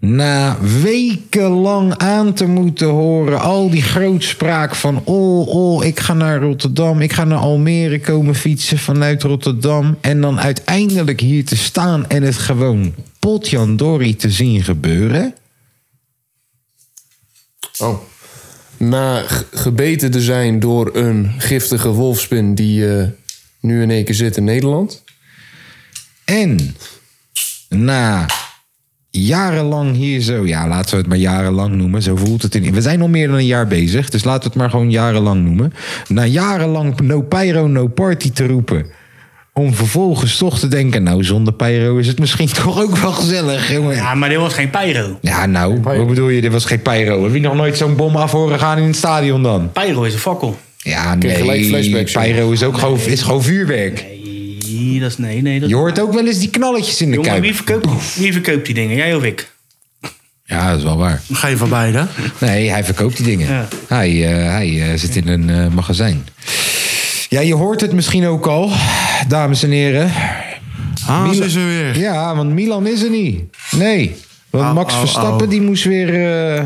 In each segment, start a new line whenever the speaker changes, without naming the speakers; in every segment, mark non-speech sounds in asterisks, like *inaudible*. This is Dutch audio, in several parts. Na wekenlang aan te moeten horen, al die grootspraak van: oh, oh, ik ga naar Rotterdam, ik ga naar Almere komen fietsen vanuit Rotterdam. En dan uiteindelijk hier te staan en het gewoon potjandori te zien gebeuren.
Oh. Na g- gebeten te zijn door een giftige wolfspin die eh, nu in één keer zit in Nederland.
En na jarenlang hier zo, ja, laten we het maar jarenlang noemen. Zo voelt het in. We zijn al meer dan een jaar bezig, dus laten we het maar gewoon jarenlang noemen. Na jarenlang no pyro, no party te roepen. Om vervolgens toch te denken, nou, zonder pyro is het misschien *laughs* toch ook wel gezellig, jongen.
Ja, maar dit was geen pyro.
Ja, nou, wat bedoel je, dit was geen pyro. Heb je nog nooit zo'n bom af horen gaan in het stadion dan?
Pyro is een fakkel.
Ja,
Krijg gelijk
nee,
flashbacks, jongen.
pyro is ook gewoon, is gewoon vuurwerk.
Nee, dat is nee, nee. Dat...
Je hoort ook wel eens die knalletjes in de
Jongen, wie
kuip.
verkoopt, wie verkoopt die dingen? Jij of ik?
Ja, dat is wel waar.
Geen van beide.
Nee, hij verkoopt die dingen.
Ja.
Hij, eh, hij eh, zit in een eh, magazijn. Ja, je hoort het misschien ook al, dames en heren.
Haas is er weer.
Ja, want Milan is er niet. Nee, want
Au,
Max
au,
Verstappen
au.
Die, moest weer, eh,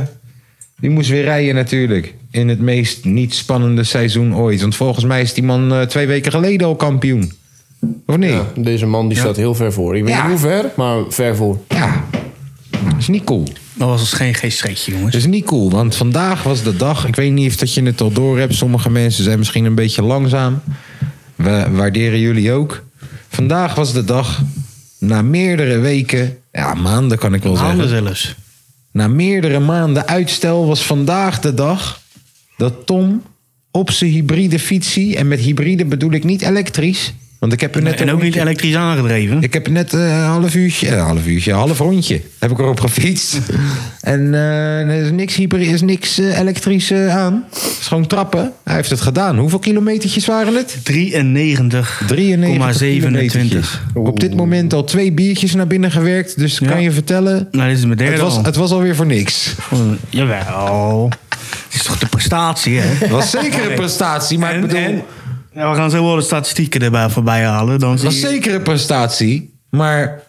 die moest weer rijden natuurlijk. In het meest niet spannende seizoen ooit. Want volgens mij is die man eh, twee weken geleden al kampioen. Of niet? Ja.
Deze man die staat heel ver voor. Ik weet
Ja.
niet hoe ver, maar ver voor.
Dat is niet cool.
Dat was dus geen geestreetje, jongens.
Dat is niet cool, want vandaag was de dag. Ik weet niet of dat je het al door hebt. Sommige mensen zijn misschien een beetje langzaam. We waarderen jullie ook. Vandaag was de dag. Na meerdere weken, ja, maanden kan ik wel
Handen
zeggen.
zelfs.
Na meerdere maanden uitstel was vandaag de dag dat Tom op zijn hybride fietsie. En met hybride bedoel ik niet elektrisch. Want ik heb er net
en
een
ook niet
rondje-
elektrisch aangedreven.
ik heb net eh, een half uurtje, eh, een half uurtje, een half rondje heb ik erop *laughs* gefietst. en eh, er is niks hyper, er is niks eh, elektrisch eh, aan. Het is gewoon trappen. Hij heeft het gedaan. Hoeveel kilometertjes waren het?
93.
93,27. Op dit moment al twee biertjes naar binnen gewerkt. Dus
Ja.
kan je vertellen,
Nou, dit is mijn derde
het was,
al.
het was alweer voor niks.
Oh, Jawel. Het is toch de prestatie, hè?
Het was
*laughs*
zeker een prestatie, maar ik
En,
bedoel...
en- Ja, we gaan zo wel de statistieken erbij voorbij halen. Dan
Het
zie
was
je-
zeker een prestatie, maar...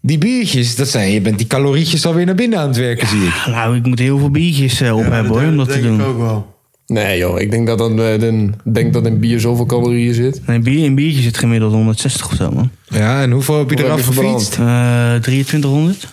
Die biertjes, dat zijn, je bent die calorietjes alweer naar binnen aan het werken, zie ik.
Nou, ik moet heel veel biertjes eh, op hebben hoor, om dat te
denk ik
doen.
ook wel.
Nee joh, ik denk dat, dat, eh, een- denk dat in bier zoveel calorieën zit.
Nee, bier, in biertje zit gemiddeld 160 of zo, man.
Ja, en hoeveel heb je
Hoeveel
eraf
heb je verbrand?
gefietst?
Eh 2300?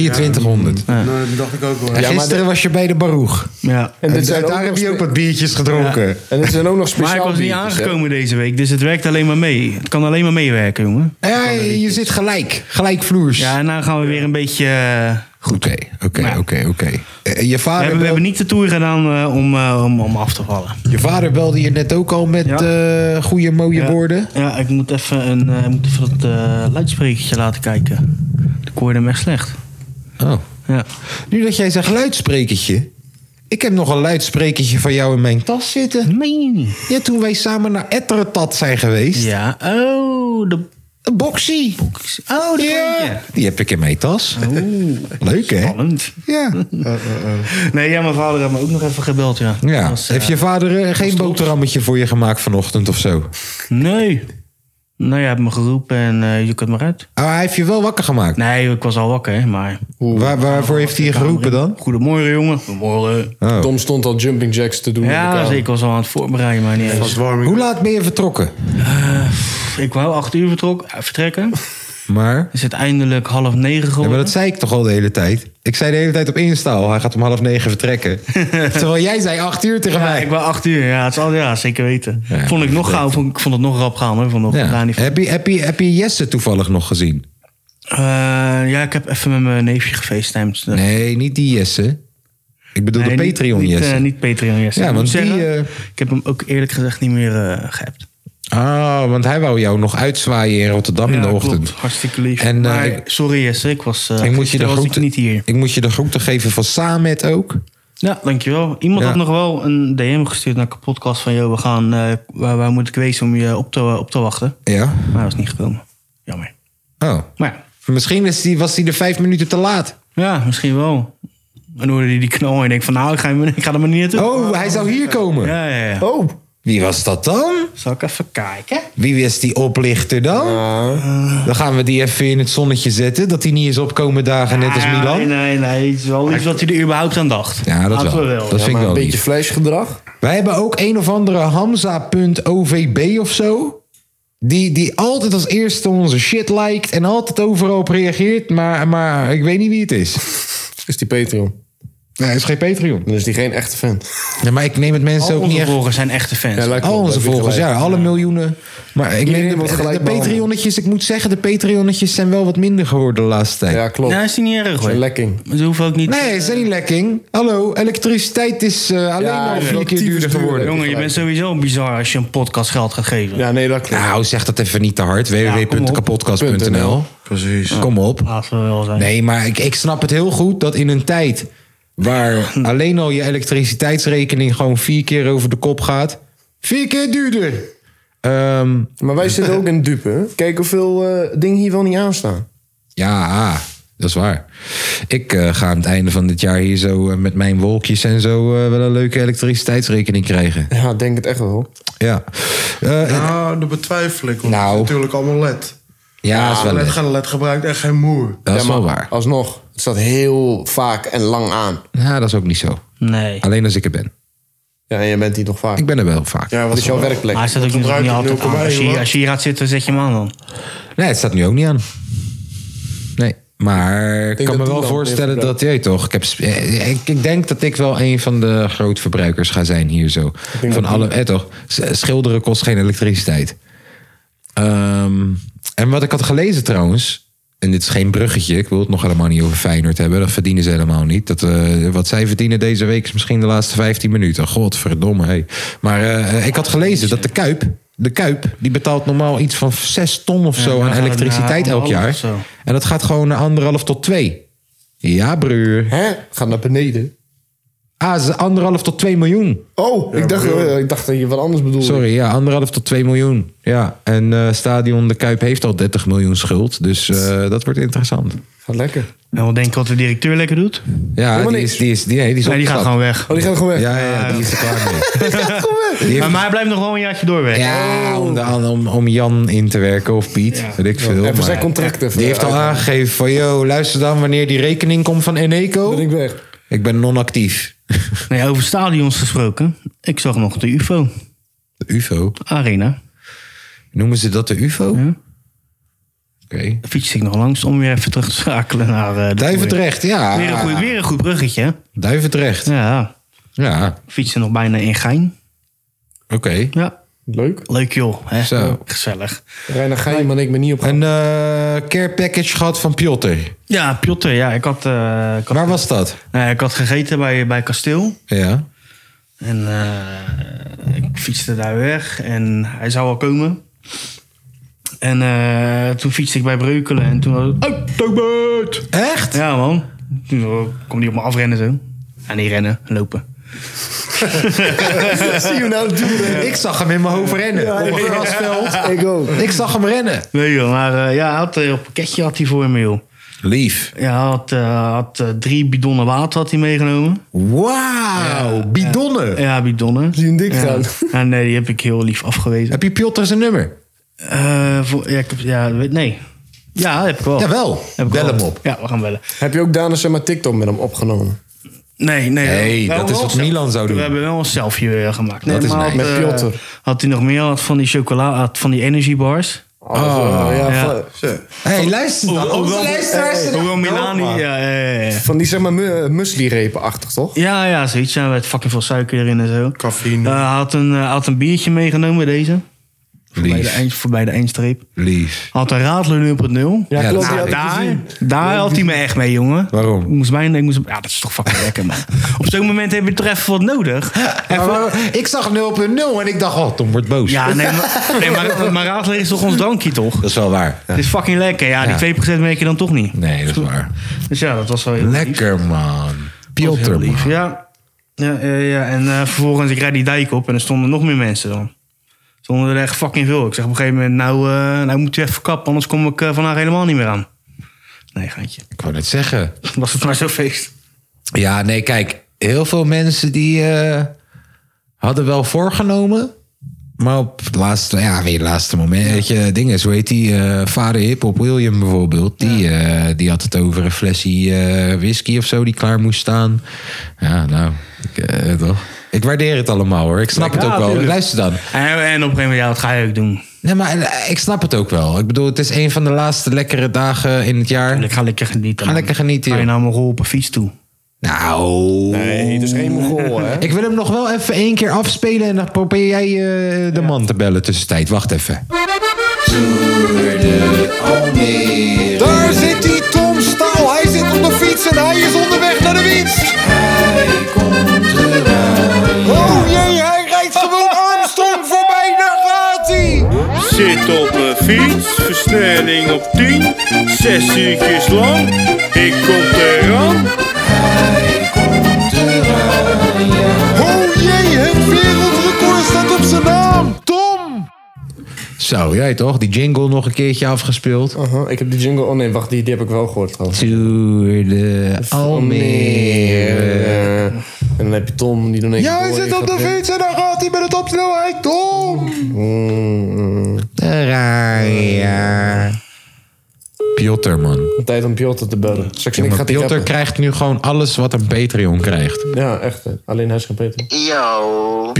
2300.
Nou, dat dacht ik ook wel.
En
Ja, maar
gisteren was je bij de Baroeg.
Ja.
En, dit
En
zijn
daar
ook
heb
nog
je ook
spe-
wat biertjes gedronken.
en dit zijn ook nog
Maar
speciaal
ik was niet dus,
biertjes, hè?
aangekomen deze week, dus het werkt alleen maar mee. Het kan alleen maar meewerken, jongen.
Ja, je, je zit gelijk. Gelijkvloers.
Ja, en dan gaan we weer een beetje... eh,
Goed, oké, oké,
Ja.
oké, oké. Eh, Je
we,
vader,
hebben, we
bel-
hebben niet de tour gedaan eh, om, eh, om, om af te vallen.
je vader belde je net ook al met eh, goede, mooie
Ja.
woorden.
Ja, ik moet even, een, eh, ik moet even dat eh luidsprekertje laten kijken. Ik hoorde hem echt slecht.
Oh.
Ja.
Nu dat jij zegt luidsprekertje. Ik heb nog een luidsprekertje van jou in mijn tas zitten.
Meen
Ja, toen wij samen naar Ettertad zijn geweest.
Ja, oh, de...
Een boxie.
Oh, de
Ja. Die heb ik in mijn tas. Leuk, hè?
Spannend.
Ja.
Nee, ja, mijn vader had me ook nog even gebeld, ja.
Ja,
Was, eh,
heeft je vader eh, geen boterhammetje voor je gemaakt vanochtend of zo?
Nee. Nou, jij hebt me geroepen en eh, je kunt maar uit.
Ah, hij heeft je wel wakker gemaakt.
Nee, ik was al wakker, maar...
Waar, waarvoor heeft hij je geroepen dan?
Goedemorgen, jongen. Goedemorgen.
Oh.
Tom stond al jumping jacks te doen. in de
Ja,
kamer.
eh,
zeker. Ik was al aan het voorbereiden, maar niet
Als
eens.
warming.
Hoe laat ben je vertrokken?
Ik wou acht uur vertrok, eh, vertrekken.
Maar,
Is het eindelijk half negen
ja, maar
geworden?
dat zei ik toch al de hele tijd? Ik zei de hele tijd op Insta al, hij gaat om half negen
*laughs*
vertrekken. Terwijl jij zei acht uur tegen
ja, ik
mij.
wou acht uur. Ja, het is al, ja zeker weten.
Ja,
vond ik nog gauw, vond, ik vond het nog rap gaan, hoor. Vanochtend.
Ja.
Ja. Niet...
Heb, je, heb, je, heb je Jesse toevallig nog gezien?
Eh, ja, ik heb even met mijn neefje gefacetimed.
Nee, niet die Jesse. Ik bedoel de
Nee, niet-
Patreon
niet, eh,
Jesse.
niet Patreon, yes.
Ja,
Ik moet
want die,
zeggen,
eh,
Ik heb hem ook eerlijk gezegd niet meer eh geappt.
Ah, want hij wou jou nog uitzwaaien in Rotterdam in de ochtend.
Klopt, hartstikke lief.
En, eh,
maar,
ik-
sorry Jesse, ik was, eh
Ik moet je de
gisteren was ik
groeten,
niet hier.
Ik moet je de groeten geven van Samet ook.
Ja, dankjewel. Iemand
Ja.
had nog wel een DM gestuurd naar de podcast van... joh, we gaan, eh, waar, waar moet ik wezen om je op te, op te wachten?
Ja.
Maar hij was niet gekomen. Jammer.
Oh.
Maar
Misschien is die, was hij er vijf minuten te laat.
ja, ja, misschien wel. En dan hoorde hij die knal en ik denk van... nou, ik ga, ik ga er maar niet naartoe.
Oh, hij zou hier komen.
Ja, ja, ja.
Oh,
Wie was dat dan?
Zal ik even kijken?
Wie was die oplichter dan? Dan gaan we die even in het zonnetje zetten. Dat hij niet is opkomen dagen, net als
Ah, Nee,
Milan.
nee, nee. Het is wel iets wat hij er überhaupt aan dacht.
Ja, dat
Laten
wel.
we
Dat
ja.
vind ik
maar
wel
een beetje
lief.
flesgedrag.
Wij hebben ook een of andere Hamza.ovb of zo. Die, die altijd als eerste onze shit liked en altijd overal op reageert. Maar, maar ik weet niet wie het is.
Is die Patreon.
Nee, hij is geen Patreon.
Dan is die geen echte fan.
Ja, maar ik neem het mensen
Al
dus ook niet
onze
echt...
volgers zijn echte fans.
Ja, lijkt
Al
wel,
onze
heb je
volgers,
gelijk.
ja, alle miljoenen. Maar ik
Iedereen
neem
wordt
de,
gelijk
de
behandeld.
Patreonnetjes, ik moet zeggen, de Patreonnetjes zijn wel wat minder geworden de laatste tijd.
Ja, klopt.
Nee, is die niet erg
Een
hoor.
lekking.
Ze hoeven ook niet...
Nee, is dat niet lekking? Hallo, elektriciteit is eh, alleen al
Ja,
vier keer
relatief
duurder
duurder.
geworden.
Jongen, je bent sowieso bizar als je een podcast geld gaat geven.
Ja, nee, dat klopt.
Nou, zeg dat even niet te hard. www.kapodcast.nl
Precies.
Kom op.
Laten we wel zijn.
Nee, maar ik, ik snap het heel goed dat in een tijd *laughs* waar alleen al je elektriciteitsrekening gewoon vier keer over de kop gaat. Vier keer duurder. Ehm,
Maar wij zitten ook in dupe. hè? Kijk hoeveel eh, dingen hier wel niet aanstaan.
Ja, dat is waar. Ik eh, ga aan het einde van dit jaar hier zo eh, met mijn wolkjes en zo eh, wel een leuke elektriciteitsrekening krijgen.
Ja, ik denk het echt wel.
Ja, Eh, en-
Nou, dat betwijfel ik. Want
Nou.
het is natuurlijk allemaal led.
ja, dat is wel
led,
leuk.
ge- led gebruikt echt geen moer.
Dat is
Ja, maar
wel waar.
Alsnog, het staat heel vaak en lang aan.
Ja, dat is ook niet zo.
Nee.
Alleen als ik er ben.
Ja, en je bent hier nog vaak.
Ik ben er wel vaak.
Ja, wat is jouw werkplek?
Maar hij staat ook niet
gebruik
niet
ik
altijd aan.
0,1
Als je,
hoor.
als je hier gaat zitten, zet je hem aan dan.
Nee, het staat nu ook niet aan. Nee, maar ik
denk
kan me
dat
wel
Doelan meer
voorstellen dat...
verbruikt.
jij toch, ik, heb, sp- eh, ik, ik denk dat ik wel een van de grootverbruikers ga zijn hier zo. Van alle, eh, toch, s- schilderen kost geen elektriciteit. Ehm, en wat ik had gelezen trouwens... En dit is geen bruggetje. Ik wil het nog helemaal niet over Feyenoord hebben. Dat verdienen ze helemaal niet. Dat, eh, wat zij verdienen deze week is misschien de laatste 15 minuten. Godverdomme. Hey. Maar eh, ik had gelezen dat de Kuip... De Kuip die betaalt normaal iets van 6 ton of zo
Ja,
aan
ja,
elektriciteit
ja,
elk
anderhalf
jaar.
of zo.
En dat gaat gewoon naar anderhalf tot twee. Ja, broer.
Hè? Ga naar beneden.
Ah, ze- anderhalf tot 2 miljoen.
Oh, ik, dacht, eh, ik dacht dat je wat anders bedoelde.
Sorry, ja, anderhalf tot 2 miljoen. Ja, en eh, Stadion De Kuip heeft al 30 miljoen schuld. Dus eh, dat wordt interessant.
Gaat lekker.
En wat denk je wat de directeur lekker doet?
Ja, die
niks.
is, die is, die, nee, die is
Nee, die gaat
opgestapt.
gewoon weg.
Oh, die gaat gewoon weg.
Ja, ja, ja, die is er klaar mee. Die
Maar,
heeft-
maar hij blijft nog wel een jaartje doorwerken.
ja, om, de- om, om Jan in te werken of Piet, weet ik veel.
Even
maar-
zijn contract even. eh,
die heeft al
uit-
aangegeven van, yo, luister dan wanneer die rekening komt van
Ben
Eneco.
ik weg.
Ik ben non-actief.
Nee, over stadions gesproken. Ik zag nog de UFO
De UFO.
Arena.
Noemen ze dat de UFO? Oké.
Daar fietste ik nog langs om weer even terug te schakelen naar eh de toerist.
Duivendrecht, ja.
Weer een, goed, weer een goed bruggetje. hè?
Duivendrecht.
Ja,
Ja,
fietsen nog bijna in Gein.
oké.
Ja,
Leuk.
leuk joh. Hè?
Zo.
Gezellig.
Reina Gein, maar ik ben niet op.
Een eh care package gehad van Piotr.
Ja, Piotr, ja, ik had, eh, ik had,
Waar was dat?
nou ja, ik had gegeten bij, bij Kasteel.
Ja.
En eh, ik fietste daar weg en hij zou al komen. En eh, toen fietste ik bij Breukelen en toen was het... "Hey, Tobert!"
Echt?
Ja man, toen kwam die op me afrennen zo. En die rennen, lopen.
zie je nou doen.
Ik zag hem in mijn hoofd rennen. op een grasveld.
Ik ook.
Ik zag hem rennen.
Nee joh, maar eh, ja, hij had eh, een pakketje had hij voor me joh.
Lief.
Ja, hij had, eh, had eh, drie bidonnen water had hij meegenomen.
Wauw, bidonnen.
Ja, bidonnen.
Zie je hem dik
ja.
gaan.
*laughs* Ja, nee, die heb ik heel lief afgewezen.
Heb je Piotr zijn nummer?
Eh, voor, ja, ik heb, ja, weet- nee. Ja, dat heb ik wel.
Jawel.
Heb ik
Bel
wel.
hem op.
Ja, we gaan bellen.
Heb je ook Dana Sema TikTok met hem opgenomen?
Nee, nee.
Nee,
We
dat
hebben
is
wel
wat
een
Milan zou doen.
We hebben wel een selfie eh, gemaakt.
Dat is
maar
nice.
had,
Met
eh,
Piotr.
Had hij nog meer had van die chocola, had van die energy bars?
Oh, ja,
ja.
Van,
hey, luister dan. Onze luisteraars zijn-
Hoewel Milani, ja, ja, ja.
van die zeg maar mu- muesli-repenachtig, toch?
Ja, ja, zoiets. Ja, met fucking veel suiker erin en zo.
Cafeïne.
Eh, hij had, een, eh, had een biertje meegenomen, deze. Voorbij de,
Lief.
eind, voorbij de eindstreep.
Lief.
Had een radler nu op het nul.
Ja,
klopt.
dat
die
Nou,
had ik
daar,
gezien.
daar had hij me echt mee, jongen.
Waarom?
Ik moest bijna, ik moest, ja, dat is toch fucking
*laughs*
lekker, man. Op zo'n moment heb je toch even wat nodig. Even-
ik zag 0.0 en ik dacht, oh, Tom wordt boos.
ja, nee, maar, nee, maar, maar radler is toch ons drankje, toch?
Dat is wel waar.
Het is fucking lekker. Ja,
Ja.
die 2% merk je dan toch niet.
Nee, dat is waar.
Dus ja, dat was wel heel lief.
Lekker, man. Piotr,
Heel lief.
man.
Ja. Ja, ja, ja. en eh, vervolgens ik rijd die dijk op en er stonden nog meer mensen dan. Stonden er echt fucking veel. Ik zeg op een gegeven moment, nou, eh, nou moet u even kappen, anders kom ik eh, vandaag helemaal niet meer aan. Nee, gaantje.
Ik wou net zeggen.
*laughs* Was het maar zo'n feest.
Ja, nee, kijk. Heel veel mensen die eh, hadden wel voorgenomen. Maar op het laatste, ja, weer het laatste moment. Weet je, dingen, zo heet die eh vader hip-hop William bijvoorbeeld. Die, eh, die had het over een flesje eh, whisky of zo die klaar moest staan. Ja, nou, ik, eh, toch. Ik waardeer het allemaal hoor. Ik snap het ook wel. Luister dan.
En, en op een gegeven moment, ja, wat ga je ook doen?
Nee, maar eh, ik snap het ook wel. Ik bedoel, het is een van de laatste lekkere dagen in het jaar.
Ik ga lekker genieten.
Ga
man.
lekker genieten,
Ga je
joh.
nou mijn rol op een fiets toe?
Nou.
Nee, het is geen Mongool, *laughs* hè?
Ik wil hem nog wel even één keer afspelen en dan probeer jij eh, de man te bellen tussentijd. Wacht even.
Daar zit die Tom Staal. Hij zit op de fiets en hij is onderweg naar de winst. Hij komt Oh jee, hij rijdt gewoon Armstrong voorbij. Daar gaat hij.
Zit op mijn fiets, versnelling op 10, 6 uurtjes lang. Ik kom eraan.
Oh jee, het wereldrecord staat op zijn naam. Tom.
Zo, jij toch? Die jingle nog een keertje afgespeeld.
Aha, ik heb die jingle... Oh nee, wacht, die, die heb ik wel gehoord trouwens.
Tour de
Oh,
Almere.
Eh, en dan heb je Tom, die dan even...
Ja, hij
door-
zit op de fiets en daar gaat hij met de topsnelheid. Tom.
Mm, mm.
De Raja. Piotr, man.
Tijd om Piotr te bellen. Straks en ik ga
Maar
die
Piotr
rappen.
krijgt nu gewoon alles wat een Patreon krijgt.
Ja, echt. hè. Alleen hij is geen Peter.
Yo.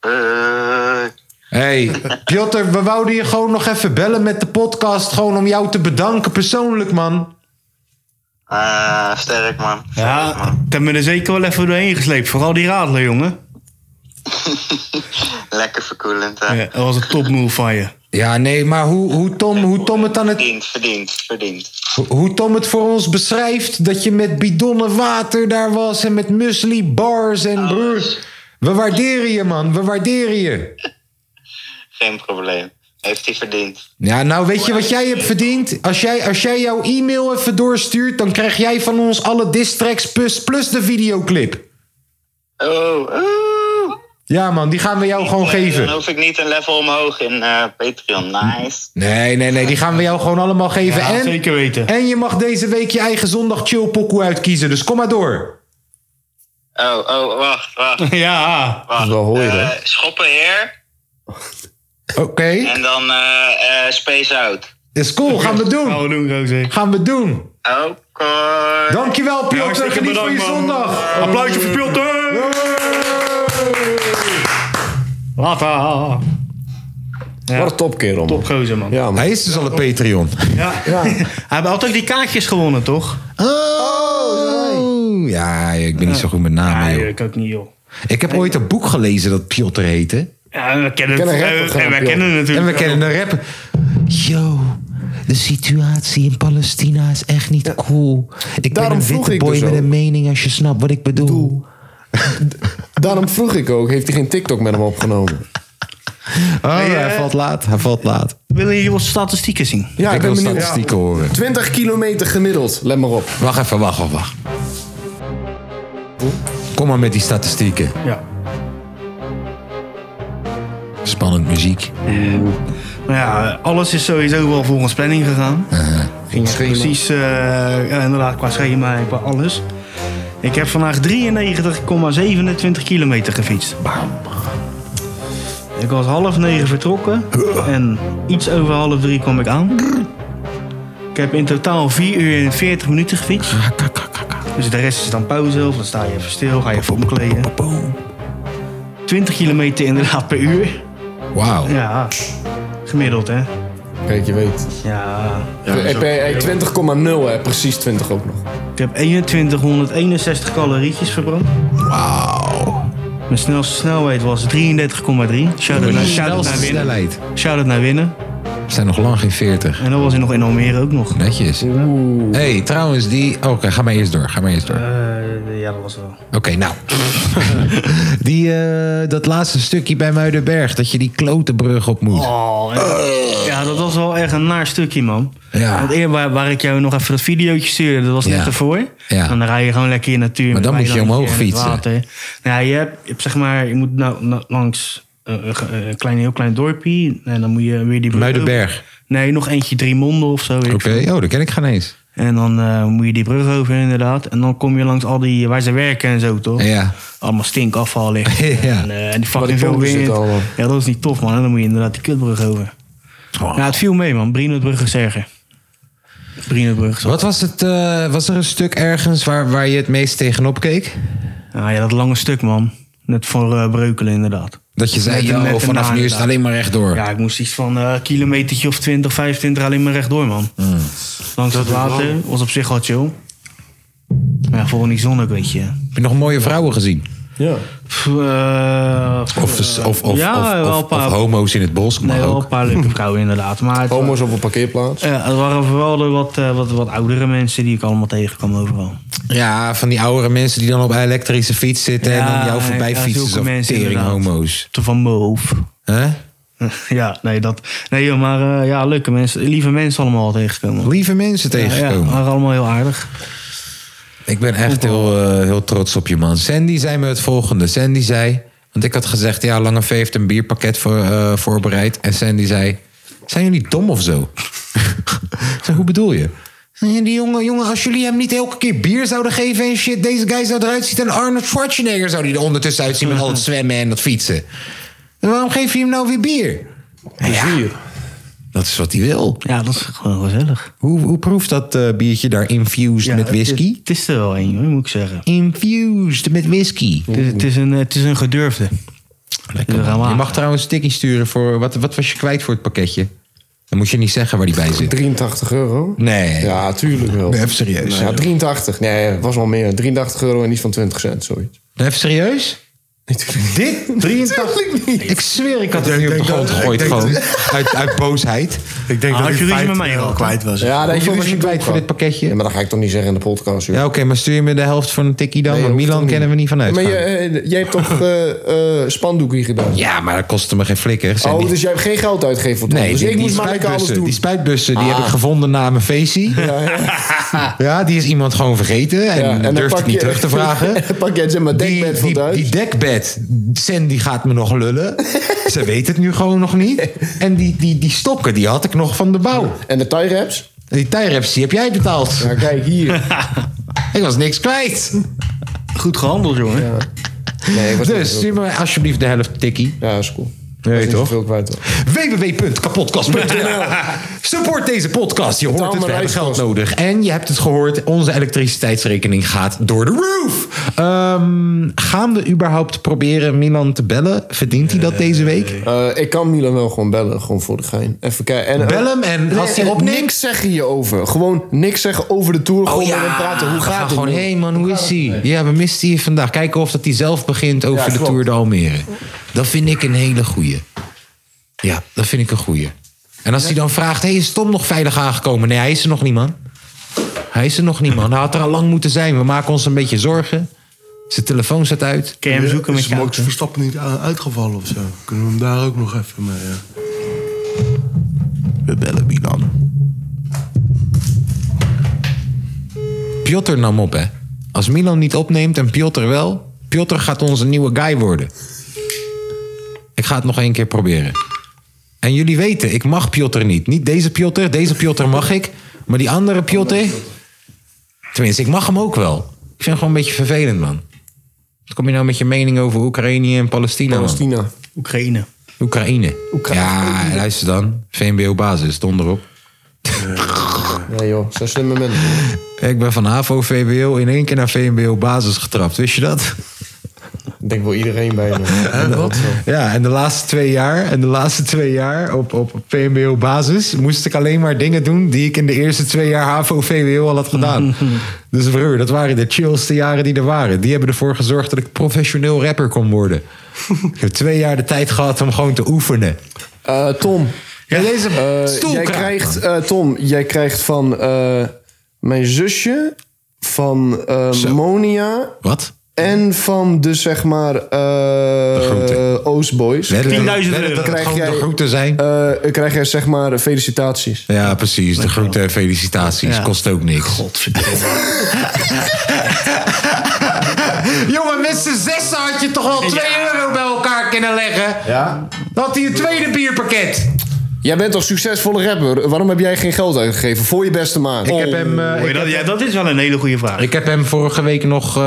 Eh,
Hey, Piotr, we wouden je gewoon nog even bellen met de podcast. Gewoon om jou te bedanken persoonlijk, man.
ah, sterk man. Sterk,
Ja,
man.
ik heb me er zeker wel even doorheen gesleept. Vooral die radler, jongen.
Lekker verkoelend. hè.
Ja, dat was een topmove van je.
Ja, nee, maar hoe, hoe, Tom, hoe Tom het aan het
Verdiend, verdiend, verdiend.
Hoe Tom het voor ons beschrijft, dat je met bidonnen water daar was en met muesli bars en broer. We waarderen je, man. We waarderen je.
Geen probleem. Heeft hij verdiend.
Ja, nou weet je wat jij hebt verdiend? Als jij, als jij jouw e-mail even doorstuurt, dan krijg jij van ons alle distracks plus, plus de videoclip.
Oh, oh.
Ja, man, die gaan we jou gewoon
Dan
geven.
hoef ik niet een level omhoog in eh, Patreon. Nice.
Nee, nee, nee, die gaan we jou gewoon allemaal geven.
Ja,
en,
zeker weten. *laughs*
en je mag deze week je eigen zondag chill pokoe uitkiezen, dus kom maar door.
Oh, oh, wacht, wacht,
Ja,
wacht.
is wel hooi,
Eh,
hè?
Schoppenheer
Oké,
en dan eh, eh, Space Out.
is cool. Gaan we
gaan
doen.
we doen, Roze.
Gaan we doen.
Oké.
Dankjewel, Piotr. Geniet van je zondag.
Applausje voor Pilter. Later.
Wat een topkerel, man.
Top gozer, man.
Ja, man.
Hij is dus al een Patreon.
Ja. *laughs* Hij had ook die kaartjes gewonnen, toch?
Oh, ja, ik ben niet zo goed met namen, joh.
ik ook niet, Ah, joh.
Ik heb ooit een boek gelezen dat Piotr heette.
Ja, en we kennen,
Ken een
het, eh,
rapper,
en
gewoon,
wij
joh.
kennen het
En we
natuurlijk.
kennen de rapper. Yo, de situatie in Palestina is echt niet cool. Ik
Daarom
ben een
vroeg
witte
ik
boy
dus
met
ook.
een mening als je snapt wat ik bedoel.
Daarom vroeg ik ook, heeft hij geen TikTok met hem opgenomen?
Oh, hij
eh,
valt laat. Hij valt laat.
Willen jullie wat statistieken zien?
Ja,
ik wil statistieken horen.
20 kilometer gemiddeld, let maar op.
Wacht even, wacht, wacht, wacht. Kom maar met die statistieken.
Ja.
Spannend
*laughs*
muziek.
Maar ja, alles is sowieso wel volgens planning gegaan. Ging echt
schema.
precies, eh, ja, inderdaad, qua schema en qua alles. Ik heb vandaag 93,27 kilometer gefietst. Ik was half negen vertrokken en iets over half drie kwam ik aan. Ik heb in totaal 4 uur en 40 minuten gefietst. Dus de rest is dan pauze of dan sta je even stil, ga je even omkleden. 20 kilometer inderdaad per uur.
Wauw.
Ja, gemiddeld hè.
Kijk, je weet.
Ja,
Heb jij- eh, 20,0 hè, precies 20 ook nog.
ik heb 2161 calorietjes verbrand.
Wauw.
Mijn snelste snelheid was 33,3. Shout-out naar, shout naar Winnen.
snelheid.
Shout-out naar Winnen.
We zijn nog lang geen 40.
En dat was hij nog in Almere ook nog.
Netjes. hey, trouwens, die. oh, Oké, ga maar eerst door. Ga maar eerst door.
Eh, ja, dat was wel.
Oké, nou. die, eh, dat laatste stukje bij Muidenberg, dat je die klotenbrug op moet.
Oh, en- ja, dat was wel echt een naar stukje, man.
Eh. Ja.
Want eer waar, waar ik jou nog even dat videootje stuurde, dat was
Ja.
net ervoor.
Ja.
En dan rij je gewoon lekker in de natuur.
Maar dan
met
moet je omhoog
weilandje en het
fietsen.
water. Nou, je hebt, je hebt zeg maar, je moet nou, nou langs eh, een ge- een klein, heel klein dorpje. En dan moet je weer die brug
Muidenberg.
over. Nee, nog eentje drie monden of zo. weet ik
Oké, oh, dat ken ik geen eens.
En dan eh, moet je die brug over inderdaad. En dan kom je langs al die, waar ze werken en zo toch?
Ja.
Allemaal stinkafval
*laughs*
ligt.
Ja.
En, eh, en die
Maar die
fucking veel
pompen
wind.
zitten allemaal.
Ja, dat is niet tof man. En dan moet je inderdaad die kutbrug over. Ja, het viel mee man. Brienenbrug is erger. Brienenbrug is
Wat was het? eh, was er een stuk ergens waar, waar je het meest tegenop keek?
Ah, ja, dat lange stuk man. Net voor eh, Breukelen inderdaad.
Dat je zei,
Met een-
joh,
met een
vanaf
baan
nu is het
daar.
alleen maar rechtdoor.
Ja, ik moest iets van een kilometertje of 20, 25 alleen maar rechtdoor man.
Mm.
Langs het water. Was op zich wel chill. Maar ja, vooral die zon ook weet je.
Heb je nog mooie vrouwen gezien?
Ja.
Pff, eh,
Of, of, of, of,
ja,
of-
wel een
of
paar-
homo's in het bos? Maar
Nee, wel
ook.
een paar leuke vrouwen inderdaad. Maar het,
Homo's op een parkeerplaats.
Ja, het waren vooral de wat, eh, wat, wat oudere mensen die ik allemaal tegenkwam overal.
Ja, van die oudere mensen die dan op elektrische fiets zitten en dan jou voorbij
ja,
fietsen.
zulke
Zo'n
mensen
tering
inderdaad.
homo's.
Te van boven.
Hè?
*laughs* ja, nee, dat. Nee, joh, maar eh, ja, leuke mensen. Lieve mensen allemaal al tegengekomen.
Lieve mensen
Ja,
tegengekomen.
waren allemaal heel aardig.
Ik ben echt heel, eh, heel trots op je man. Sandy zei me het volgende. Sandy zei, want ik had gezegd, ja, Lange V heeft een bierpakket voor, eh, voorbereid. En Sandy zei, zijn jullie dom of zo? *laughs* ik zei, hoe bedoel je? Nee, Die jongen, jongen, als jullie hem niet elke keer bier zouden geven en shit, deze guy zou eruit zien. En Arnold Schwarzenegger zou die er ondertussen uitzien met al het zwemmen en dat fietsen. En waarom geef je hem nou weer bier?
Dus
Ja, dat is wat hij wil.
Ja, dat is gewoon gezellig.
Hoe, hoe proeft dat eh, biertje daar infused
Ja,
met whisky?
Het, het is er wel één, hoor, moet ik zeggen.
Infused met whisky.
Het is, het is, een, eh, het is een gedurfde. Dus Lekker,
Je mag trouwens een tikkie sturen voor. Wat, wat was je kwijt voor het pakketje? Dan moet je niet zeggen waar die bij zit.
83 euro?
Nee.
Ja, tuurlijk wel.
Nee, even serieus.
Ja, 83. Nee, het was wel meer. 83 euro en niet van 20 cent, sorry.
Even serieus? Dit? 83? Ik zweer, ik had het nu op de grond gegooid. Gewoon. Uit, uit boosheid.
Ik denk
Ah,
dat
had
ik
je ruzie met
15
eh,
mij
euro
gehad,
kwijt was.
Ja, dat
Hoeveel was je kwijt voor dit
Ja,
pakketje?
maar dat ga ik toch niet zeggen in de podcast, joh.
Ja, oké, maar stuur je me de helft van een tikkie dan?
Nee,
want
hoeft
Milan
toch
kennen we niet vanuit.
Maar je, eh, jij hebt toch eh eh spandoek hier gedaan?
Ja, maar dat kostte me geen flikker. Zijn
Oh,
die-
dus jij hebt geen geld uitgegeven voor het
Nee,
Dus
die,
ik
die
moest maar lekker alles
spuitbussen,
doen. Ah.
die spuitbussen die heb ik gevonden na mijn feestje. Ja, *laughs* die is iemand gewoon vergeten en,
Ja,
durft durfde ik niet terug te vragen.
*laughs* Dan pak jij zeg maar
Die-
dekbed van
die,
thuis.
die dekbed, Sandy gaat me nog lullen.
*laughs*
Ze weet het nu gewoon nog niet. En die, die, die stokken, die had ik nog van de bouw.
en de tie-raps?
Die tijreps, die heb jij betaald.
*laughs* Ja, kijk *laughs* hier.
Ik was niks
*laughs*
kwijt.
Goed gehandeld, jongen.
Nee, ik was niet
Dus
veel-
stuur me alsjeblieft de helft tikkie.
Ja, is cool.
Nee,
Was niet
toch?
zoveel kwijt, hoor.
www.kapotkast.nl Support deze podcast. Je hoort
Betaal
het, we
mijn
hebben geld
reiskosten.
nodig. En je hebt het gehoord, onze elektriciteitsrekening gaat door de roof. Ehm, gaan we überhaupt proberen Milan te bellen? Verdient hij dat deze week?
Eh, ik kan Milan wel gewoon bellen, gewoon voor de gein. Even kijken. En, eh,
Bel hem en als hij
en
opneemt- Oh
Niks zeggen hierover. Gewoon niks zeggen over de tour. gewoon met hem praten. Hoe
we
gaat
gaan
het?
Gewoon,
nu?
hé man, hoe is hij? Ja, we misten je vandaag. Kijken of dat hij zelf begint over
Ja,
de
klopt.
Tour de Almere. Dat vind ik een hele goeie. Ja, dat vind ik een goeie. En als hij dan vraagt, hé, is Tom nog veilig aangekomen? Nee, hij is er nog niet, man. Hij is er nog niet, man. Hij had er al lang moeten zijn. We maken ons een beetje zorgen. Zijn telefoon staat uit.
Kun je hem zoeken met
Is
je
Max
auto?
Verstappen niet aan- uitgevallen of zo? Kunnen we hem daar ook nog even mee? Ja.
We bellen Milan. Piotr nam op, hè. Als Milan niet opneemt en Piotr wel... Piotr gaat onze nieuwe guy worden. Ik ga het nog één keer proberen. En jullie weten, ik mag Piotr niet. Niet deze Piotr, deze Piotr mag ik. Maar die andere Piotr... Tenminste, ik mag hem ook wel. Ik vind hem gewoon een beetje vervelend, man. Wat kom je nou met je mening over Oekraïne en Palestina, man?
Palestina.
Oekraïne.
Oekraïne. Ja, luister dan. VMBO-basis, donder op.
Nee joh, zijn slimme mensen.
Ik ben van HAVO, VWO in één keer naar VMBO basis getrapt. Wist je dat?
Ik denk wel iedereen bijna.
Hè, wat?
Ja, en de laatste twee jaar, en de laatste twee jaar op, op PMBO-basis moest ik alleen maar dingen doen die ik in de eerste twee jaar HAVO-VWO al had *laughs* gedaan. dus broer, dat waren de chillste jaren die er waren. Die hebben ervoor gezorgd dat ik professioneel rapper kon worden. ik heb twee jaar de tijd gehad om gewoon te oefenen.
Eh, Tom,
Ja, deze
eh, jij
stoelkraag.
krijgt, eh, Tom, jij krijgt van eh, mijn zusje, van eh, Monia
Wat?
en van de zeg maar eh,
groeten.
Oostboys.
Wedden dat-
10.000
wedden
euro.
Dat het
Krijg
gewoon de
jij-
groeten zijn.
Eh, krijg jij zeg maar felicitaties.
Ja, precies. De groeten en felicitaties.
Ja.
Kost ook niks. *laughs* Jongen, met z'n zessen had je toch wel 2 euro bij elkaar kunnen leggen?
Ja?
Dan had hij een tweede bierpakket.
Jij bent toch succesvolle rapper? Waarom heb jij geen geld uitgegeven voor je beste maat? Oh.
Ik heb hem, eh,
Hoor je
ik,
dat? Ja, dat is wel een hele goede vraag.
ik heb hem vorige week nog eh,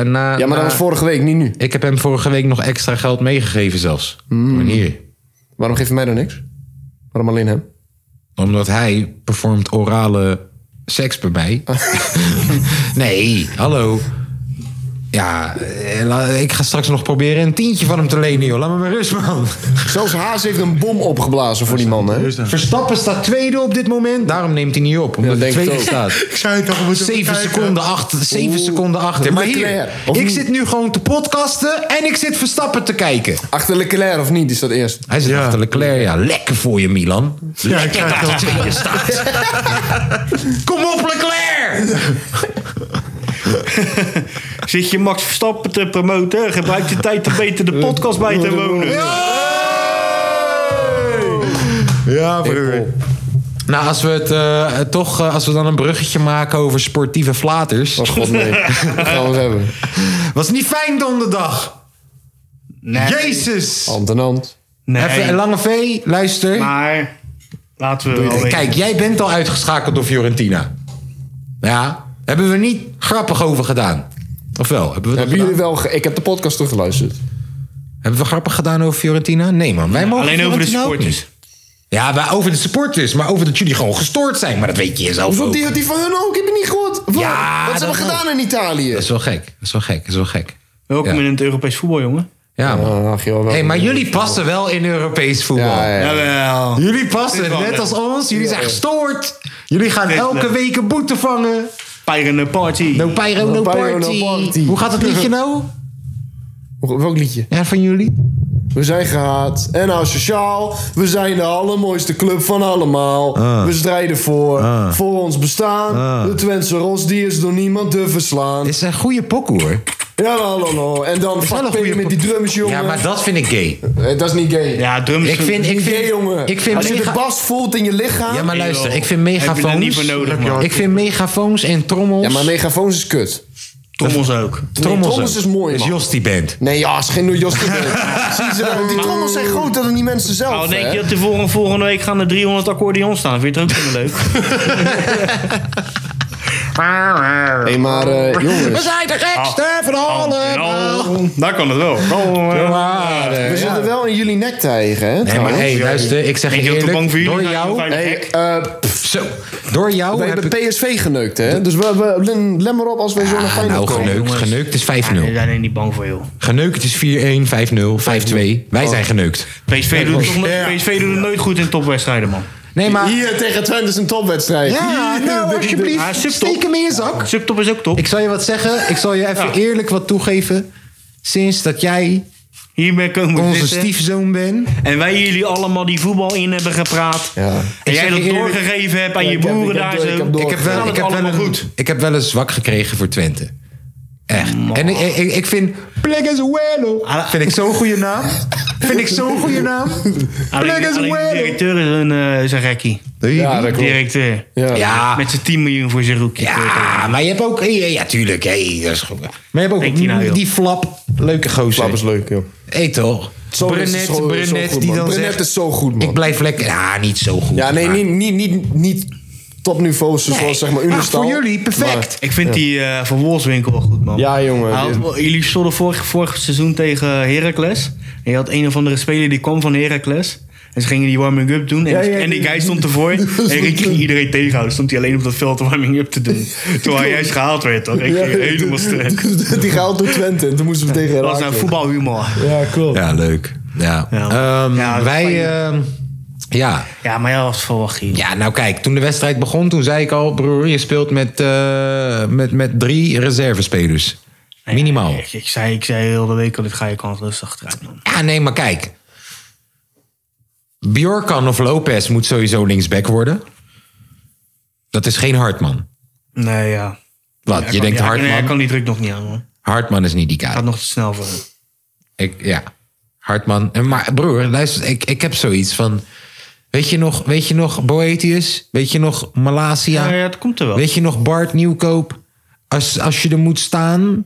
na...
ja, maar dat
na-
was vorige week, niet nu.
Ik heb hem vorige week nog extra geld meegegeven zelfs. Wanneer?
Waarom geef je mij dan niks? Waarom alleen hem?
Omdat hij performt orale seks bij mij. nee, hallo. Ja, eh, la- ik ga straks nog proberen een tientje van hem te lenen, joh. Laat me maar rust, man.
Zelfs Haas heeft een bom opgeblazen voor die man, hè?
Is dat?
Verstappen staat tweede op dit moment. Daarom neemt hij niet op, omdat
Ja,
hij
denk ik
tweede
ook.
staat.
Ik zei het toch, we moeten
7
even kijken.
seconden achter. 7 seconden achter. Maar hier,
Leclerc, of
ik
niet?
zit nu gewoon te podcasten en ik zit Verstappen te kijken.
Achter Leclerc of niet, is dat eerst.
Hij zit
Ja.
achter Leclerc. Ja, lekker voor je, Milan.
Ja, ik krijg
Dat
dat.
tweede staat. Kom op, Leclerc!
Zit je Max Verstappen te promoten? Gebruik je tijd om beter
Eh,
de podcast bij te wonen.
Ja, broer. Nou, als we, het, eh, eh, toch, eh, als we dan een bruggetje maken over sportieve flaters.
Oh god, *laughs* nee. Dat gaan we eens hebben.
Was niet fijn donderdag.
Nee.
Jezus.
Hand in hand.
Even,
Nee,
Lange V, luister.
maar laten we wel weten.
Kijk, jij bent al uitgeschakeld door Fiorentina. Ja, hebben we niet grappig over gedaan. Of wel? Hebben we, dat
Hebben jullie
gedaan?
wel... ge- Ik heb de podcast teruggeluisterd.
hebben we grappig gedaan over Fiorentina? Nee man, wij mogen
alleen over de
Fiorentina ook
supporters.
niet. Ja, maar over de supporters. Maar over dat jullie gewoon gestoord zijn. Maar dat weet je zelf
Hoeveel
ook.
die, die van hun ook? Ik heb het niet gehoord. Wat,
Ja,
wat ze
dat
hebben gedaan in Italië.
Dat is wel gek. Dat is wel gek. Dat is wel gek.
Welkom
Ja.
in het Europees voetbal, jongen.
Ja man.
Ah, ach, joh, wel.
hey, maar jullie passen wel in Europees voetbal.
Ja, ja, ja.
Jawel.
Jullie passen,
Dit wel,
net
hè.
als ons. Jullie zijn gestoord. Jullie gaan
Dit
elke
wel.
week een boete vangen.
Pyrene Party.
No pyro, no,
No pyro, no
party.
party.
Hoe gaat het liedje nou?
Wel- Welk liedje?
Ja, van jullie?
We zijn gehaat en asociaal. We zijn de allermooiste club van allemaal.
Ah.
We strijden voor, voor ons bestaan. De Twentse Ros, die is door niemand te verslaan.
Dit Ah. is een goede pokoe hoor.
Ja, la, la, la. En dan
wel een
fuck
goeie
P met die drums, jongen.
Ja, maar dat vind ik gay.
Eh, dat is niet gay.
Ja, drums.
Ik vind, ik
Niet
vind,
gay, jongen.
Ik vind
Als je de
mega-
bas voelt in je lichaam...
ja, maar luister,
joh.
ik vind
Heb je daar niet voor
megafoons.
nodig, man.
Ik vind megafoons en trommels.
Ja, maar megafoons is kut.
Trommels ook.
trommels,
trommels
ook.
is mooi,
Is
man.
Jos die band.
Nee, ja, is geen New York
*laughs*
City. Zie ze dat? Die
Oh.
trommels zijn groot, dat het niet mensen zelf.
Al Nou, denk
hè?
je dat de volgende, volgende week gaan er 300 accordeons staan. Vind je het ook helemaal leuk? *laughs*
Hey, maar
*laughs*
eh,
We
jongens,
zijn de gekste
Ah.
van allemaal.
Nou, daar kan het wel.
we zitten wel in jullie nektij, hè?
eh, Nee, maar
trouwens.
hey, luister, ik zeg
Ben
je
je ook te bang voor
eerlijk,
jullie?
door
Ga je
jou,
vijf-
Hey, eh, pff,
zo, door jou
we
heb
hebben
ik...
PSV geneukt, hè? Dus we, we, let maar op als wij zo naar
Ah,
Feyenoord
nou,
komen.
geneukt, geneukt is 5-0.
We zijn er niet bang voor, joh.
Geneukt is 4-1, 5-0, 5-2.
Oh.
Wij zijn geneukt.
PSV doet, toch, PSV doet het nooit goed in topwedstrijden, man.
Nee, maar...
Hier tegen Twente is een topwedstrijd.
Ja,
Hier,
nou,
dit-
alsjeblieft,
Ah, subtop.
steek hem in je zak.
Subtop is ook top.
Ik zal je wat zeggen. Ik zal je even
Ja.
eerlijk wat toegeven. Sinds dat jij
Hiermee komen we
onze
zitten.
stiefzoon bent.
En wij jullie allemaal die voetbal in hebben gepraat.
Ja.
En
Ik
jij
zeg
dat
je eerlijk-
doorgegeven hebt aan
Ja,
je
ik heb-
boeren
ik heb
daar
door-
zo.
ik heb door-
Ik heb wel, ik
Gaat het
heb wel,
allemaal
een,
goed.
ik heb wel een zwak gekregen voor Twente. Echt. En ik, ik, ik vind Plegazuelo vind ik zo'n goede naam. Vind ik zo'n goede naam.
Alleen, alleen de
Plegazuelo.
directeur is een, eh, is een gekkie.
Ja, dat klopt.
Directeur.
Ja.
Ja,
Met zijn 10 miljoen voor zijn roekje.
ja, maar je hebt ook... Ja, ja, tuurlijk. Hey, dat is goed. Maar je hebt ook
Denkt hij nou, joh.
die flap. Leuke gozer.
Flap is leuk, joh.
Hey toch.
Zo is het
Brunet,
zo- zo
Brunet
goed,
die
man.
dan
Brunet
zegt...
is zo goed, man.
Ik blijf lekker... Ja, niet zo goed.
Ja, nee,
maar-
niet, niet, niet, niet topniveau zoals
Nee.
zeg maar
Maar
Unistal.
voor jullie, perfect.
Ik vind die eh, van Wolfswinkel wel goed, man.
Ja, jongen.
Hij had- jullie stonden vorig, vorig seizoen tegen Heracles. En je had een of andere speler die kwam van Heracles. En ze gingen die warming-up doen. En,
Ja, ja,
en die
*laughs* die-
guy stond ervoor. en Rick ging iedereen tegenhouden. Stond hij alleen op dat veld de warming-up te doen. Terwijl hij juist gehaald werd, toch? Ik
Ja.
ging
*laughs*
helemaal sterk.
Die gehaald door Twente. En toen moesten we tegen
Dat was
Herakles.
nou voetbalhumor.
Ja, klopt.
Ja, leuk. Ja.
Ja.
Ehm,
Ja, dat is
wij,
fijn.
ehm, ja.
Ja, maar ja, was verwacht hier.
ja, nou kijk, toen de wedstrijd begon, toen zei ik al, broer, je speelt met, eh, met, met drie reservespelers. Minimaal.
Ik, ik zei, ik zei heel de week al, dit ga je kansloos achteruit, man.
Ja, nee, maar kijk. Bjorkan of Lopez moet sowieso linksback worden. Dat is geen Hartman.
Nee, ja.
Wat,
Hij
je
kan-
denkt
ja, hij- nee, Hij
Hartman?
kan die druk nog niet aan, man.
Hartman is niet die guy.
Gaat nog te snel voor hem.
Ik, ja, Hartman. En Maar broer, luister, ik, ik heb zoiets van... Weet je nog, weet je nog Boetius? Weet je nog Malasia?
Ja, ja, het komt er wel.
Weet je nog Bart Nieuwkoop? Als, als je er moet staan,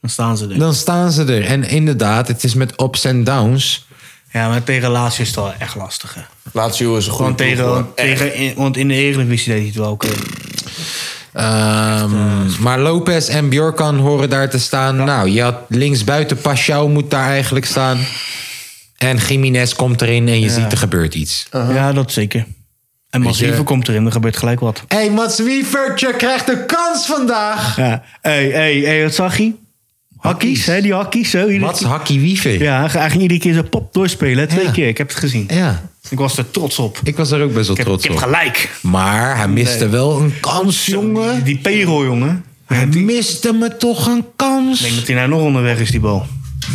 Dan staan ze er.
dan staan ze er. En inderdaad, het is met ups en downs.
Ja, maar tegen Lazio is het wel echt lastig, hè.
Lazio is een
Gewoon
goede
tegen,
ploeg,
want
hoor. Echt.
tegen in, want in de Eredivisie deed hij het wel oké.
Ehm,
eh,
maar Lopez en Bjorkan horen daar te staan. Nou, je had linksbuiten Paschal moet daar eigenlijk staan. En Jiménez komt erin en je ziet er gebeurt iets.
Uh-huh.
Ja, dat zeker. En Masiever komt erin, er gebeurt gelijk wat.
Hé, hey, Mats Wievertje krijgt de kans vandaag.
Ja. Hé, hé, hé, wat zag hij? Hakkies, hè, die hakkies. Zo, iedere
Mats
keer-
Hakkie Wiever.
Ja, hij ging iedere keer zo pop doorspelen. hè, Twee
Ja.
keer, ik heb het gezien.
Ja,
Ik was er trots op.
ik was er ook best wel
Ik heb,
trots
ik heb
op.
gelijk.
Maar hij miste wel een kans, jongen.
Die Pero, jongen.
Hij miste me toch een
Ik denk
kans.
dat hij nou nog onderweg is, die bal.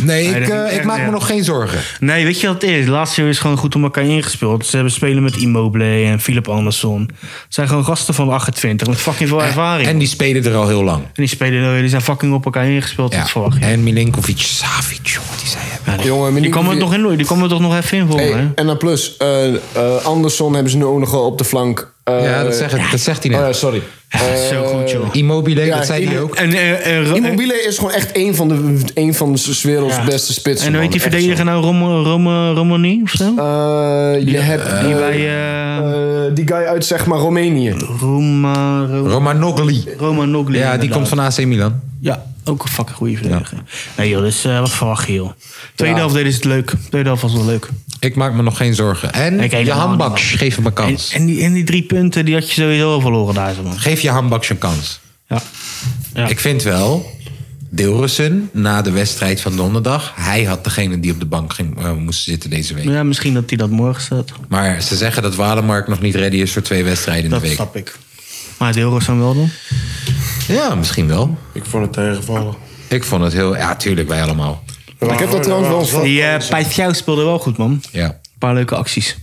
Nee, ik,
dat
eh,
vind ik
ik
echt,
maak me
ja.
nog geen zorgen.
Nee, weet je wat het is? Lazio is gewoon goed op elkaar ingespeeld. Ze hebben spelen met Immobile en Philip Andersson. Het zijn gewoon gasten van 28 met fucking veel ervaring.
En die spelen er al heel lang.
En die spelen, eh, die zijn fucking op elkaar ingespeeld.
Ja.
Dat verwacht je.
En Milinkovic Savic, jongen, die zei hebben.
Jongen,
Die komen er
Milinkovic-
toch, in, die komen er toch nog even in voor
Hey,
hè?
en dan plus, eh eh, Anderson hebben ze nu ook nog wel op de flank. Eh,
Ja, dat, zeg, ik- dat zegt hij
Oh ja,
net.
sorry. Eh,
Zo goed, joh.
Immobile,
ja,
dat zei hij
Immo-
ook.
En, eh, eh, Ro- eh,
Immobile is gewoon echt een van de, een van de werelds
Ja.
beste spitsen.
en hoe heet die
man. Echt
verdediger nou? Rom, Rom, Romani of zo?
zo. Eh, je hebt eh,
die bij eh
eh, die guy uit zeg maar Roemenië.
Roma, Ro-
Romanogli.
Romanogli,
Ja, die
inderdaad.
komt van AC Milan.
Ja, ook een fucking goede verdediger. Nee joh, dus eh, wat verwacht je joh? Tweede
Ja.
helft deden ze het leuk. Tweede helft was wel leuk.
Ik maak me nog geen zorgen. En
Ik
je
helemaal
handbaks,
niet.
geef hem een
En,
kans.
en, die, en die drie punten, die had je sowieso al verloren daar zo man.
Geef je handbaks een kans.
Ja. Ja.
Ik vind wel, Deelrussen, na de wedstrijd van donderdag... hij had degene die op de bank ging, eh, moest zitten deze week.
ja, misschien dat hij dat morgen staat.
Maar ze zeggen dat Walemark nog niet ready is voor twee wedstrijden in
Dat
de week.
snap ik. Maar de zijn wel dan?
Ja, misschien wel.
Ik vond het tegenvallen.
Ik vond het heel... Ja, tuurlijk, wij allemaal.
ik heb dat trouwens wel een vra-
Die eh Paitjouw speelde wel goed man.
Ja,
Een paar leuke acties.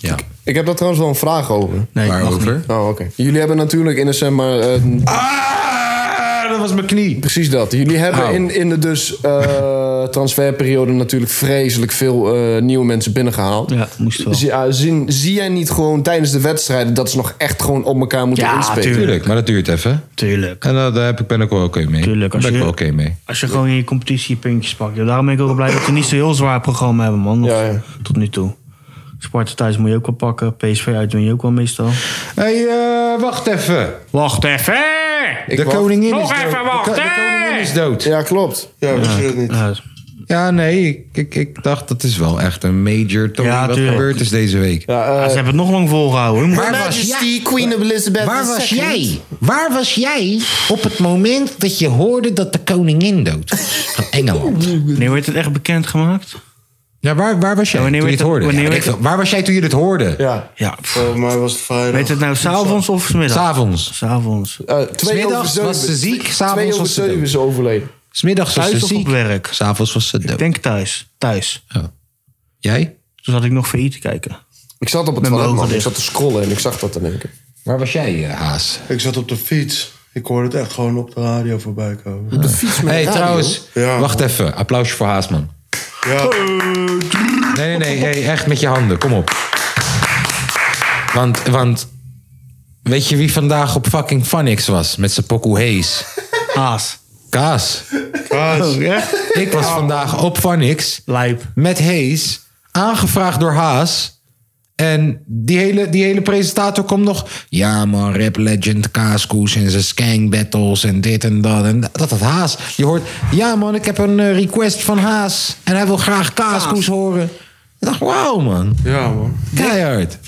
ja.
ik heb daar trouwens wel een vraag over.
Nee, mag niet.
Waarover?
Oh, oké. Jullie hebben natuurlijk in de zeg maar eh,
Ah, dat was mijn knie.
precies dat. Jullie hebben
Au.
in, in de dus eh, transferperiode natuurlijk vreselijk veel eh, nieuwe mensen binnengehaald.
Ja, moest wel.
Zie, ah, zien- zie jij niet gewoon tijdens de wedstrijden dat ze nog echt gewoon op elkaar moeten
Ja,
inspelen?
tuurlijk.
Tuurlijk, maar dat duurt even.
Tuurlijk.
En eh, daar heb ik, ben ik wel oké mee.
Tuurlijk,
Daar ben
als
ik
je-
wel oké mee.
Als je gewoon in je competitie je puntjes pakt. Ja, daarom ben ik ook wel blij dat we niet zo heel zwaar programma hebben, man. Nog
Ja, ja.
Tot nu toe. Sparta thuis moet je ook wel pakken. PSV uit doe je ook wel meestal.
hey, eh, wacht even.
Wacht even!
de
wacht.
koningin
Nog
is dood.
even
De ko-
wachten!
De, koningin is dood. Ja,
Ja, klopt.
Ja, wist je dat niet?
Ja,
nee, ik, ik, ik dacht dat is wel echt een major topic
Ja,
wat
tuurlijk.
gebeurd is deze week.
ze hebben het nog lang volgehouden. hoor.
Waar was jij?
Queen Elizabeth
Waar was jij? Waar was jij op het moment dat je hoorde dat de koningin dood was van Engeland?
Wanneer werd het echt bekendgemaakt?
Ja, waar, waar was jij
Ja,
toen je
wanneer
het
werd dat-
hoorde? Ja,
wanneer
weet
werd
ik veel. waar was jij toen je dit hoorde?
Ja,
Ja, pff.
Volgens mij was het vrijdag.
Weet het nou s'avonds of smiddags?
S'avonds.
S'avonds.
eh, twee
Smiddags
over zeven.
was ze ziek,
Twee
s'avonds
over
was ze
zeven
dood.
is ze overleden.
Smiddags was ze
Thuis of op
ziek.
werk?
S'avonds was ze
Ik
dood.
denk thuis. Thuis.
Oh. Jij?
Toen zat ik nog VI te kijken.
Ik zat op het
Met mijn
toilet,
ogen
man. Ik
dicht.
zat te scrollen en ik zag dat in één keer.
Waar was jij, eh, Haas?
Ik zat op de fiets. Ik hoorde het echt gewoon op de radio voorbij komen.
De fiets met
hey,
radio.
trouwens,
Ja.
wacht even. Applausje voor Haasman.
Ja,
Nee, nee, nee, hey, echt met je handen. Kom op. Want, want weet je wie vandaag op fucking Funix was met zijn pokoe Hayes?
Haas.
Kaas.
kaas.
Oh.
Ik was vandaag op Funix
Lijp.
met Hayes, aangevraagd door Haas. En die hele, die hele presentator komt nog. Ja, man, rap legend, Kaaskoes en zijn skank battles en dit en dat. En dat had Haas. Je hoort, ja, man, ik heb een eh, request van Haas. En hij wil graag Kaaskoes horen. Ik dacht, wauw man,
Ja, man.
keihard.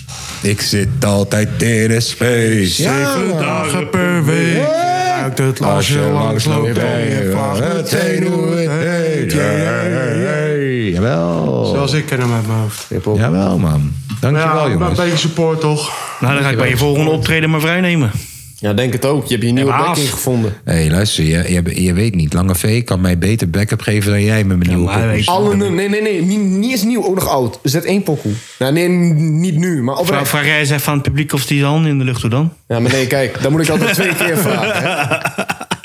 Ik zit altijd in een space. Ja,
Zeven
man.
dagen per week. Ruikt het
Als je langs loopt,
ben
ben je van meteen hoe het heet.
Ja, ja, ja, ja.
Hey, Jawel.
Zoals ik ken hem uit mijn hoofd.
Jawel, man. Dankjewel,
maar een
jongens.
beetje support toch?
Nou, dan ga ik bij je volgende optreden maar vrijnemen.
Ja, denk het ook. Je hebt je nieuwe
Ja, maar af.
dekking gevonden.
Hé, hey, luister, je, je, je weet niet. Lange V kan mij beter backup geven dan jij met mijn nieuwe
maar hij
pokoes.
weet-
Alle, nee, nee, nee. Niet, niet eens nieuw, ook nog oud. Zet één pokoe. Nou, nee, niet nu, maar
Vraag,
oprecht.
vraag jij eens even aan het publiek of die zijn handen in de lucht doet dan?
Ja, maar nee, kijk, dan moet ik altijd twee keer vragen. Hè?
*laughs*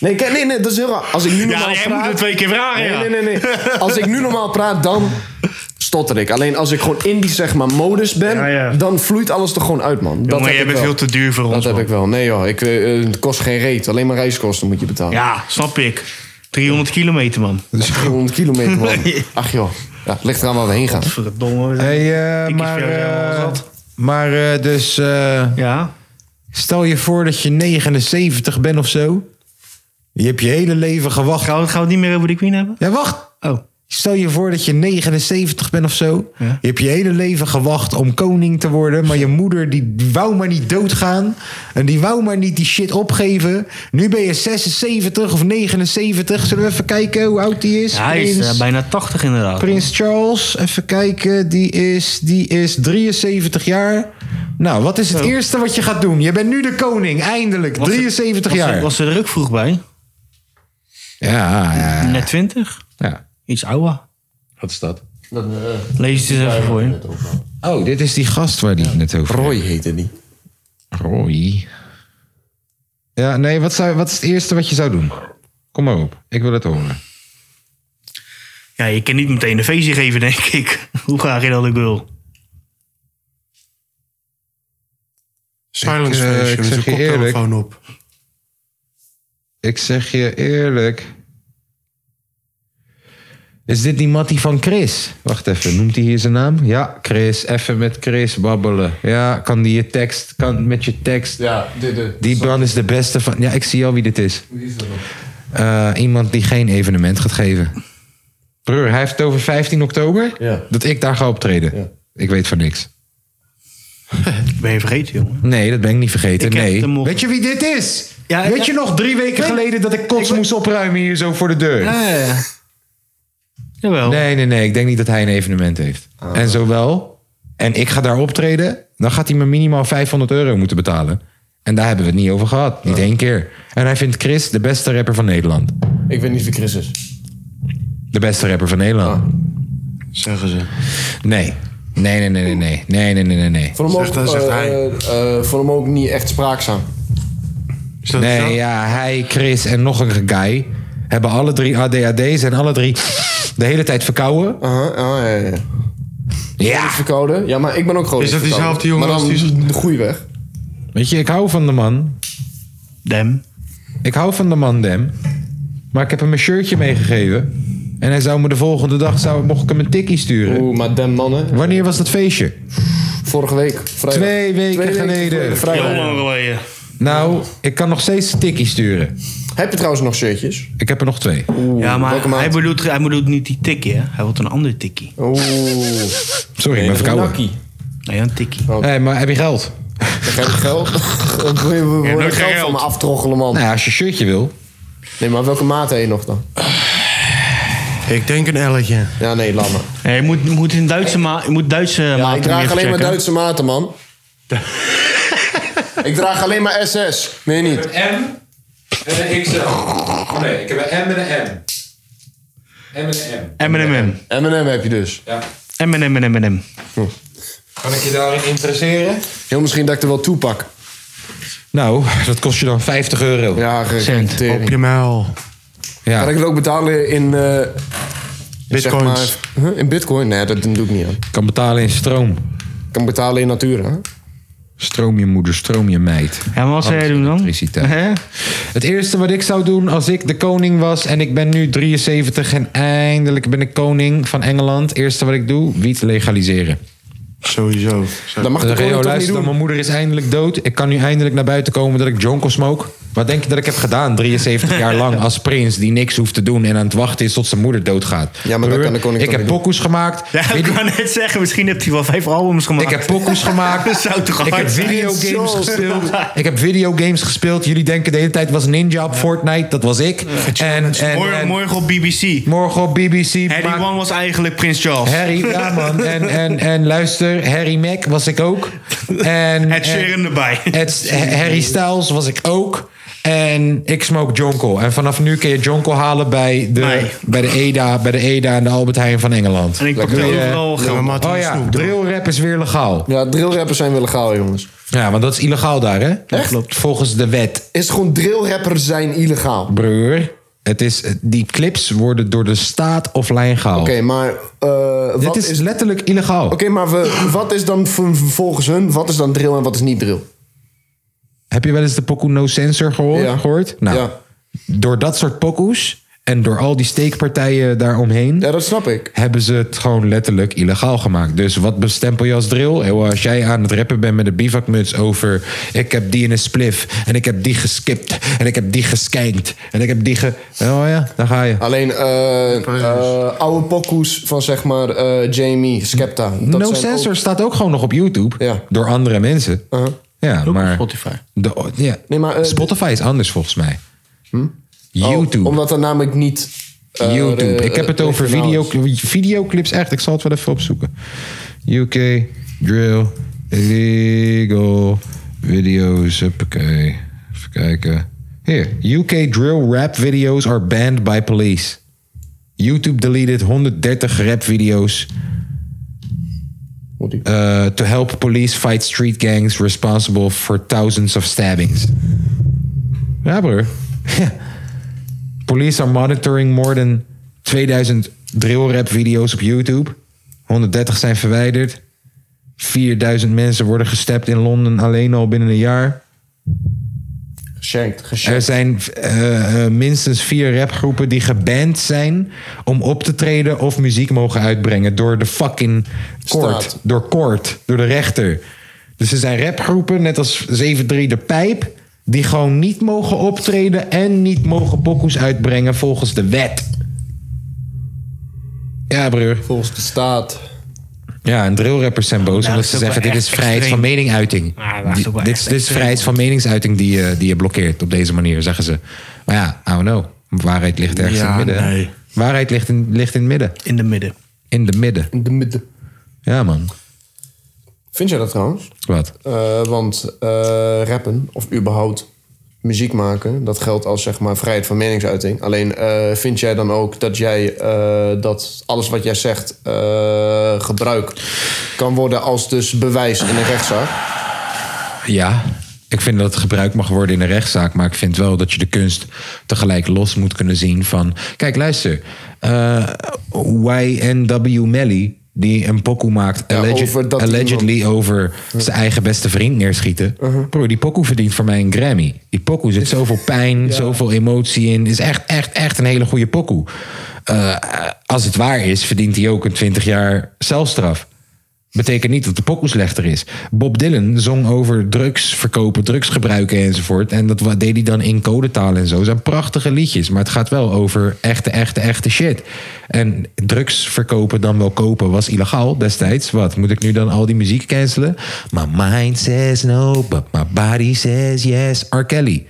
Nee, kijk, nee, nee, dat is heel raar. Als ik nu normaal praat...
twee keer vragen,
nee, nee, nee, nee. Als ik nu normaal praat, dan stotter ik. Alleen als ik gewoon in die, zeg maar, modus ben...
Ja, ja.
dan vloeit alles er gewoon uit, man. dat
Jongen,
heb
jij
ik
bent
wel.
veel te duur voor
Dat
ons,
heb
man.
ik wel. Nee joh, ik, eh, eh, het kost geen reet. Alleen maar reiskosten moet je betalen.
Ja, snap ik. 300 kilometer, man.
300
*laughs*
kilometer man. Ach joh, ja, het ligt eraan waar we heen gaan.
Verdomme.
Hey, eh,
Ik is
maar,
veel, ja,
eh,
wat?
maar eh, dus eh,
Ja.
stel je voor dat je 79 bent of zo. Je hebt je hele leven gewacht.
Gaan we, gaan we het niet meer over de Queen hebben?
Ja, wacht.
Oh.
Stel je voor dat je 79 bent of zo.
Ja.
Je hebt je hele leven gewacht om koning te worden. Maar je moeder die wou maar niet doodgaan. En die wou maar niet die shit opgeven. Nu ben je 76 of 79. Zullen we even kijken hoe oud die is?
Ja, hij is
Prins,
eh, bijna 80 inderdaad.
Prins Charles. Even kijken. Die is, die is 73 jaar. Nou, wat is het eerste wat je gaat doen? Je bent nu de koning. Eindelijk.
Was het-
73
was
jaar.
er- Was er druk vroeg bij?
Ja, ja,
Net 20?
ja.
Iets ouder.
Wat is dat?
eh,
Lees het eens even voor je.
Oh, dit is die gast waar die het net over
Roy heette die.
Roy. Ja, nee, wat, zou, wat is het eerste wat je zou doen? Kom maar op, ik wil het horen.
Ja, je kan niet meteen een feestje geven, denk ik. *laughs* Hoe graag je dat ook wil.
Silence
Ik, eh,
feestje
ik
met
zeg
zijn
je
koptelefoon op.
Ik zeg je eerlijk. Is dit die Mattie van Chris? Wacht even, noemt hij hier zijn naam? Ja, Chris. Even met Chris babbelen. Ja, kan die je tekst, kan met je tekst.
Ja, dit, dit.
Die man is de beste van. Ja, ik zie al wie dit is. Eh, iemand die geen evenement gaat geven. Broer, hij heeft het over 15 oktober.
Ja.
Dat ik daar ga optreden. Ik weet van niks.
Ik ben je vergeten, jongen.
Nee, dat ben ik niet vergeten.
Ik heb het hem
nee.
op.
Weet je wie dit is?
Ja,
Weet je
ja.
nog drie weken geleden dat ik kots moest opruimen hier zo voor de deur?
Jawel.
Nee, nee, nee. Ik denk niet dat hij een evenement heeft. En zowel, en ik ga daar optreden, dan gaat hij me minimaal 500 euro moeten betalen. En daar hebben we het niet over gehad. Niet één keer. En hij vindt Chris de beste rapper van Nederland.
Ik weet niet wie Chris is.
De beste rapper van Nederland.
Zeggen ze.
Nee. Nee, nee, nee, nee, nee. Nee, nee, nee, nee, nee.
Vond hem ook,
Zegt hij, zegt
eh,
hij.
eh, eh, vond hem ook niet echt spraakzaam.
Is dat zo?
Nee, ja, hij, Chris en nog een guy hebben alle drie ADHD's en alle drie de hele tijd verkouden.
Aha,
oh,
ah, ja, ja, ja.
Ja.
Verkouden. Ja, maar ik ben ook gewoon
Is dat
niet verkouden.
diezelfde jongen
maar dan
als die-
de goede weg.
Weet je, ik hou van de man.
Dem.
Ik hou van de man, Dem. Maar ik heb hem een shirtje meegegeven. En hij zou me de volgende dag, zou, mocht ik hem een tikkie sturen.
Oeh, maar dem mannen.
Wanneer was dat feestje?
Vorige week, vrijdag.
Twee weken geleden.
vrijdag.
Heel lang geleden.
Nou, ik kan nog steeds een tikkie sturen.
Heb je trouwens nog shirtjes?
Ik heb er nog twee.
Oeh,
Ja, maar
welke maat?
hij bedoelt, hij bedoelt niet die tikkie, hè? Hij wil een ander tikkie.
Oeh.
Sorry, ik ben verkouden.
Nakkie.
Nee, een tikkie.
Hé, hey, maar heb je geld?
Dan krijg je
*laughs*
geld. Dan wil je- wil je
nooit geen
geld van
geld.
me aftroggelen, man.
Nou ja, als je een shirtje wil.
Nee, maar welke maat heb je nog dan?
Ik denk een elletje.
Ja, nee, laat maar.
Nee, je moet, je moet in Duitse, ma je moet Duitse
Ja,
maten
ik draag
meer
alleen maar
checken.
Duitse maten, man. ik draag alleen maar SS. Meer niet.
M en een XL. Nee, ik heb een M en een M. M en een M.
M&M.
M&M heb je dus.
M&M en M&M.
Kan ik je daarin interesseren?
Heel misschien dat ik er wel toepak.
Nou, *laughs* dat kost je dan 50 euro.
Ja,
Cent.
Op
gekregen.
je muil.
Kan ik het ook betalen in... eh,
Bitcoins.
Zeg maar, huh? In bitcoin? Nee, dat doe ik niet aan.
Kan betalen in stroom.
Ik kan betalen in natura. hè?
Stroom je moeder, stroom je meid.
Ja, maar wat zou jij doen dan?
Elektriciteit.
Hè?
Het eerste wat ik zou doen als ik de koning was en ik ben nu 73 en eindelijk ben ik koning van Engeland. Het eerste wat ik doe, wiet legaliseren.
Sowieso.
Dat mag
Dan
de
zeg je, "Yo,
koning toch niet
luister,
doen?
mijn moeder is eindelijk dood. Ik kan nu eindelijk naar buiten komen dat ik jonko smoke. Wat denk je dat ik heb gedaan 73 jaar
*laughs*
lang als prins die niks hoeft te doen en aan het wachten is tot zijn moeder doodgaat?
Ja, maar dat kan de koning
ik
toch
heb
niet
pokoes gemaakt.
Ja, ik kan net zeggen, misschien hebt hij wel vijf albums gemaakt.
Ik heb pokoes gemaakt.
*laughs* Dat zou toch
ik heb
hard zijn?
videogames
Zo.
gespeeld. Ik heb videogames gespeeld. Jullie denken de hele tijd was Ninja op Fortnite. Dat was ik. En, en,
Morgen-
en
Morgen op BBC.
morgen op BBC.
Harry
maak-
One was eigenlijk Prins Charles.
Harry, ja man. En, en, en luister, Harry Mack was ik ook. En,
Het
en-
Sharon erbij. *laughs*
Ed- Harry Styles was ik ook. En ik smoke Jonko. En vanaf nu kun je Jonko halen bij de,
Nee.
bij de, EDA, bij de EDA en de Albert Heijn van Engeland.
En ik pakte
Kun je-
overal geld.
Oh ja, drillrap is weer legaal.
Ja, drillrappers zijn weer legaal, jongens.
Ja, want dat is illegaal daar, hè?
Echt?
Klopt. Volgens de wet,
Is gewoon drillrappers zijn illegaal. Oké,
broer. Het is, die clips worden door de staat offline gehaald.
maar eh,
Dit
wat
is,
is... Oké,
letterlijk illegaal.
maar we, wat is dan v- volgens hun, wat is dan drill en wat is niet drill?
Heb je wel eens de pokoe No Sensor gehoord?
Ja.
gehoord? Nou,
Ja.
door dat soort pokoes en door al die steekpartijen daaromheen...
Ja, dat snap ik.
hebben ze het gewoon letterlijk illegaal gemaakt. Dus wat bestempel je als drill? Eh, Als jij aan het rappen bent met een bivakmuts over... ik heb die in een spliff en ik heb die geskipt en ik heb die geskankt en ik heb die ge... Oh ja, daar ga je.
Alleen eh, eh, oude pokoes van zeg maar eh, Jamie, Skepta. Dat
no
zijn
Sensor
ook-
staat ook gewoon nog op YouTube
Ja. uh-huh.
door andere mensen. Ja, maar...
Spotify.
De, ja.
Nee, maar, eh,
Spotify is anders volgens mij.
Oh,
YouTube.
omdat dat namelijk niet... eh,
YouTube.
eh,
ik heb het
eh,
over
regionaal
video,
is.
videoclips echt. Ik zal het wel even opzoeken. UK drill eh, illegal videos. Huppakee. Even kijken. Hier. UK drill rap videos are banned by police. YouTube deleted 130 rap video's. Uh, to help police fight street gangs responsible for thousands of stabbings. Ja, broer. Police are monitoring more than 2000 drillrap video's op YouTube. 130 zijn verwijderd. 4000 mensen worden gestapt in Londen alleen al binnen een jaar.
Geshankt,
Er
geshankt.
zijn eh, eh, minstens vier rapgroepen die geband zijn om op te treden of muziek mogen uitbrengen door de fucking court.
Staat.
Door court, door de rechter. Dus er zijn rapgroepen, net als 7-3 de Pijp, die gewoon niet mogen optreden en niet mogen pokoes uitbrengen volgens de wet. Ja, broer.
Volgens de staat.
Ja, en drillrappers zijn boos
Nou,
omdat
dat
ze
is ook
zeggen:
wel
dit is
echt
vrijheid van
extreem.
meningsuiting.
Ah, dat is
Die-
ook wel
Dit
echt
is- dit is
extreem.
vrijheid van meningsuiting die je, die je blokkeert op deze manier, zeggen ze. Maar ja, I don't know. Waarheid ligt ergens
Ja,
in het midden. hè?
nee.
Waarheid ligt in, ligt in het midden.
In de midden.
In de midden.
In de midden.
Ja, man.
Vind jij dat trouwens?
Wat?
Eh, want eh, rappen, of überhaupt muziek maken, dat geldt als zeg maar vrijheid van meningsuiting. Alleen eh, vind jij dan ook dat jij eh, dat alles wat jij zegt eh, gebruikt kan worden als dus bewijs in een rechtszaak?
Ja, ik vind dat het gebruikt mag worden in een rechtszaak. Maar ik vind wel dat je de kunst tegelijk los moet kunnen zien van... Kijk, luister. eh YNW Melly, die een pokoe maakt...
Ja,
alleged-
over dat
allegedly over zijn eigen beste vriend neerschieten.
Uh-huh.
Broer, die pokoe verdient voor mij een Grammy. Die pokoe zit zoveel pijn, zoveel emotie in. Is echt, echt, echt een hele goede pokoe. Eh, als het waar is, verdient hij ook een 20 jaar celstraf. Betekent niet dat de pokoe slechter is. Bob Dylan zong over drugs verkopen, drugs gebruiken enzovoort. En dat wa- deed hij dan in codetaal en zo. Zijn prachtige liedjes, maar het gaat wel over echte, echte, echte shit. En drugs verkopen dan wel kopen was illegaal destijds. Wat, moet ik nu dan al die muziek cancelen? My mind says no, but my body says yes. R. Kelly.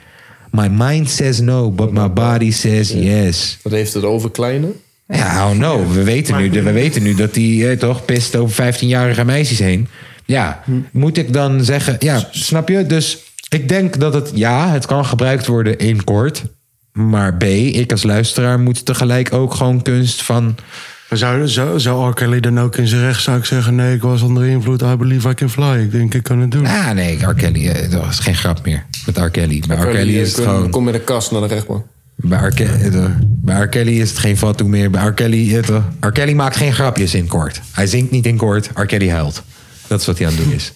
My mind says no, but my body says yes.
Dat heeft het over kleine.
Ja, oh no. We weten nu, we weten nu dat die eh, toch pist over 15-jarige meisjes heen. Ja, moet ik dan zeggen... Ja, snap je? Dus ik denk dat het... Ja, het kan gebruikt worden in kort. Maar B, ik als luisteraar moet tegelijk ook gewoon kunst van...
Maar zou, zou, zou R. Kelly dan ook in zijn rechtszaak zeggen... nee, ik was onder invloed, I believe I can fly. Ik denk, ik kan het doen.
Ah nee, R. Kelly, eh, dat is geen grap meer met R. Kelly. Bij R. Kelly
Kelly,
is het
eh,
gewoon...
Kom met een kast naar de rechtbank.
Bij R. Ke- eh, toch? Bij R. Kelly is het geen fatu meer. Bij R. Kelly, eh, toch? R. Kelly maakt geen grapjes in koord. Hij zingt niet in koord. R. Kelly huilt. Dat is wat hij aan het doen is.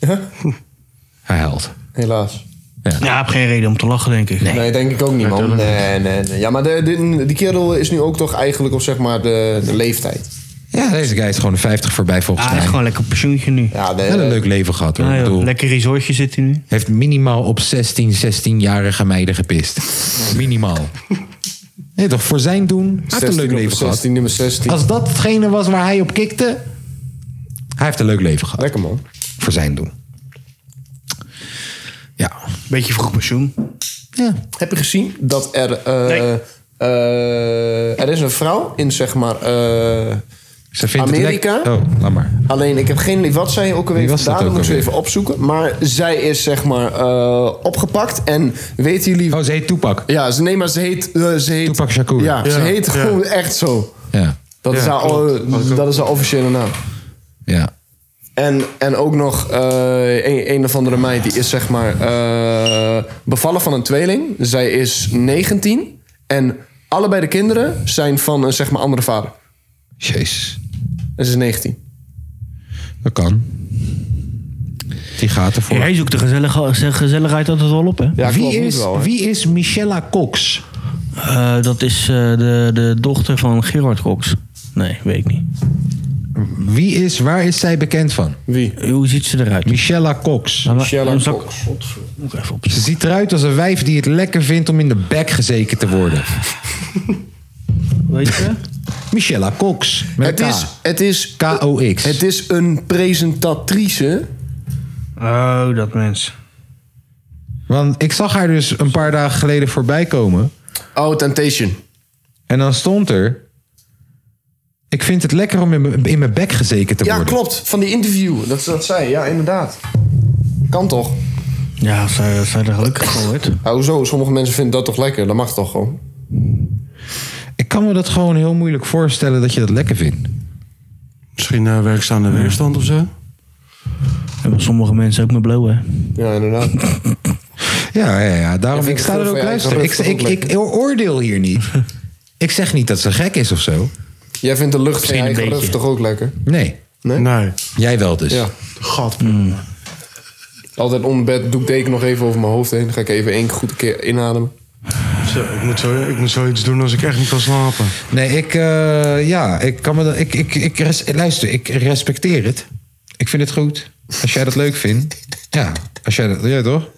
Hij huilt.
Helaas.
Ja, ik heb geen reden om te lachen, denk ik. Ah,
Nee, denk ik ook niet, man. Nee, nee, nee. Ja, maar de, de- die kerel is nu ook toch eigenlijk op zeg maar de, de leeftijd.
Ja, Ja, deze guy is gewoon de 50 voorbij volgens
Ja, Ah, hij
mij.
heeft gewoon lekker pensioentje nu.
Ja, nee,
Wel een leuk leven gehad hoor.
Ja,
Ik
joh,
bedoel,
lekker resortje zit hij nu.
heeft minimaal op 16, 16-jarige meiden
*laughs*
gepist. Minimaal. Nee, toch, voor zijn doen. Hij heeft een
16
leuk
op
leven
16,
gehad.
nummer 16.
Als dat hetgene was waar hij op kikte. Hij heeft een leuk leven gehad.
Lekker man.
Voor zijn doen. Ja.
Beetje vroeg pensioen.
ja.
Heb je gezien dat er... eh,
Nee.
eh, er is een vrouw in, zeg maar... eh,
Ze vindt
Amerika?
Het lek- oh, laat maar.
Alleen, ik heb geen idee wat zij ook alweer
Wie was dat
gedaan. Dat
ook
moet ik
alweer?
ze even opzoeken. Maar zij is, zeg maar, eh, opgepakt. En weten jullie...
Oh, ze heet Toepak.
Ja, ze, nee, maar ze heet... eh, ze heet
Tupac Shakur.
Ja, ze
Ja,
heet
ja.
gewoon echt zo.
Ja.
Dat, is,
Ja,
haar,
klopt.
eh, dat is haar officiële naam.
Ja.
En, en ook nog eh, een, een of andere meid die is zeg maar eh, bevallen van een tweeling. Zij is 19 en allebei de kinderen zijn van een zeg maar andere vader.
Jezus.
En ze is 19.
Dat kan. Die gaat ervoor.
Jij zoekt de gezellig- ze- gezelligheid altijd wel op, hè?
Ja,
wie,
klopt, moet
is,
wel, hè?
wie is Michella Cox?
Eh, dat is eh, de, de dochter van Gerard Cox. Nee, weet ik niet.
Wie is, waar is zij bekend van?
Wie?
Hoe ziet ze eruit?
Michella Cox.
Michelle
Dan
en
zal ik-
Cox.
Moet ik even op.
Ze ziet eruit als een wijf die het lekker vindt om in de bek gezeken te worden.
Weet je?
Michella Cox. Met
Het
een K.
is, het, is,
K-O-X.
het is een presentatrice.
Oh, dat mens.
Want ik zag haar dus een paar dagen geleden voorbij komen.
Oh, Temptation.
En dan stond er... Ik vind het lekker om in mijn- in mijn bek gezeken te
Ja,
worden.
klopt. Van die interview. Dat, dat zij. Ja, inderdaad. Kan toch?
Ja, als zij, als zij er gelukkig van wordt.
Ja, hoezo? Sommige mensen vinden dat toch lekker? Dat mag toch gewoon?
Ik kan me dat gewoon heel moeilijk voorstellen dat je dat lekker vindt.
Misschien eh, werkstaande weerstand of zo.
Hebben sommige mensen ook met blowen. hè?
Ja, inderdaad.
Ja, ja, ja. Daarom,
vind
ik
het
sta
goed
er
voor
ook
je eigen
luisteren. Ik,
rug,
ik,
dat
ik, oordeel hier
*laughs*
niet. ik zeg niet dat ze gek is of zo.
Jij vindt de lucht van je
Misschien een
eigen
beetje.
rug toch ook lekker?
Nee.
Nee?
Nee. Mm.
Jij wel dus.
Ja.
Gat.
Altijd onder bed, doe ik deken nog even over mijn hoofd heen. Dan ga ik even één goed keer inademen.
Zo, ik, moet zo, ik moet zoiets doen als ik echt niet kan slapen.
Nee, ik, eh, ja, ik kan me dat. Ik, ik, ik, res- luister, ik respecteer het. Ik vind het goed. Als jij dat leuk vindt. Ja, als jij dat. Ja, toch?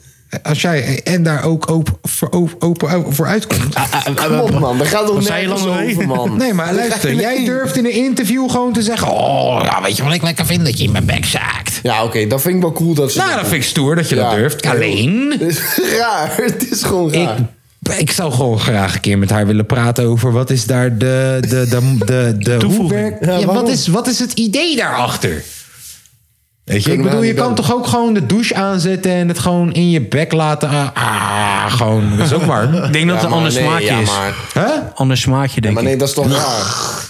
Als jij en daar ook open voor, open, open voor uitkomt.
Kom
ah,
op, man. Dat gaat toch
Wat zei je
nergens
langer
over,
mee?
man.
Nee, maar luister,
Nee.
jij durft in een interview gewoon te zeggen: Oh, ja, weet je wat ik lekker vind? Dat je in mijn bek zaakt.
Ja, oké. dat vind ik wel cool dat ze...
Nou, dat vind ik stoer dat je dat
Ja.
durft. Alleen.
*laughs* Het is raar. *laughs* Het is gewoon raar.
Ik, ik zou gewoon graag een keer met haar willen praten over wat is daar de, de, de,
*laughs*
de, de hoe
Toevoeging.
werkt. Ja, wat, is, wat is het idee daarachter? Weet je, ik
Kunnen
bedoel,
we
je
niet
kan
doen.
toch ook gewoon de douche aanzetten en het gewoon in je bek laten. Ah, ah, gewoon, dat is ook warm.
*laughs* Ik denk dat het
Ja,
een
maar
ander
nee,
smaakje
ja,
is.
maar-
Huh?
Ander smaakje, denk
Maar nee, dat is toch raar.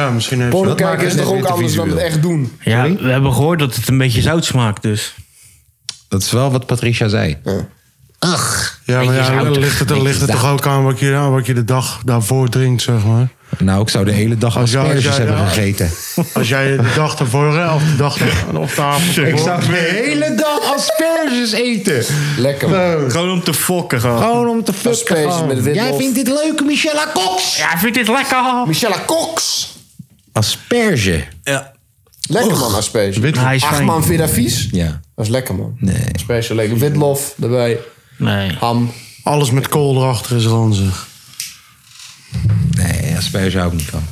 Ja, misschien heeft
Porno
ze...
maakt
kijken
het
is
net
toch ook
weer te
anders dan het
visueel.
echt doen?
ik. Ja, we hebben gehoord dat het een beetje zout smaakt, dus.
Dat is wel wat Patricia zei. Ach.
Ja, maar ja, dan ligt het, dan ligt het toch ook aan wat je, aan wat je de dag daarvoor drinkt, zeg maar.
Nou, ik zou de hele dag
Als jij- als
asperges
jij-
hebben
ja.
gegeten.
Als jij de dag ervoor, hè, of de dag er- of de avond ervoor-
Ik zou de *laughs* hele dag asperges eten.
Lekker, man.
Gewoon om te fokken,
Gewoon om te fucken.
Asperges
gewoon.
met witlof.
Jij vindt dit leuk, Michelle Cox?
Ja, vind dit lekker?
Michelle Cox.
Asperge.
Ja.
Lekker, man, asperge.
Wit-
Hij is
Acht
fijn.
man, vind je dat vies?
Ja.
Dat is lekker, man.
Nee.
Asperge, lekker. Witlof erbij.
Nee.
Ham.
Alles met kool erachter is ranzig.
Nee, asperge hou ik niet van.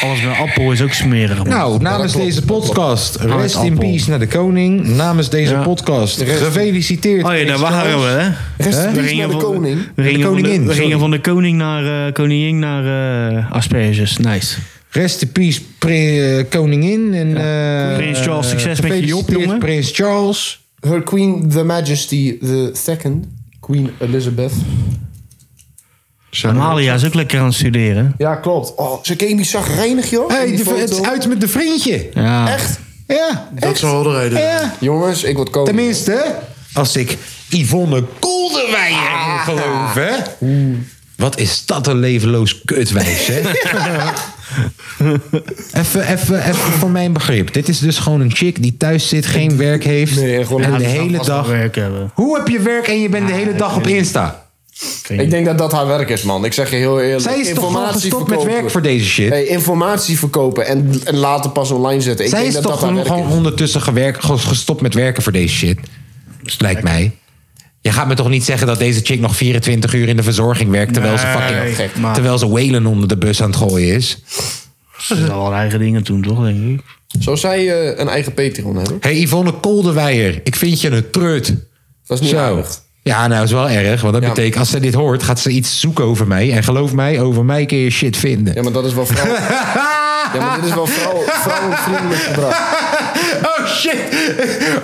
Alles met appel is ook smerig. man.
Ehm, nou, namens
klopt.
deze podcast, rest in
appel.
peace naar de koning. Namens deze podcast, gefeliciteerd.
Oh ja, daar waren we, hè?
Rest in
We
peace
gingen
naar de
van-
koning.
We gingen, van,
koningin,
de, we
sorry.
gingen van de koning naar eh koningin naar eh, asperges. Nice.
Rest in peace, pre- eh, koningin. En, eh,
Prins Charles,
eh,
succes met je job,
gefeliciteerd,
jongen.
Prins Charles.
Her Queen The Majesty the Second. Queen Elizabeth.
Amalia is ook lekker aan het studeren.
Ja, klopt. Oh, ze keek niet zagrijnig, joh. in
hey,
die
de- het is
foto.
uit met de vriendje.
Ja.
Echt?
Ja,
Dat
echt.
zou wel de reden zijn.
Ja,
Jongens, ik word koning.
tenminste. hè, Als ik Yvonne Kolderweijer moet geloven. hè. Wat is dat een levenloos kutwijs, hè? even, even, even voor mijn begrip. Dit is dus gewoon een chick die thuis zit, geen werk heeft.
Nee, gewoon
en
laat
de
het
hele
Vast wel
dag...
Werk hebben.
Hoe heb je werk en je bent de hele dag op Insta?
Ik denk dat dat haar werk is, man. Ik zeg je heel eerlijk.
Zij is toch gewoon gestopt met werk voor deze shit?
Hey, informatie verkopen en, en later pas online zetten. Ik
Zij
denk
is
dat
toch
dat haar
gewoon,
werk
gewoon
is.
ondertussen gewerkt, gewoon gestopt met werken voor deze shit. Dus Lijkt mij. Je gaat me toch niet zeggen dat deze chick nog 24 uur in de verzorging werkt... terwijl, ze,
Nee,
fucking,
gek, maar-
terwijl ze Whalen onder de bus aan het gooien is.
Ze zal haar eigen dingen doen, toch, denk ik?
Zou zij eh, een eigen Patreon hebben?
Hé, hey, Yvonne Koldewijer, ik vind je een trut.
Dat is niet
Zo.
aardig.
Ja, nou, is wel erg. Want dat
Ja.
betekent, als ze dit hoort, gaat ze iets zoeken over mij. En geloof mij, over mij kun je shit vinden.
Ja, maar dat
*laughs*
is wel vrouw. ja, maar dit is wel vrouw, vrouwenvriendelijk gedrag.
Oh shit,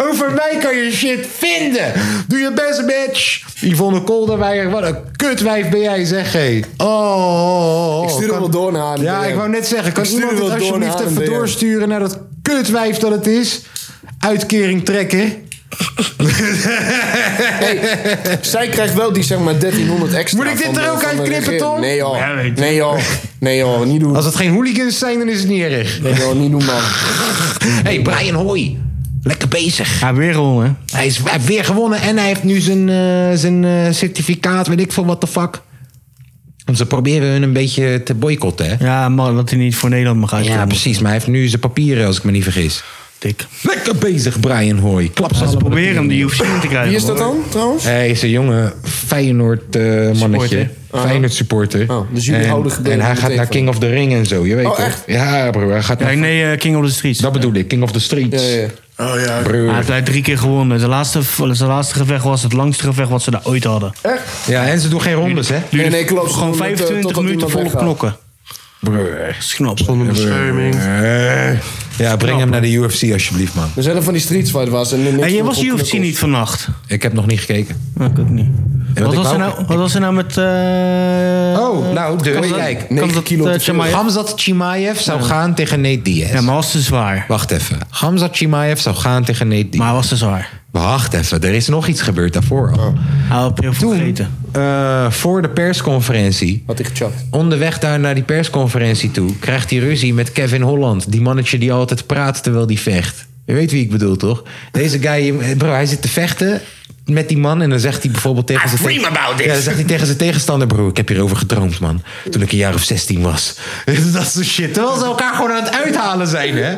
over mij kan je shit vinden. Doe je best, bitch. Yvonne Kolderweijer, wat een kutwijf ben jij, zeg hé. Oh, oh, oh.
Ik stuur hem
Kan-
wel door naar haar in
Ja,
de DM.
ik wou net zeggen, kan
Ik stuur
iemand
hem eh.
het
wel door naar
alsjeblieft
haar in
even
de DM.
doorsturen naar dat kutwijf dat het is? Uitkering
*laughs*
trekken.
Zij krijgt wel die zeg maar 1300 extra.
Moet ik dit
van de-
er ook
van de
uitknippen,
regering.
Tom?
Nee joh.
Ja, weet je.
Nee joh. Nee joh. Niet doen.
Als het geen hooligans zijn, dan is het niet erg.
Nee joh, niet doen man.
hey, Brian Hoy. Lekker bezig.
Haar weer gewonnen.
Hij, is, hij heeft weer gewonnen en hij heeft nu zijn, eh, zijn eh, certificaat, weet ik veel, what the fuck. Want ze proberen hun een beetje te boycotten, hè?
Ja, maar dat hij niet voor Nederland mag
Ja,
uitkomen.
precies. Maar hij heeft nu zijn papieren, als ik me niet vergis.
Dik.
Lekker bezig, Brian Hoy. Klap ze
Ze
allemaal.
proberen hem die UFC in te krijgen.
Wie is dat dan trouwens?
Hij is een jonge Feyenoord eh, mannetje.
Ah.
Feyenoord supporter.
Oh, dus jullie
en,
houden gedegen
En hij
meteen
gaat naar
van.
King of the Ring en zo, je weet
Oh,
toch?
echt?
Ja, broer. Hij gaat
hoor.
naar...
Nee, nee, eh, King of the Streets.
Dat bedoel ik, King of the Streets.
Ja, ja.
Oh ja.
Hij
Broer.
heeft hij drie keer gewonnen. Zijn laatste, zijn laatste gevecht was het langste gevecht wat ze daar ooit hadden.
Ja, en ze doen geen rondes, hè?
Nee, nee, klopt. Ze
Gewoon
doen het, eh,
25
totdat
minuten vol
iemand weggaat.
knokken.
Broer.
Dat is knap.
Zonder bescherming.
Eh. Ja, breng hem naar de UFC alsjeblieft, man.
Er zijn er van die street fight was. En,
En je was UFC niet vannacht.
Ik heb nog niet gekeken.
Nou, ik ook niet.
Ja,
Wat
want ik
was, er
wou-
nou, wat was er nou met... eh
Oh, nou, de,
kan dat-
kijk.
kan
negen
dat,
kilo
eh,
te veel.
Chimaev?
Hamzat Chimaev zou gaan tegen Nate Diaz.
Ja, maar was te zwaar.
Wacht even. Hamzat Chimaev zou gaan tegen Nate Diaz.
Maar Oh. was te zwaar.
Wacht even, er is nog iets gebeurd daarvoor al.
Hij had heel veel
Toen,
gegeten.
eh, voor de
Oh.
persconferentie,
Had ik gechapt.
onderweg daar naar die persconferentie toe... krijgt hij ruzie met Kevin Holland. Die mannetje die altijd praat terwijl die vecht. Je weet wie ik bedoel, toch? Deze guy, bro, hij zit te vechten met die man... en dan zegt hij bijvoorbeeld tegen zijn... te- Ja, dan zegt hij tegen zijn tegenstander, bro, ik heb hierover gedroomd, man. Toen ik een jaar of 16 was. *laughs* Dat soort shit. Terwijl ze elkaar gewoon aan het uithalen zijn, hè?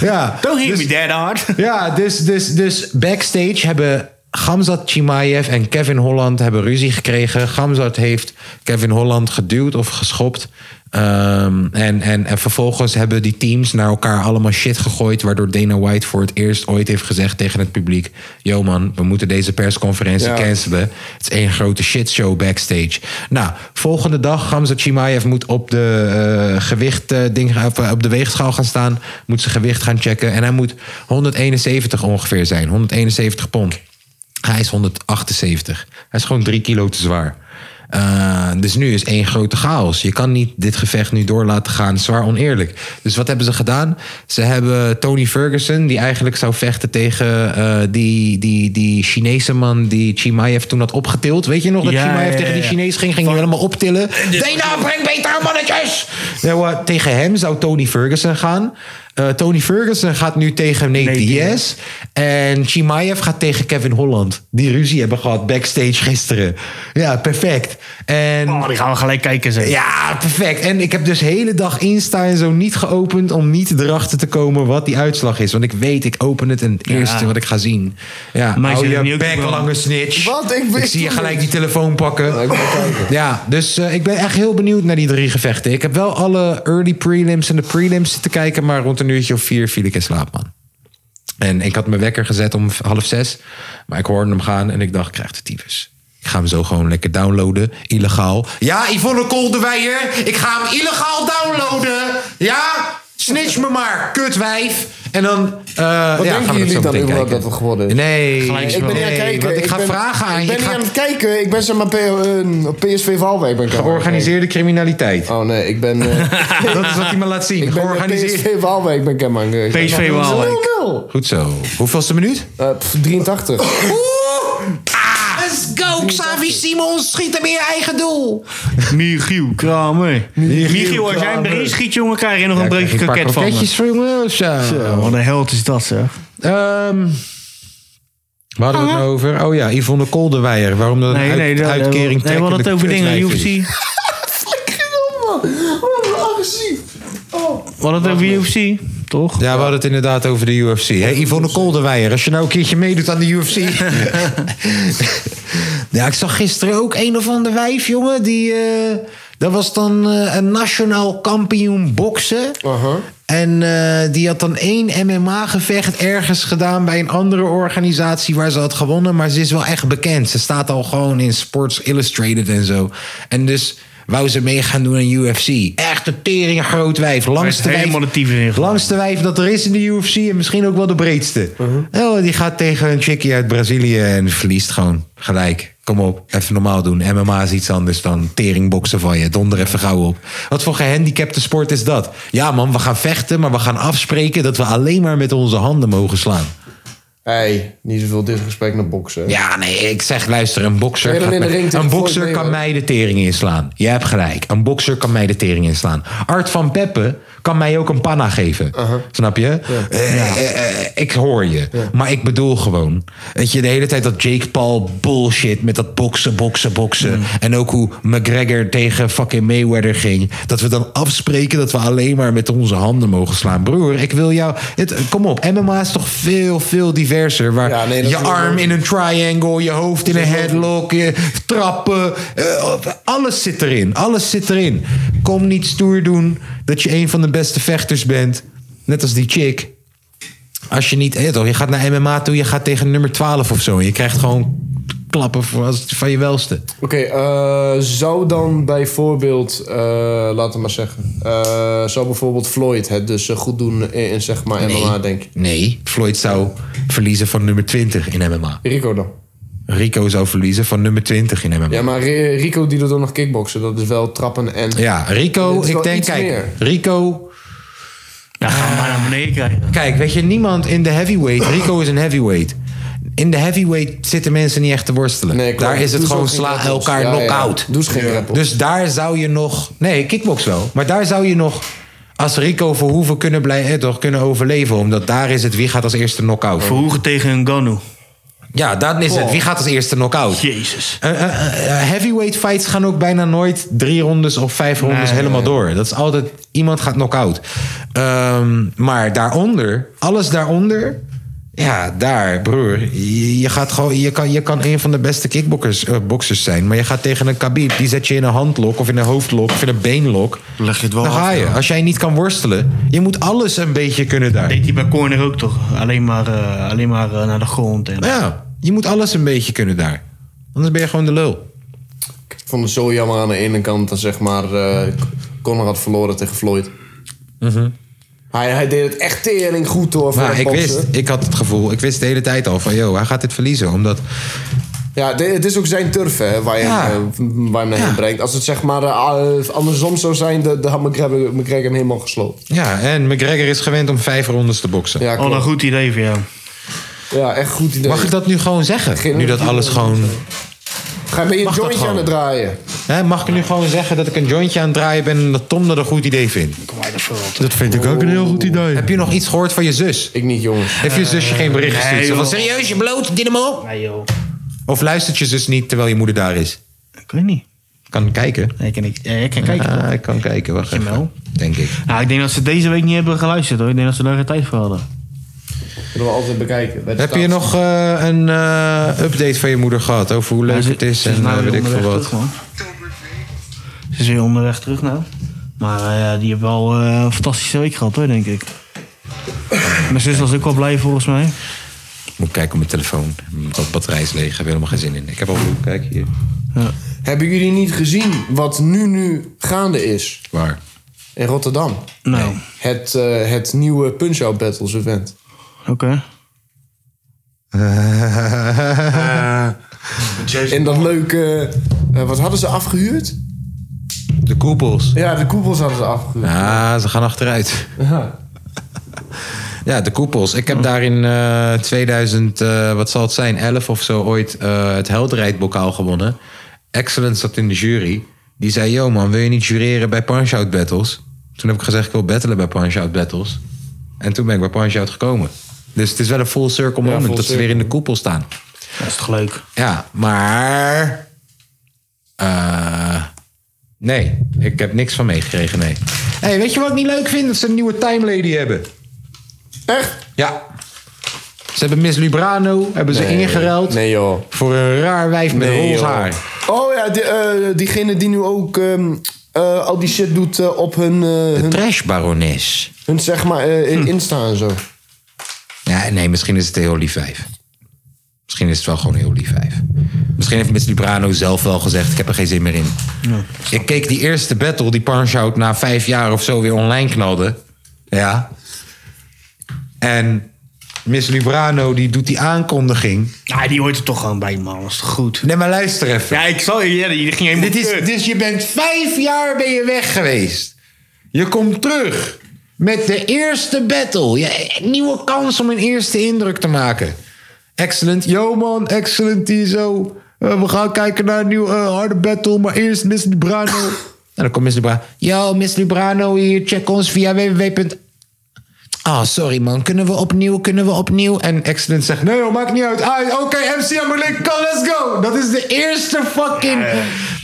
Ja. Dus-
Don't hit me that hard.
Ja, dus, dus, dus backstage hebben Gamzat Chimaev en Kevin Holland hebben ruzie gekregen. Gamzat heeft Kevin Holland geduwd of geschopt. Ehm, en, en, en vervolgens hebben die teams naar elkaar allemaal shit gegooid. Waardoor Dana White voor het eerst ooit heeft gezegd tegen het publiek: Yo man, we moeten deze persconferentie
Ja.
cancelen. Het is één grote shitshow backstage. Nou, volgende dag, Gamzat Chimaev moet op de eh, gewicht eh, ding, op, eh, op de weegschaal gaan staan. Moet zijn gewicht gaan checken. En hij moet 171 ongeveer zijn. 171 pond. Hij is 178. Hij is gewoon 3 kilo te zwaar. Eh, dus nu is één grote chaos. Je kan niet dit gevecht nu door laten gaan. Zwaar oneerlijk. Dus wat hebben ze gedaan? Ze hebben Tony Ferguson, die eigenlijk zou vechten tegen eh, die, die, die Chinese man die Chimaev toen had opgetild. Weet je nog dat
Ja,
Chimaev
ja, ja,
tegen die
ja.
Chinees ging? Ging hij helemaal optillen. Dana, breng betere mannetjes! Nou, eh, tegen hem zou Tony Ferguson gaan. Eh, Tony Ferguson gaat nu tegen Nate
Nate
Diaz.
Diaz.
Yes. En Chimaev gaat tegen Kevin Holland. Die ruzie hebben gehad backstage gisteren. Ja, perfect. En
Oh, die gaan we gelijk kijken, zeg.
ja, perfect. En ik heb dus hele dag Insta en zo niet geopend... om niet erachter te komen wat die uitslag is. Want ik weet, ik open het en het eerste wat ik ga zien. Ja,
Maar ik
hou
zit
je
nu ook
bek,
wel-
lange snitch.
Wat? Ik
Ik
weet
zie je
het
gelijk die
niet.
telefoon
Ja,
pakken.
ik wil kijken.
Ja, dus eh, ik ben echt heel benieuwd naar die drie gevechten. Ik heb wel alle early prelims en de prelims zitten kijken... maar rond een uurtje of vier viel ik in slaap, man. En ik had mijn wekker gezet om half zes. Maar ik hoorde hem gaan en ik dacht, ik krijg de tyfus. Ik ga hem zo gewoon lekker downloaden, illegaal. Ja, Yvonne Koldewijer, ik ga hem illegaal downloaden. Ja, snitch me maar, kutwijf. En dan... eh
Wat
ja,
denken
gaan we
jullie
dat zo
dan
meteen kijken.
überhaupt dat het geworden is?
Nee,
Gelijkspel.
Ik ben niet aan het
nee,
kijken.
want ik ga
ben-
vragen aan
Ik
je.
ben
Ik
niet
ga
aan het kijken. Ik ben zeg maar P- eh, op PSV Waalwijk. Ben ik aan het
georganiseerde criminaliteit.
kijken. Oh nee, ik
*laughs*
ben... eh,
Dat is wat hij me laat zien.
ik ben
Georganiseerd.
PSV Waalwijk ben ik aan het kijken.
PSV Waalwijk.
0-0.
Goed zo. Hoeveelste minuut? Ah,
Eh, pff, 83.
Let's go, Xavi Simons. Schiet hem in je eigen doel.
Michiel Kramer. Michiel, als jij hem
Kramer.
erin schiet, jongen, krijg je nog een
Ja, krijg
breukje
ik een paar
kroket van me.
kroketjes voor jongen. Zo.
Zo, Wat een held is dat, zeg.
Ehm, Waar hadden we het nou over? Oh ja, Yvonne Kolderweijer. Waarom dat
Nee,
uit,
nee, dat-
uitkering
nee, we hadden het
trekkende
over dingen.
kutwijf is.
UFC.
*laughs*
We hadden het over UFC, toch?
Ja, we hadden het inderdaad over de UFC. Hey, Yvonne Kolderweijer, als je nou een keertje meedoet aan de UFC. *laughs* ja, ik zag gisteren ook een of ander wijf, jongen. Die, eh, dat was dan eh, een nationaal kampioen boksen.
Uh-huh.
En eh, die had dan één MMA-gevecht ergens gedaan bij een andere organisatie waar ze had gewonnen. Maar ze is wel echt bekend. Ze staat al gewoon in Sports Illustrated en zo. En dus wou ze mee gaan doen aan UFC. Echt een tering groot wijf. Langste
Werd
wijf,
helemaal de tyfus ingegaan.
langste wijf dat er is in de UFC. En misschien ook wel de breedste. oh, die gaat tegen een chickie uit Brazilië en verliest gewoon gelijk. Kom op, even normaal doen. MMA is iets anders dan teringboksen van je. Donder even gauw op. Wat voor gehandicapte sport is dat? Ja man, we gaan vechten, maar we gaan afspreken... dat we alleen maar met onze handen mogen slaan.
Hey, niet zoveel disrespect naar boksen.
Ja, nee, ik zeg luister, een bokser,
Ben eh, je
gaat
dan in de
mij-
ring tegen
een
Floyd
bokser kan
Mayweather?
mij de tering inslaan. Je hebt gelijk. Een bokser kan mij de tering inslaan. Art van Peppe kan mij ook een panna geven. Snap je? Eh, eh, eh, ik hoor je. Maar ik bedoel gewoon. Weet je, de hele tijd dat Jake Paul bullshit met dat boksen, boksen,
Mm.
boksen. En ook hoe McGregor tegen fucking Mayweather ging. Dat we dan afspreken dat we alleen maar met onze handen mogen slaan. Broer, ik wil jou... Het, kom op, MMA is toch veel, veel diverser. Waar
Ja, nee, dat
je
is wel
arm
logisch.
in een triangle, je hoofd in een headlock, je trappen. eh, alles zit erin. Alles zit erin. Kom niet stoer doen dat je een van de beste vechters bent. Net als die chick. Als je niet. eh, toch, Je gaat naar MMA toe, je gaat tegen nummer 12 of zo. En je krijgt gewoon klappen voor als- van je welste.
Oké, eh, zou dan bijvoorbeeld, eh, laten we maar zeggen, eh, zou bijvoorbeeld Floyd het dus eh, goed doen in, in, zeg maar MMA, denk je?
Nee, Floyd zou verliezen van nummer 20 in MMA.
Rico dan?
Rico zou verliezen van nummer 20 in MMA.
Ja, maar Ri- Rico die doet dan nog kickboksen, dat is wel trappen en...
Ja, Rico,
Dit is
ik
wel
denk,
iets
kijk,
meer.
Rico
Ja, ga hem maar naar beneden krijgen.
Kijk, weet je, niemand in de heavyweight. Rico is een heavyweight. In de heavyweight zitten mensen niet echt te worstelen.
Nee, klopt.
daar is het
Doe ze
gewoon
ook geen
sla
grappels.
elkaar
Ja, ja.
knock-out.
Doe ze geen grappels.
Dus daar zou je nog. Nee, kickbox wel. Maar daar zou je nog. Als Rico Verhoeven kunnen, blijven, eh, toch, kunnen overleven. Omdat daar is het wie gaat als eerste knock-out.
Verhoeven tegen een Ganu.
Ja, dat is het. Wie gaat als eerste knock-out?
Jezus.
Eh, eh, eh, eh, heavyweight fights gaan ook bijna nooit drie rondes of vijf rondes helemaal door. Dat is altijd iemand gaat knock-out. Ehm, maar daaronder, alles daaronder. Ja, daar, broer. Je, je gaat gewoon, je, kan, je kan een van de beste kickboxers eh, boxers zijn. Maar je gaat tegen een kabib. Die zet je in een handlok of in een hoofdlok of in een beenlok.
Leg je het wel
Dan
af,
ga je.
ja.
Als jij niet kan worstelen. Je moet alles een beetje kunnen daar.
Deed hij bij Corner ook toch? Alleen maar, eh, alleen maar eh, naar de grond. En...
Ja, je moet alles een beetje kunnen daar. Anders ben je gewoon de lul.
Ik vond het zo jammer aan de ene kant dat zeg maar eh Conor had verloren tegen Floyd. hij, hij deed het echt tering goed hoor, voor
Mhm. Maar
het
ik
boksen.
wist, ik had het gevoel, ik wist de hele tijd al van, joh, hij gaat dit verliezen. Omdat,
Ja, de- het is ook zijn turf hè, waar je
Ja.
hem, eh, waar je hem naartoe brengt. Als het zeg maar eh, andersom zou zijn, dan dan had McGregor, McGregor hem helemaal gesloopt.
ja, en McGregor is gewend om vijf rondes te boksen.
Ja,
Al
klopt.
Oh, een goed idee voor jou.
ja echt goed idee.
Mag ik dat nu gewoon zeggen?
Geen-
Nu dat alles gewoon...
Ga ben je een
mag dat
jointje aan
gewoon?
het draaien?
Hè, mag ik nu gewoon zeggen dat ik een jointje aan het draaien ben... en dat Tom dat een goed idee vindt?
Dat vind ik ook een heel goed idee.
Heb je nog iets gehoord van je zus?
Ik niet, jongens.
Heeft je zus je geen bericht gestuurd?
nee,
Zo van,
joh.
serieus, je bloot, dit hem op?
Nee joh.
Of luistert je zus niet terwijl je moeder daar is?
Ik weet niet.
Kan kijken.
Nee, ik, ik, eh, ik kan kijken.
Ah, ik kan kijken, wacht
Jawel.
even. Denk ik.
Nou, ik denk dat ze deze week niet hebben geluisterd hoor. Ik denk dat ze daar geen tijd voor hadden.
Kunnen we altijd bekijken. Bij de
Heb je
staat.
nog eh, een eh, update van je moeder gehad over hoe leuk
Maar ze-
het is
ze
en
nou
eh,
weer
weet ik veel
onderweg
wat?
terug, man. Ze is weer onderweg terug nou. Maar eh, ja, die hebben al eh, een fantastische week gehad hoor, denk ik. Mijn zus was ook wel blij volgens mij.
Moet kijken op mijn telefoon. Dat batterij is leeg. Heb helemaal geen zin in. Ik heb al Kijk hier.
Hebben jullie niet gezien wat nu nu gaande is
Waar?
in Rotterdam?
Nou,
Het, eh, het nieuwe Punch-Out Battles event.
oké.
In dat leuke... eh, wat hadden ze afgehuurd?
De koepels.
Ja, de koepels hadden ze afgehuurd.
Ah, ze gaan achteruit. *laughs* Ja, de koepels. Ik heb daar in eh, 2000, eh, wat zal het zijn, 11 of zo ooit eh, het helderheidbokaal gewonnen. Excellent zat in de jury. Die zei, yo man, wil je niet jureren bij Punch-Out Battles? Toen heb ik gezegd, ik wil battelen bij Punch-Out Battles. En toen ben ik bij Punch-Out gekomen. Dus het is wel een full circle moment
full
dat ze weer in de koepel staan.
Dat is toch leuk?
Ja, maar. eh, nee, ik heb niks van meegekregen, nee. Hé, hey, weet je wat ik niet leuk vind? Dat ze een nieuwe Time Lady hebben. Echt? Ja. Ze hebben Miss Librano hebben ze
Nee.
ingeruild
Nee, joh.
voor een raar wijf met
Nee,
roze
joh.
haar.
Oh ja, die, eh, diegene die nu ook ehm, eh, al die shit doet eh, op hun, eh, hun,
Trashbarones.
hun, zeg maar,
Hm.
eh, in Insta en zo.
Ja, nee, misschien is het heel lief vijf. Misschien is het wel gewoon heel lief vijf. Misschien heeft Miss Librano zelf wel gezegd: ik heb er geen zin meer in. ik keek die eerste battle die Punch-Out na vijf jaar of zo weer online knalde. Ja. En Miss Librano die doet die aankondiging.
Ja, die hoort er toch gewoon bij, man. Dat is toch goed?
Nee, maar luister even.
Ja, ik zal je... Ja, die ging helemaal
Dit is, dus je bent vijf jaar ben je weg geweest. Je komt terug met de eerste battle. Je, nieuwe kans om een eerste indruk te maken. Excellent. Yo man, excellent ISO. Eh, we gaan kijken naar een nieuwe eh, harde battle. Maar eerst Miss Librano. en dan komt Miss Librano. Yo, Miss Librano hier. Check ons via www. Ah, sorry man. Kunnen we opnieuw? Kunnen we opnieuw? En Excellent zegt, nee joh, maakt niet uit. Ah, Oké, MC Amalek, kom, let's go. Dat is de eerste fucking...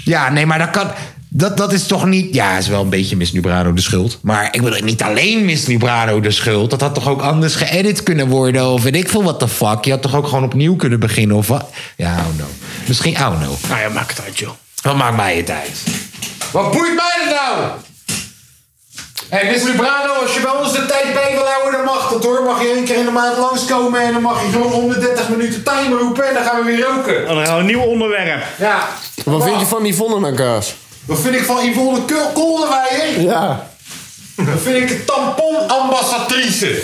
Ja, nee, maar dat kan... Dat, dat is toch niet... Ja, is wel een beetje Miss Librado de schuld. Maar ik bedoel, niet alleen Miss Librado de schuld. Dat had toch ook anders geëdit kunnen worden? Of weet ik veel, what the fuck? Je had toch ook gewoon opnieuw kunnen beginnen? Of wat? Ja, oh no. Misschien, oh no.
Nou ja, maak het uit, joh.
Wat maakt mij het uit? Wat boeit mij het nou? Hé, hey, Miss Librano, als je bij ons de tijd bij wil houden, dan mag dat hoor. Mag je één keer in de maand langskomen en dan mag je zo'n 130 minuten time roepen en dan gaan we weer roken.
Oh, Dan gaan we een nieuw onderwerp.
Ja.
Wat vind je van die Vonnenakaas?
Wat vind ik van Yvonne Kul- Kolderweijer?
Ja.
Dat vind ik een tamponambassadrice.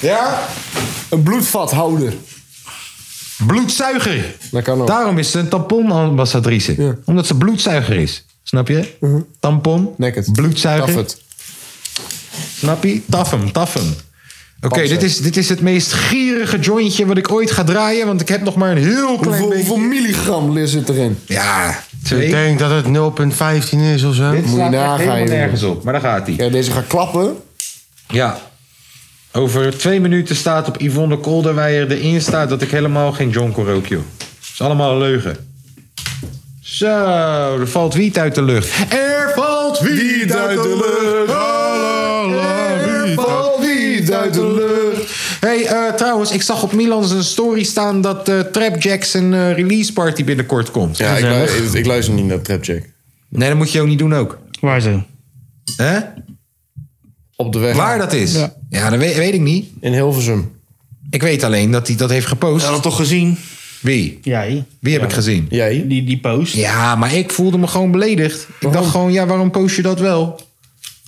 Ja?
Een bloedvathouder.
Bloedzuiger.
Dat kan ook.
Daarom is ze een tamponambassadrice.
Ja.
Omdat ze bloedzuiger is. Snap je? Tampon.
Naked.
Bloedzuiger.
Taf het.
Snap je? Taf hem, taf hem. Oké,
Pamse.
dit, is, dit is het meest gierige jointje wat ik ooit ga draaien. Want ik heb nog maar een heel klein
Hoeveel,
beetje...
hoeveel milligram zit erin?
Ja,
Ik
twee.
denk dat het 0,15 is of zo.
Dit
Moet
slaat
je
echt
nagaan,
helemaal
jongen.
nergens op. Maar daar gaat hij.
Ja, deze gaat klappen.
Ja. Over twee minuten staat op Yvonne Kolderweijer de Insta... dat ik helemaal geen jonko rook, joh. is allemaal een leugen. Zo, er valt wiet uit de lucht. Er valt wiet uit de lucht. Er valt wiet uit de lucht. hey, eh, trouwens, ik zag op Milan zijn story staan... dat eh, Trap Jacks een eh, release party binnenkort komt.
Ja, ik, lu- ik- ik luister niet naar Trapjack.
Nee, dat moet je ook niet doen ook.
Waar zo?
Hè?
Op de weg.
Waar dat is? Ja, dat weet, weet ik niet.
In Hilversum.
Ik weet alleen dat hij dat heeft gepost.
Had dat toch gezien?
Wie?
Jij.
Wie heb ik gezien?
Jij?
Die, die post.
Ja, maar ik voelde me gewoon beledigd. Ik dacht gewoon, ja, waarom post je dat wel?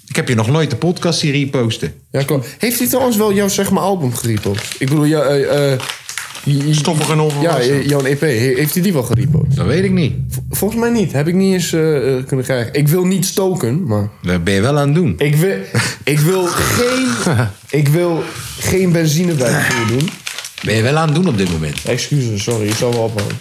Ik heb je nog nooit de podcastserie posten.
Ja, klopt. Heeft hij trouwens wel jouw zeg maar, album gerepost? Ik bedoel, jou, eh, eh, j- j-
Stoffig en
ja,
onvolwassen.
eh, jouw EP. He- Heeft hij die wel gerepost?
Dat weet ik niet.
Volgens mij niet. Heb ik niet eens eh, eh, kunnen krijgen. Ik wil niet stoken, maar...
Dat ben je wel aan het doen.
Ik wil, ik wil, geen, ik wil geen benzine bij de vuur doen.
Ben je wel aan het doen op dit moment.
Excuses, sorry. Ik zal wel ophouden.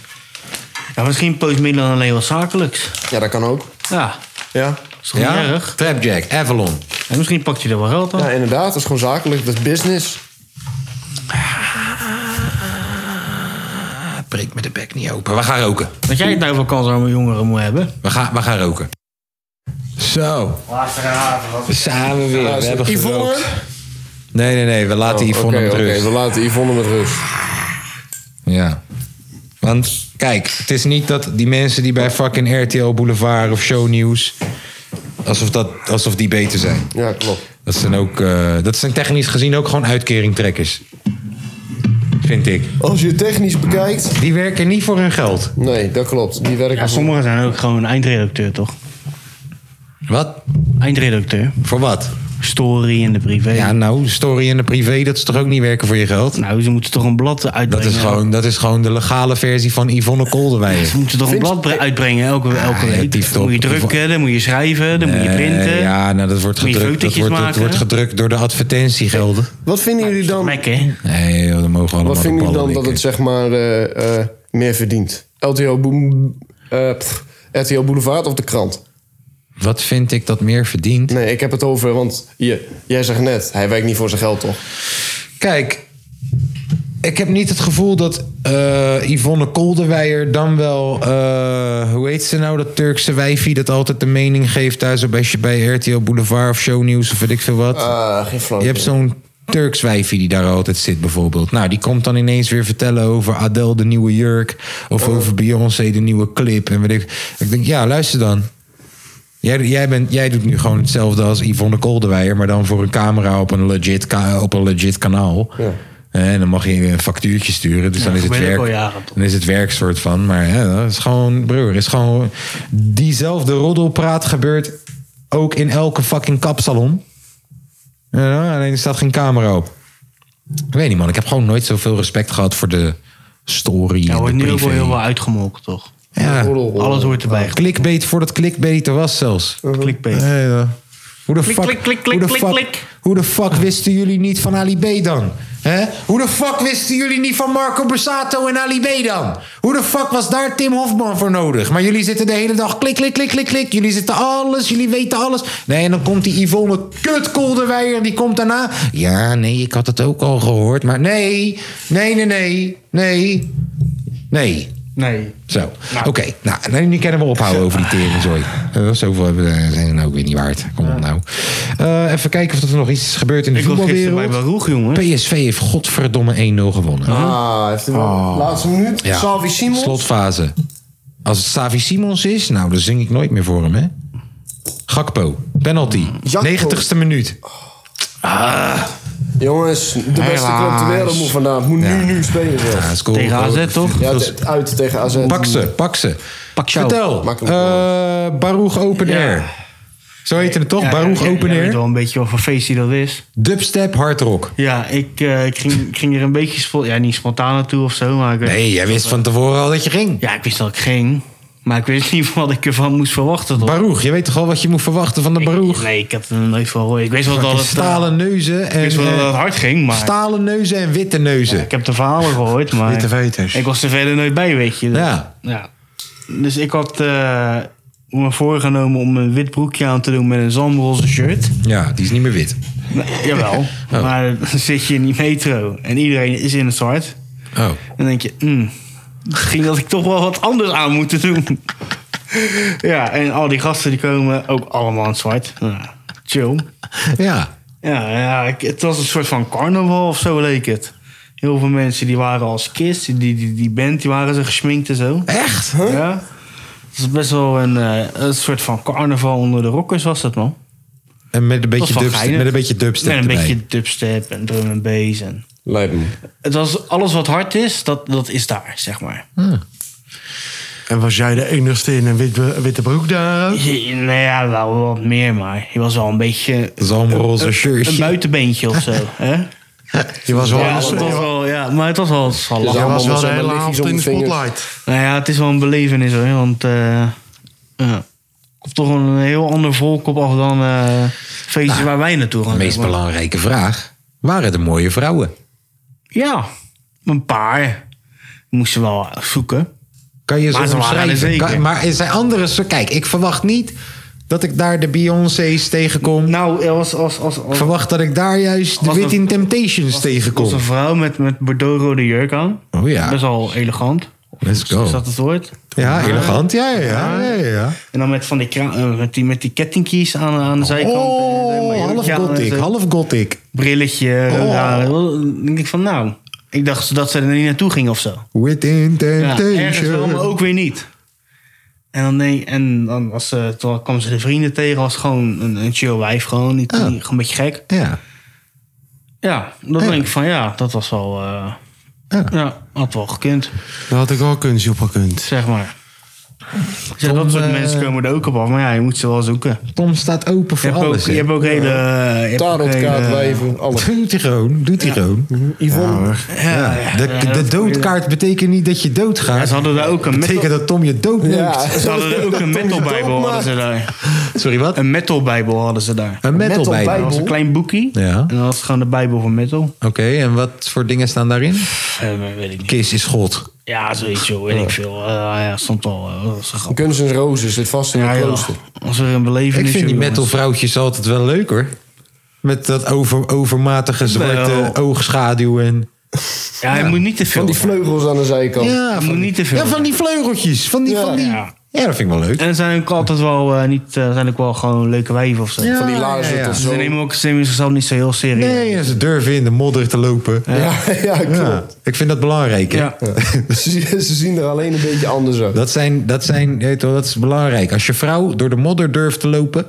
Ja, misschien post Milan alleen wat zakelijks.
Ja, dat kan ook.
Ja,
Ja.
is toch niet erg?
Trapjack, Avalon.
En misschien pakt hij er wel geld aan.
ja, inderdaad. Dat is gewoon zakelijk. Dat is business.
Ah, breek me de bek niet open. We gaan roken.
Dat jij het nou wel kans aan jongeren moet hebben.
We gaan, we gaan roken. Zo. Samen weer. We hebben
Yvonne?
gerookt. Nee, nee, nee. We laten
Oh,
Yvonne
oké,
met
oké,
rust.
we laten Yvonne met rust.
Ja. Want kijk, het is niet dat die mensen die bij fucking RTL Boulevard of Shownieuws... Alsof, dat, alsof die beter zijn.
Ja, klopt.
Dat zijn ook... eh, dat zijn technisch gezien ook gewoon uitkeringtrekkers. Vind ik.
Als je het technisch bekijkt...
Die werken niet voor hun geld.
Nee, dat klopt. Die werken...
Ja, sommigen zijn ook gewoon eindredacteur, toch?
Wat?
Eindredacteur.
Voor wat?
Story in de privé.
Ja, nou, story en de privé, dat is toch ook niet werken voor je geld?
Nou, ze moeten toch een blad uitbrengen.
Dat is gewoon, dat is gewoon de legale versie van Yvonne Kolderweijer.
Ze moeten toch een
Vind-
blad bre- uitbrengen elke, elke
Ah, ja,
week.
die
dan moet je
top.
drukken, dan moet je schrijven, dan moet je printen.
Eh, ja, nou, dat wordt
Moet je
gedrukt, dat
fotootjes
wordt, dat
maken?
wordt gedrukt door de advertentiegelden.
Wat vinden jullie dan...
Mek, hè?
Nee, joh, dan mogen we allemaal
Wat
de
vinden jullie
ballen
dan
likken.
dat het zeg maar eh, eh, meer verdient? LTO, Boem- eh, pff, RTL Boulevard of de krant?
Wat vind ik dat meer verdient?
Nee, ik heb het over, want je, jij zegt net, hij werkt niet voor zijn geld, toch?
Kijk, ik heb niet het gevoel dat eh, Yvonne Kolderweijer dan wel... eh, hoe heet ze nou, dat Turkse wijfie... dat altijd de mening geeft daar zo bij, bij RTL Boulevard of Shownieuws... of weet ik veel wat.
Ah, geen flauw
Je hebt
idee.
zo'n Turks wijfie die daar altijd zit bijvoorbeeld. Nou, die komt dan ineens weer vertellen over Adele de nieuwe jurk... of over Beyoncé de nieuwe clip. En weet ik. ik denk, ja, luister dan. Jij, jij, bent, jij doet nu gewoon hetzelfde als Yvonne Kolderweijer... maar dan voor een camera op een legit, ka- op een legit kanaal. Eh, En dan mag je een factuurtje sturen. Dus
Ja,
dan, is
dat
het
ben ik al
werk,
jaren, toch?
dan is het werk soort van. Maar ja, dat is gewoon... Broer, is gewoon... Diezelfde roddelpraat gebeurt ook in elke fucking kapsalon. Ja, alleen er staat geen camera op. Ik weet niet, man. Ik heb gewoon nooit zoveel respect gehad voor de story
Ja,
en de
wordt nu ook
privé.
wel heel wel uitgemolken, toch?
Ja,
Alles hoort erbij.
clickbait voordat clickbait er was zelfs.
Klikbeet.
Ja, ja. Hoe de
Klik,
fuck,
klik, klik, klik,
hoe de
klik,
fuck,
klik.
Hoe de fuck wisten jullie niet van Ali B dan? Hè? Hoe de fuck wisten jullie niet van Marco Borsato en Ali B dan? Hoe de fuck was daar Tim Hofman voor nodig? Maar jullie zitten de hele dag klik, klik, klik, klik, klik. Jullie zitten alles, jullie weten alles. Nee, en dan komt die Yvonne Kutkolderweijer, die komt daarna. Ja, nee, ik had het ook al gehoord. Maar nee, nee, nee, nee, nee, nee.
Nee.
Zo. Oké, nou, nee, nu kunnen we ophouden over die teringzooi. Eh, zoveel hebben we- zijn er ook weer niet waard. Kom op nou. Eh, even kijken of er nog iets is gebeurd in de
Ik was gisteren bij Oh.
voetbalwereld.
Baroeg, jongen.
PSV heeft godverdomme 1-0 gewonnen.
Ah, heeft hij wel- Laatste minuut.
Ja.
Salvi Simons.
Slotfase. Als het Savi Simons is, nou, dan zing ik nooit meer voor hem, hè. Gakpo, penalty,
Jakpo.
90ste minuut.
Oh,
Jongens, de beste club
Helaas.
ter wereld moet vandaag. Moet nu, nu spelen zelfs.
Ja, scoren.
Tegen AZ, toch?
Ja, t- uit tegen AZ.
Pak ze, pak ze.
Pak jou.
Vertel,
Makkelijk.
eh Baruch Open
Ja.
Air. Zo heette het toch?
Ja,
Baruch
ja, ja,
Open
jij weet
Air.
wel een beetje wat voor feestje dat is.
Dubstep, hard rock.
Ja, ik, eh, ik, ging, ik ging er een beetje... spo- Ja, niet spontaan naartoe of zo, maar... Ik,
Nee, jij wist van tevoren al dat je ging.
Ja, ik wist dat ik ging. Maar ik wist niet *laughs* wat ik ervan moest verwachten. toch?
Baruch, je weet toch al wat je moet verwachten van de Baruch?
Nee, ik heb er nooit van gehoord. Ik wist wel dat
Fucking
het, eh,
stalen neuzen
ik
en
wist wel dat
eh,
het hard ging, maar...
stalen neuzen en witte neuzen.
Ik heb de verhalen gehoord, maar...
Witte veters.
Ik was er verder nooit bij, weet je. Dus-
Ja.
ja. Dus ik had eh, me voorgenomen om een wit broekje aan te doen met een zandroze shirt.
Ja, die is niet meer wit.
Nou, jawel. Maar dan zit je in die metro en iedereen is in het zwart.
Oh.
Dan denk je, hmm, misschien dat ik toch wel wat anders aan moet doen. *laughs* ja, en al die gasten die komen ook allemaal in het zwart. Nou, chill.
*laughs* Ja.
Ja, ja ik- het was een soort van carnaval of zo leek het. Heel veel mensen die waren als kids, die, die, die band, die waren zo gesminkt en zo.
Echt?
Ja. Het is best wel een, eh, een soort van carnaval onder de rockers was dat, man.
En met een
Dat was
beetje,
wel
dubstep,
geinig.
met een beetje dubstep
Met een
erbij.
beetje dubstep en drum en bass. En...
Lijkt me.
Het was alles wat hard is, dat, dat is daar, zeg maar.
En was jij de enigste in een wit- witte broek daar? ook?
Nou ja, wel wat meer, maar je was wel een beetje
Zalmroze
een
shirtje. *laughs*
buitenbeentje of zo. hè?
Je was wel,
Ja, dat was wel, ja, maar het was wel, het was wel
Dus jij
lachen.
was wel de
Allemaal
hele
met
avond
zo'n
in de
vingers.
spotlight.
Nou ja, het is wel een belevenis hoor, want eh ja, komt toch een heel ander volk op af dan eh feestjes waar wij naartoe
Nou, De
gaan.
meest
zeg maar.
belangrijke vraag. Waren er mooie vrouwen?
Ja, een paar. Moesten we wel zoeken.
Kan je
Maar
ze
ze waren er
omschrijven?
zeker.
Kan- maar er zijn andere... soort- Kijk, ik verwacht niet dat ik daar de Beyoncé's tegenkom.
Nou, als, als, als,
Ik
als, als,
verwacht dat ik daar juist de
Was
Wit
een-
in Temptations tegenkom.
een vrouw met, met bordeaux-rode jurk aan.
Oh ja.
Best wel elegant.
Let's go.
Is dat het woord?
Ja, elegant. Ja, ja, ja. ja, ja, ja.
En dan met, van die, kra- eh, met, die, met die kettingkies aan, aan de zijkant. en zo, maar
Oh, half
jurkje aan en
gothic,
zo.
half Oh. gothic.
Brilletje, rode haren. Dan denk ik van nou, ik dacht dat ze er niet naartoe ging of zo.
Within
Ja, ergens wel,
temptation.
maar ook weer niet. En dan, denk, en dan was, ze toen kwam ze de vrienden tegen, was gewoon een, een chill wijf, gewoon, niet,
Ah.
niet- gewoon een beetje gek.
ja.
Ja, dan
Ja.
denk ik van ja, dat was wel, eh,
Ja.
ja. had wel gekund,
Dat had ik al kunstje op gekund.
zeg maar. Ik zeg,
Tom,
dat soort
eh,
mensen komen er ook op af, maar ja, je moet ze wel zoeken.
Tom staat open
Je
voor
hebt, ook,
alles.
je
hè.
hebt ook hele... je hebt ook
Tarotkaart
hele-
wijven, alles.
Doet hij gewoon, doet hij gewoon.
Yvonne.
Ja, ja,
De,
ja,
de
dat-
doodkaart betekent niet dat je doodgaat.
Ja, ze hadden daar ook een metal,
betekent dat Tom je dood neemt.
Ja.
ze hadden daar ook een metalbijbel hadden ze daar.
Sorry, wat?
Een metalbijbel hadden ze daar.
Een metal,
metal
bijbel.
Dat was een klein boekie.
Ja.
En dan was het gewoon de Bijbel van metal.
Oké, en wat voor dingen staan daarin?
Eh, weet ik niet.
Kiss is God.
Ja, zoiets joh,
Oh.
weet ik veel. Eh, ja, stond al. eh, was een grap.
Guns N' Roses zit vast in
Ja,
de
joh.
klooster.
Als er een beleving
Ik
is,
vind die
joh, dus-
metal vrouwtjes altijd wel leuk hoor. Met dat over, overmatige zwarte
Wel.
oogschaduw en...
Ja, je moet niet te veel.
Van die vleugels aan de zijkant.
Ja,
Je moet niet te veel.
ja, van die vleugeltjes. Van die,
Ja.
van die... Ja. dat vind ik wel leuk.
En er zijn ook altijd wel, eh, niet, eh, zijn ook wel gewoon leuke wijven of zo.
Van die laarzen
ja, ja.
tot
Ze
zo.
nemen ook ze nemen zichzelf niet zo heel serieus.
Nee, ja, ze durven in de modder te lopen. Ja,
*laughs* Ja, ja, klopt.
ik vind dat belangrijk. hè.
Ja.
*laughs* Ze, ze zien er alleen een beetje anders uit.
Dat, zijn, dat, zijn, je weet wel, dat is belangrijk. Als je vrouw door de modder durft te lopen,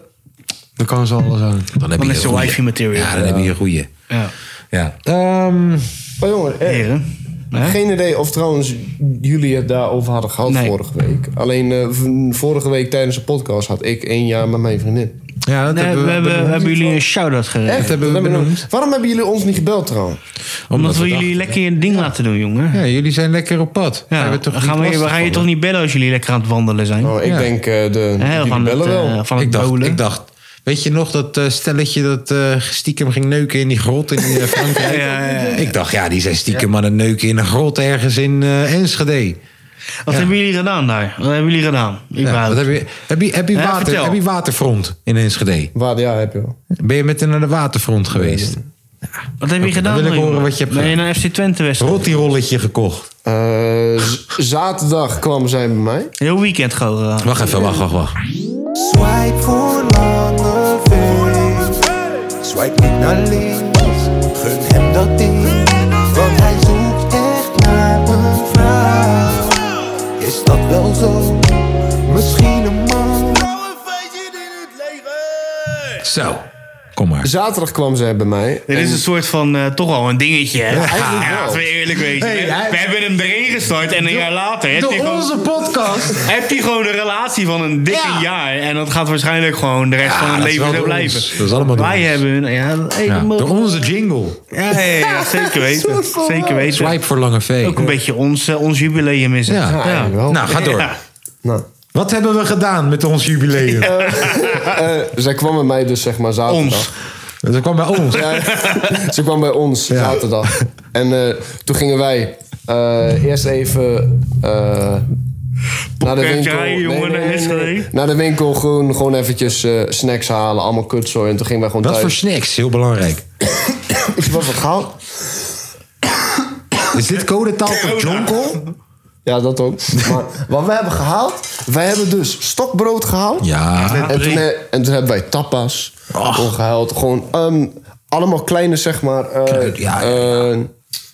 Dan kan ze alles aan.
dan heb je
Dan is
een
ze
goeie.
wifey material.
Ja, dan heb je een goeie.
Ja.
Ja. Ehm,
Maar jongen, eh,
Heren. Hè?
geen idee of trouwens jullie het daarover hadden gehad
Nee.
vorige week. Alleen eh, v- vorige week tijdens de podcast had ik één jaar met mijn vriendin.
ja, dat
Nee,
hebben we,
hebben, hebben jullie een shout-out gegeven.
Echt?
hebben we
Dat heb ik nog-
benoemd.
Waarom hebben jullie ons niet gebeld trouwens?
Omdat we,
dachten-
jullie lekker je ding laten doen, jongen. Ja.
Ja, jullie zijn lekker op pad. Daar hebben
dan
toch
gaan
niet
we, we
lastig
gaan je
van.
toch niet bellen als jullie lekker aan het wandelen zijn?
Oh, ik
Ja.
denk eh, de
Hè,
jullie
van, het,
bellen wel.
eh, van het
ik dacht,
bolen.
ik dacht, weet je nog dat eh, stelletje dat eh, stiekem ging neuken in die grot in eh, Frankrijk?
*laughs* Ja, ja,
Ik dacht, ja, die zijn stiekem aan het neuken in een grot ergens in eh, Enschede.
Wat hebben jullie gedaan daar? Wat hebben jullie gedaan?
Ja,
Überhaupt?
wat heb, je, heb, je, heb, je
Ja,
water,
vertel.
heb je waterfront in Enschede?
Waar, ja, heb je wel.
Ben je met hem naar de waterfront geweest?
Wat heb je gedaan?
wil ik
dan,
horen
jongen?
wat je hebt
Ben je naar FC Twente wedstrijd?
Rotti rolletje gekocht.
Eh, z- zaterdag kwam zij bij mij.
Heel weekend gewoon. gedaan.
Wacht even, wacht, wacht, wacht.
Swipe voor lange veen. Swipe niet naar links. Gun hem dat ding. Want hij zoekt echt naar een vrouw. Is dat wel zo? Misschien een man.
Zo, kom maar.
Zaterdag kwam zij bij mij.
Dit is een soort van, eh, toch al een dingetje. hè?
eigenlijk
Ja,
wel.
laten we eerlijk wezen.
Hey,
hè?
hij-
We hebben hem erin gestort en een jaar later heeft hij, gewoon,
podcast.
heeft hij gewoon een relatie van een dikke
Ja.
jaar. En dat gaat waarschijnlijk gewoon de rest
Ja,
van het
dat is wel
leven zo
door ons.
blijven.
Dat is allemaal door
Wij
ons.
hebben hun... Ja, hey,
Ja,
dat mogen-
door onze jingle.
ja, ja, ja, ja,
*laughs*
zeker weten. Zeker weten.
Swipe voor Lange V.
Ook een beetje ons, eh, ons jubileum is het.
Ja.
Ja, eigenlijk wel.
Nou, ga door.
Ja.
Nou,
Wat hebben we gedaan met ons jubileum?
eh, zij kwam bij mij dus zeg maar zaterdag.
Ons.
Dat kwam bij
*laughs*
ons.
Ja, *laughs* ze kwam bij ons zaterdag. En eh, toen gingen wij eh, eerst even eh, naar de winkel.
rijden, jongen, naar Enschede.
Naar de winkel gewoon, gewoon eventjes eh, snacks halen, allemaal kutzooi. En toen gingen wij gewoon
Wat voor
thuis.
snacks? Heel belangrijk.
Wat voor gehaald?
Is dit codetaal voor jonkel?
Ja, dat ook. Maar wat we hebben gehaald, wij hebben dus stokbrood gehaald.
Ja.
En toen, he- en toen hebben wij tapas gewoon gehaald. Gewoon ehm, allemaal kleine, zeg maar. eh,
Kleut, ja, ja, ja.
eh,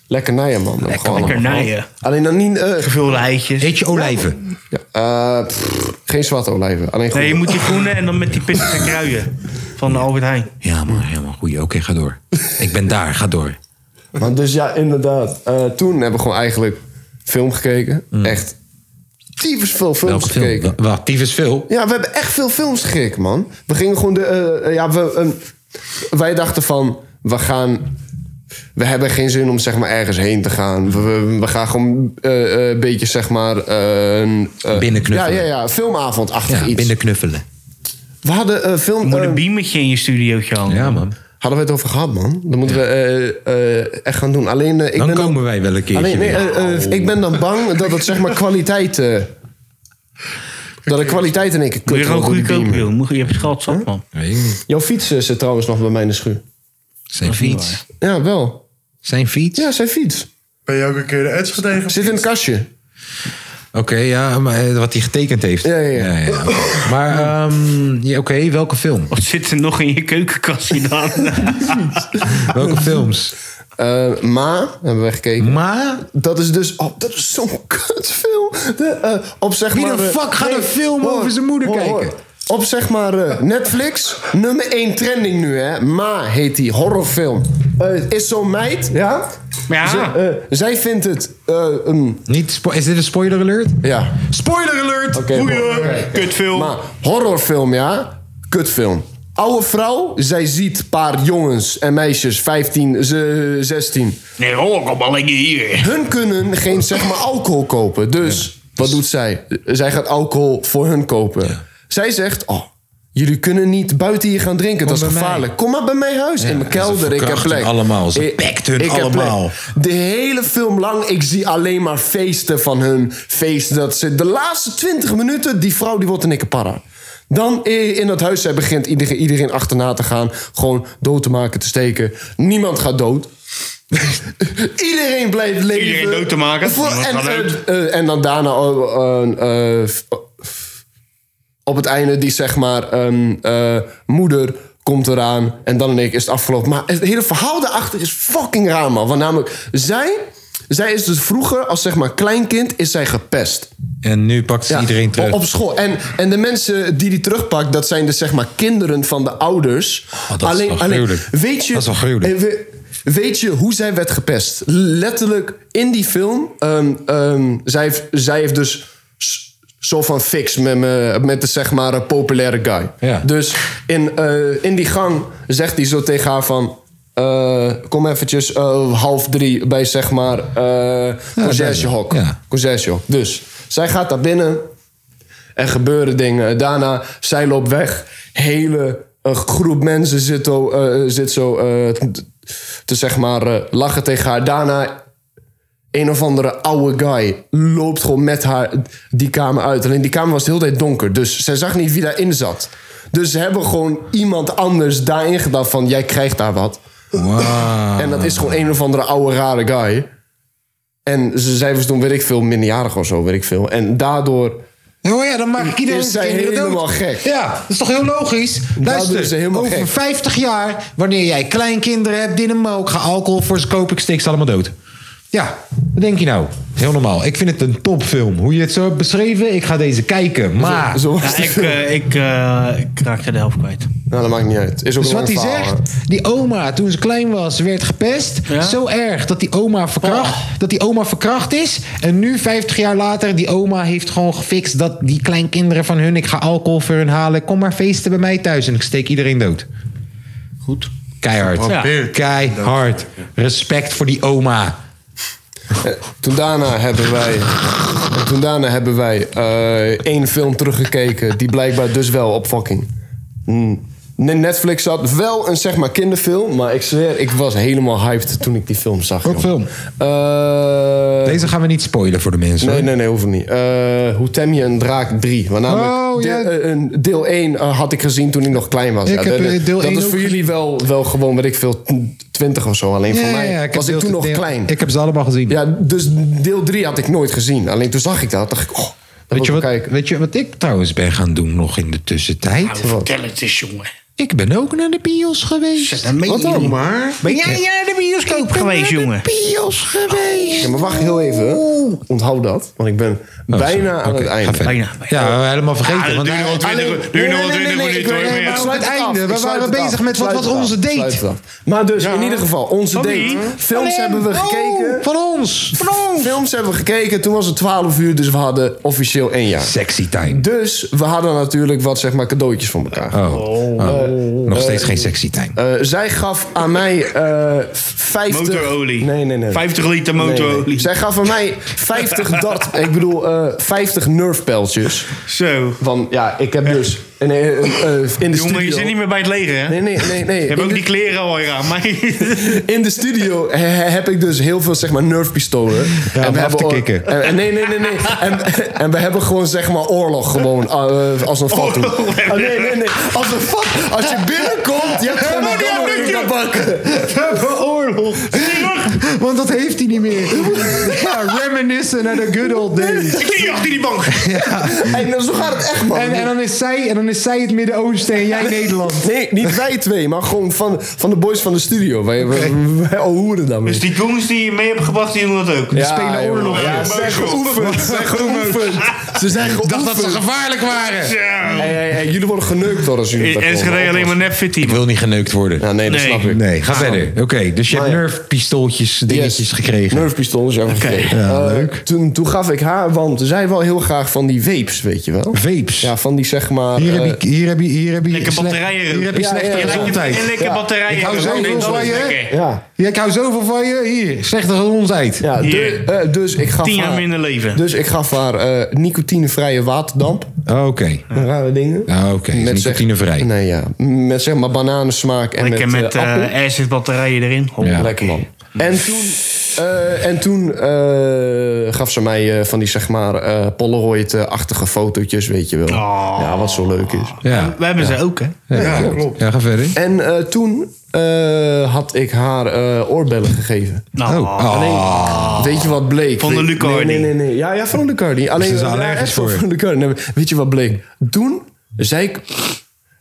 lekkernijen, man. Hebben we gewoon allemaal
Lekkernijen.
gehaald. Alleen dan niet... eh,
Gevulde eitjes.
Eet je olijven?
Ja, eh, pff, geen zwarte olijven. Alleen
Nee, je
groene.
moet die groene en dan met die pittige
*laughs*
kruien. Van de Albert Heijn.
Ja man, helemaal goed. Oké, ga door. Ik ben daar, ga door.
Maar dus ja, inderdaad. Eh, toen hebben we gewoon eigenlijk film gekeken. Echt tyfus veel films
Welke
gekeken.
film? Wat, tyfus veel?
Ja, we hebben echt veel films gekeken, man. We gingen gewoon de... eh, eh, ja, we, eh, wij dachten van, we gaan... We hebben geen zin om zeg maar ergens heen te gaan. We, we, we gaan gewoon eh, eh, een beetje zeg maar... eh, een, eh,
Binnenknuffelen.
Ja, ja, ja. Filmavondachtig
Ja,
iets.
binnen knuffelen.
We hadden eh, film...
Moet
eh,
een biemetje in je studiootje hangen.
Ja man.
Hadden we het over gehad, man. Dan moeten we eh, eh, echt gaan doen. Alleen, eh, ik
Dan
ben
komen wij wel een keertje
Alleen, nee,
weer.
eh, eh, ik ben dan bang dat het zeg maar kwaliteit... eh, dat de kwaliteit in één keer
Moet je
kut
gewoon
wordt door die
goedkoop,
beamer.
joh. Moet je- Je hebt geld zat, man.
Weet ik niet.
Jouw fiets eh, zit trouwens nog bij mij in de schuur.
Zijn fiets.
Ja, wel.
Zijn fiets?
Ja, zijn fiets.
Ben je ook een keer de Eds gedegen?
Zit in het kastje.
Oké, ja, maar eh, wat hij getekend heeft.
Ja, ja, ja.
oké. Maar, ehm, ja, oké, welke film?
Wat zit er nog in je keukenkastje
*laughs*
dan?
Welke films?
Eh, Ma, hebben we gekeken.
Maar,
Dat is dus... Oh, dat is zo'n *laughs* kutfilm. De, eh, op zeg
Wie de
maar... eh,
fuck gaat een film over zijn moeder kijken?
Op zeg maar eh, Netflix, nummer 1 trending nu hè. Ma heet die, horrorfilm. Eh, Het is zo'n meid, ja?
Ja.
Ze- eh, zij vindt het... eh, een-
niet spo- is dit een spoiler alert?
ja.
Spoiler alert!
Oké,
Goeie,
oké.
kutfilm.
Maar horrorfilm, ja? Kutfilm. Oude vrouw, zij ziet een paar jongens en meisjes, 15, ze- 16.
Nee, hoor, kom alleen hier.
Hun kunnen geen zeg maar, alcohol kopen. Dus wat doet zij? Zij gaat alcohol voor hun kopen. Zij zegt: Oh, jullie kunnen niet buiten hier gaan drinken. dat is
bij mij.
gevaarlijk. Kom maar bij mijn huis in mijn
en ze
kelder. Ik heb
verkrachten
plek.
allemaal. Ze
Ik-
pakt hun
ik heb plek.
allemaal.
De hele film lang, ik zie alleen maar feesten van hun. Feesten dat ze. De laatste 20 minuten, die vrouw die wordt een ikkeparra. Dan i- in dat huis, zij begint iedereen, iedereen achterna te gaan. Gewoon dood *laughs* te maken, te steken. Niemand gaat dood. Iedereen blijft leven.
Iedereen dood te maken.
Voor-
Dat
en,
gaat uit.
eh, eh, en dan daarna eh, eh, eh, f- op het einde die zeg maar ehm, eh, moeder komt eraan en dan en ik is het afgelopen. Maar het hele verhaal daarachter is fucking raar man. Want namelijk zij, zij is dus vroeger als zeg maar kleinkind is zij gepest.
En nu pakt ze iedereen terug.
Op school. En, en de mensen die die terugpakt, dat zijn dus zeg maar kinderen van de ouders.
Oh, dat is wel gruwelijk.
weet je,
Dat is wel gruwelijk.
eh, we- weet je hoe zij werd gepest? Letterlijk in die film. ehm, ehm, zij, heeft, zij heeft dus s- zo van fix met, me, met de zeg maar eh, populaire guy.
Ja.
Dus in, eh, in die gang zegt hij zo tegen haar van... eh, kom eventjes eh, half drie bij zeg maar eh Conciërge Hok.
Ja.
Conciërge Hok. Dus zij gaat daar binnen. Er gebeuren dingen. Daarna, zij loopt weg. Hele eh, groep mensen zit, zo, eh, zit zo eh, te- te zeg maar eh, lachen tegen haar. Daarna, een of andere oude guy loopt gewoon met haar die kamer uit. Alleen die kamer was de hele tijd donker. Dus zij zag niet wie daarin zat. Dus ze hebben gewoon iemand anders daarin gedaan van... jij krijgt daar wat.
Wauw.
En dat is gewoon een of andere oude rare guy. En ze, zij was toen, weet ik veel, minderjarig of zo, weet ik veel. En daardoor...
Oh ja, dan maak ik iedereen
Is zij
kinderen dood.
helemaal gek?
Ja, dat is toch heel logisch? Luister,
doen ze helemaal
over
gek.
50 jaar, wanneer jij kleinkinderen hebt, dit en ook, ga alcohol voor ze kopen, ik steek ze allemaal dood. Ja, wat denk je nou? Heel normaal. Ik vind het een topfilm. Hoe je het zo hebt beschreven, ik ga deze kijken. Maar,
Zo was
Ja, ik,
het.
eh, ik, eh, ik raakte de helft kwijt.
Nou, dat maakt niet uit. Is ook
dus
een
wat hij
lang verhaal,
zegt,
hoor.
die oma toen ze klein was, werd gepest.
Ja? Oh.
Zo erg dat die, oma verkracht, dat die oma verkracht is. En nu, 50 jaar later, die oma heeft gewoon gefixt dat die kleinkinderen van hun, ik ga alcohol voor hun halen, kom maar feesten bij mij thuis en ik steek iedereen dood.
Goed.
Keihard.
Ja.
Keihard. Respect voor die oma.
Toen daarna hebben wij, en toen daarna hebben wij eh, één film teruggekeken die blijkbaar dus wel op fucking mm, Netflix zat. Wel een zeg maar kinderfilm, maar ik zweer, ik was helemaal hyped toen ik die film zag.
Welke
jongen.
film?
Eh,
Deze gaan we niet spoilen voor de mensen.
Nee,
hoor.
nee, nee, hoeft niet. Eh, hoe tem je een draak 3? Want namelijk,
Oh,
de-
ja.
eh, een deel 1 had ik gezien toen ik nog klein was.
Ik
ja,
heb,
de- de-
eh, deel
dat
één
is
ook
voor jullie wel, wel gewoon, weet ik veel, 20 of zo. Alleen
Ja,
voor
ja,
mij
ja, ik
was
heb
ik toen
deel-
nog
deel-
klein.
Ik heb ze allemaal gezien.
Ja, dus deel 3 had ik nooit gezien. Alleen toen zag ik dat, dacht ik, oh, dat
weet,
moet
je
ik
wat,
kijken.
weet je wat ik trouwens ben gaan doen nog in de tussentijd?
Vertel het eens, jongen.
Ik ben ook naar de bios geweest.
Wat
dan maar?
Ben jij
eh,
naar de bioscoop geweest, jongen?
bios geweest.
Ja, maar wacht heel even. hè. Onthoud dat, want ik ben
Oh,
bijna aan het einde.
Bijna.
Ja, we helemaal vergeten.
Ah, dat
want
duurde
hij-
wel twintig-
alleen-
duurde
Nee,
wel
nee, nee,
twintig
nee,
minuten,
ik-
hoor.
nee,
Ja.
maar
Ik
aan
sluit
het
af,
einde.
ik
We
sluit
waren
het af,
bezig met
ik
wat
sluit
was
het af,
onze
ik sluit het
date.
af. Maar dus,
Ja.
in ieder geval, onze
Van
date.
wie?
Films hebben we
Oh,
gekeken.
Van ons.
Films hebben we gekeken, toen was het 12 uur, dus we hadden officieel één jaar.
Sexy time.
Dus we hadden natuurlijk wat zeg maar, cadeautjes van elkaar.
Oh. Oh. Nog steeds geen sexy time.
Eh, zij gaf aan mij eh 50...
Motorolie.
Nee, nee, nee.
50 liter
Nee, nee.
motorolie.
Zij gaf aan mij 50 dart... Ik bedoel, eh 50 nerfpijltjes.
Zo.
Want ja, ik heb dus... En, eh, eh, eh, in
Jongen,
de studio...
je zit niet meer bij het leger, hè?
Nee, nee, nee. nee.
Je hebt
In
ook
de-
die kleren al aan
*laughs*
mij.
in de studio he- he- heb ik dus heel veel zeg maar nerfpistolen.
om af
hebben
te
oor-
kicken.
En, en- nee, nee, nee. nee. En, en we hebben gewoon zeg maar oorlog gewoon eh, als een fatu. Ah, nee, nee, nee. Als een fat. Als je binnenkomt, je hebt gewoon een dommer in de bakken.
oorlog. Want dat heeft hij niet meer. *laughs* Ja, reminiscen naar de good old days.
Ik lig achter die bank.
Hey, nou, zo gaat het echt, man.
En, en, dan, is zij, en dan is zij het Midden-Oosten en jij Nederland.
Nee, niet wij twee, maar gewoon van, van de boys van de studio. Wij, wij, wij hoeren dan
Dus
weer.
die jongens die je mee hebt gebracht, die doen dat ook.
Ja,
spelen
jongen.
oorlog.
Ja, ze zijn geoefend. Ze zijn geoefend. Ze zijn geoefend.
gevaarlijk waren.
Zo.
Hey, hey, hey, jullie worden geneukt hoor als jullie
In
daar
Enschede
komen.
alleen maar nep fit
Ik wil niet geneukt worden.
Ja, nee, dat
Nee.
snap ik.
Nee, ga verder. Oké, dus je hebt
Maar ja.
nerfpistooltjes,
Yes.
dingetjes gekregen.
Nerfpistols hebben we gekregen.
Ja,
Eh,
leuk.
Toen, toen gaf ik haar, want zij wil heel graag van die vapes, weet je wel.
Vapes.
Ja, van die zeg maar...
Hier
eh,
heb je, hier heb je, hier heb je
Lekker
slecht-
batterijen.
Hier heb je
Ja,
slechte
ja, ja.
gezondheid.
En lekker
Ja.
batterijen.
Ik hou
Dat
zo
is
van
lekker.
je.
ja,
Ja, ik hou zoveel van je. Hier, slechte gezondheid.
ja du-
Hier.
eh, dus ik gaf
Tien jaar
haar...
minder leven.
Dus ik gaf haar eh, nicotinevrije waterdamp.
Ah, Oké.
Rare dingen.
Ah, Oké, is
Met zeg-
nicotinevrij.
Nee, ja. Met zeg maar bananensmaak en
Lekker
met,
met
eh, appel.
eh acid batterijen erin. Hop.
Ja.
Lekker man. En toen Eh, en toen eh, gaf ze mij eh, van die zeg maar eh, Polaroid-achtige fotootjes, weet je wel. Ja, wat zo leuk is.
Ja,
We hebben ze ook, hè?
ja, klopt. Ja, ga verder.
En eh, toen eh, had ik haar eh, oorbellen gegeven.
Nou,
Oh. Oh.
Weet je wat bleek?
Van de
Weet-
Lucardi.
Nee, nee, nee, nee. Ja, ja, van de Lucardi. Alleen
Dus ze is
ja,
allergisch
echt
voor.
Van de Lucardi. Nee, maar weet je wat bleek? Toen, zij,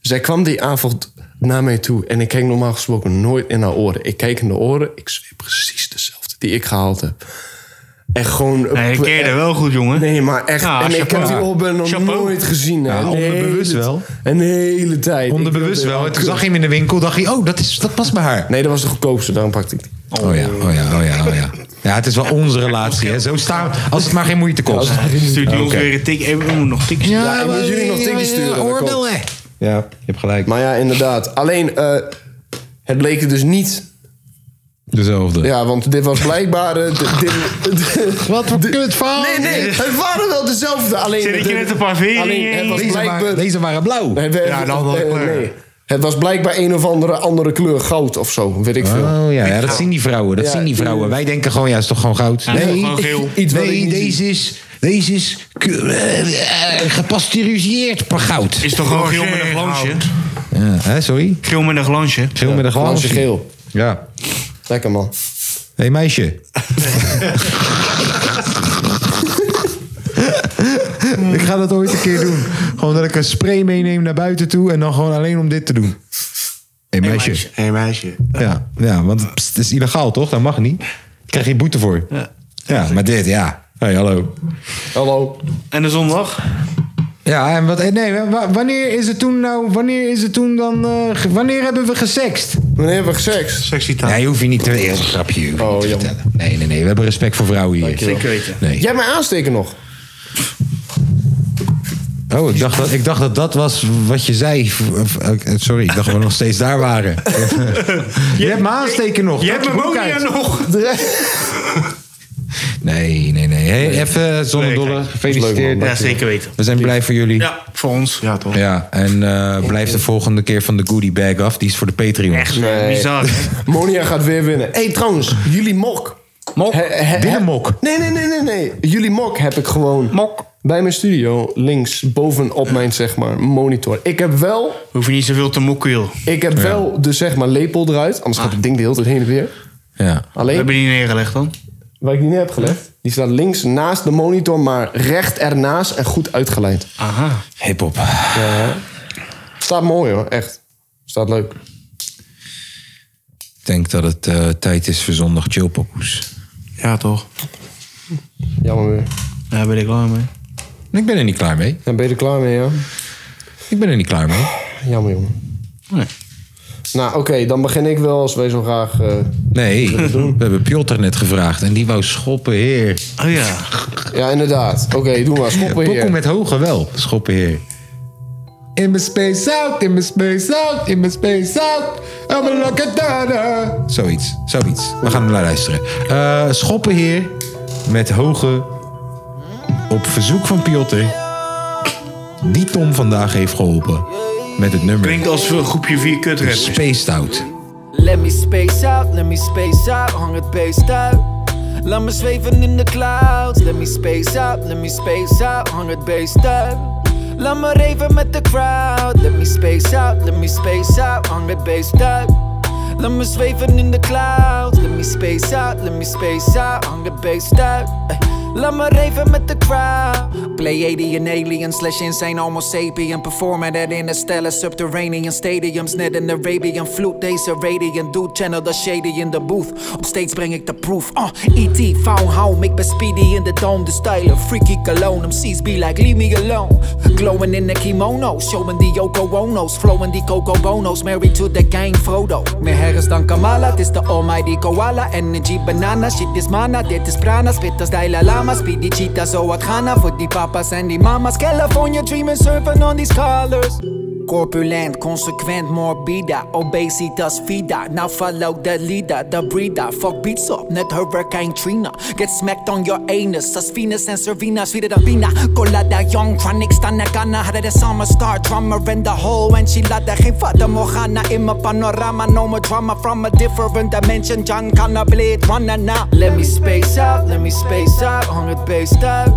zij kwam die avond naar mij toe. En ik keek normaal gesproken nooit in haar oren. Ik keek in de oren. Ik zweep precies dezelfde die ik gehaald heb. En gewoon...
Nee, ik keerde wel goed, jongen.
Nee, maar echt.
Ja,
en ik
chapeau.
heb die oorbellen nog
Chapeau.
nooit gezien. hè.
Ja,
Een
onderbewust
hele-
wel.
Een hele tijd.
Onderbewust
Ik wilde-
wel. En toen zag je hem in de winkel, dacht je, oh, dat, is, dat past bij haar.
Nee, dat was de goedkoopste. Daarom pakte ik die.
Oh ja, oh ja, oh ja, oh ja. Ja, het is wel onze relatie, hè. Zo staan, als het maar geen moeite kost.
Stuurt hij ons
Oké.
weer een tik. eh, We moeten nog tikjes.
Ja, en moeten jullie nog dingetjes sturen, dat
Oorbellen. Ja, je hebt gelijk.
Maar ja, inderdaad. Alleen, eh, het bleek het dus niet.
Dezelfde.
Ja, want dit was blijkbaar... eh,
*laughs*
d- dit- d-
Wat voor kut verhaal.
nee, nee, het waren wel dezelfde. Alleen,
Zit ik je
de-
net een paar veren in
alleen,
je
het was
Deze
blijkbaar...
waren, deze waren blauw.
Nee, we-
Ja, nou, de andere
eh,
kleur.
nee. Het was blijkbaar een of andere andere kleur goud of zo. Weet ik veel.
Oh ja, ja, dat zien die vrouwen. Dat
Ja,
zien die vrouwen. Wij denken gewoon, ja, is toch gewoon goud.
is toch gewoon geel.
Iets
wat ik
nee
niet
deze is, deze is k- eh, eh, gepasteuriseerd per goud.
Is toch gewoon geel met een glansje?
Ja, hè, sorry?
Geel met een glansje.
Veel met een glansje.
Glansje geel.
Ja.
Lekker man.
Hé hey,
*laughs*
meisje. ik ga dat ooit een keer doen. Gewoon dat ik een spray meeneem naar buiten toe en dan gewoon alleen om dit te doen. Hé meisje.
Hé meisje.
Ja, ja want pst, het is illegaal Oh, toch? Dat mag niet. Daar krijg je boete voor. Ja, maar dit, ja. hey, hallo.
Hallo.
En de zondag?
Ja, en wat, en nee, wa- wanneer is het toen nou, wanneer is het toen dan, eh, ge- wanneer hebben we gesext?
Wanneer hebben we seks?
Sexy taal.
Nee, hoef je niet te, heel grapje, hoef je niet
Oh,
te
jammer.
vertellen. Nee, nee, nee, we hebben respect voor vrouwen hier.
Zeker weten.
Nee.
Jij hebt mij aansteken nog.
Oh, ik dacht, dat, ik dacht dat dat was wat je zei. V- v- eh, Sorry, ik dacht dat we nog steeds daar waren. je hebt me aansteken nog.
Je
Trek
hebt mijn
broek
monia
uit.
nog.
Nee, nee, nee. Hey, even eh, zonder
Nee, kijk,
dolle.
dat is
Gefeliciteerd.
Ja, zeker weten.
We zijn blij voor jullie.
Ja, voor ons.
Ja, toch?
Ja, en eh blijf de volgende keer van de goodie bag af. Die is voor de Patreon.
Echt
Nee.
bizar. hè?
Monia gaat weer winnen. Hé, hey, trouwens, jullie mok.
Mok? Binnenmok?
Nee, nee, nee, nee, nee. Jullie mok heb ik gewoon.
Mok.
Bij mijn studio, links boven op mijn zeg maar, monitor. Ik heb wel,
Hoef je niet zoveel te mokken, joh.
ik heb wel de zeg maar, lepel eruit. Anders gaat het ding de hele tijd heen en weer.
Ja.
Ah. We
Alleen,
hebben die neergelegd dan.
waar ik die neer heb gelegd, die staat links naast de monitor, maar recht ernaast en goed uitgeleid.
Aha.
Hip-hop.
Staat mooi hoor, echt. Staat leuk.
Ik denk dat het eh, tijd is voor zondag chillpokoes.
Ja, toch?
Jammer weer.
Daar ben ik klaar mee.
Ik ben er niet klaar mee.
Ja, ben je er klaar mee, ja?
Ik ben er niet klaar mee.
Jammer, jongen.
Nee.
Nou, oké, dan begin ik wel als wij zo graag. eh,
Nee, we hebben Piotr net gevraagd en die wou schoppen heer.
Oh ja.
Ja, inderdaad. Oké, doe maar. Schoppen
Pokoe
hier.
met hoge wel, schoppen heer. In mijn space out, in mijn space out, in mijn space out. I'm a lockadada. Zoiets, zoiets. We gaan naar luisteren. Eh schoppen heer met hoge op verzoek van Piotr. Die Tom vandaag heeft geholpen met het nummer
Klinkt als een groepje vier kutrappers.
Spaced Out.
Let me space out, let me space out, hang het beest uit. Laat me zweven in de clouds. Let me space out, let me space out, hang het beest uit. Laat me raven met de crowd. Let me space out, let me space out, hang het beest uit. Laat me zweven in de clouds. Let me space out, let me space out, hang het beest uit. Eh, Laat me raven met de crowd. Play 80 and alien slash insane homo sapien. Performing at interstellar subterranean stadiums. Net een Arabian vloed. Deze radiant dude channel dat shady in de booth. Op steeds breng ik de proof. Uh, E.T. found home. Ik ben speedy in de dome. De style of freaky cologne. MC's be like leave me alone. Glowing in the kimono. Showing the Yoko Ono's. Flowing the Coco Bono's. Married to the gang Frodo. Meer herres dan Kamala. Het is de almighty koala. Energy banana. Shit is mana. Dit is prana. Spit als Dalai Lama. Speedy cheetah. Zo wat Ghana. Voor die papa's en die mama's. California dreaming. Surfing on these colors. Corpulent, consequent, morbida Obesitas vida Now follow the leader, the breeder Fuck beats up, net hurricane Trina Get smacked on your anus As Venus and Servina, sweeter than Vina Colada, young, chronic, stunner, Ghana Harder than summer star, drummer in the hole And she laat geen vader Morgana In mijn panorama, no more drama From a different dimension, John Connor, Blade Runner now Let me space out, let me space out Hang het beest uit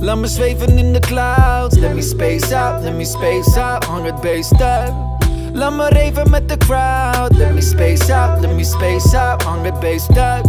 Laat me zweven in de clouds. Let me space out, let me space out. Hang het beest uit. Laat me raven met de crowd. Let me space out, let me space out. Hang het beest uit.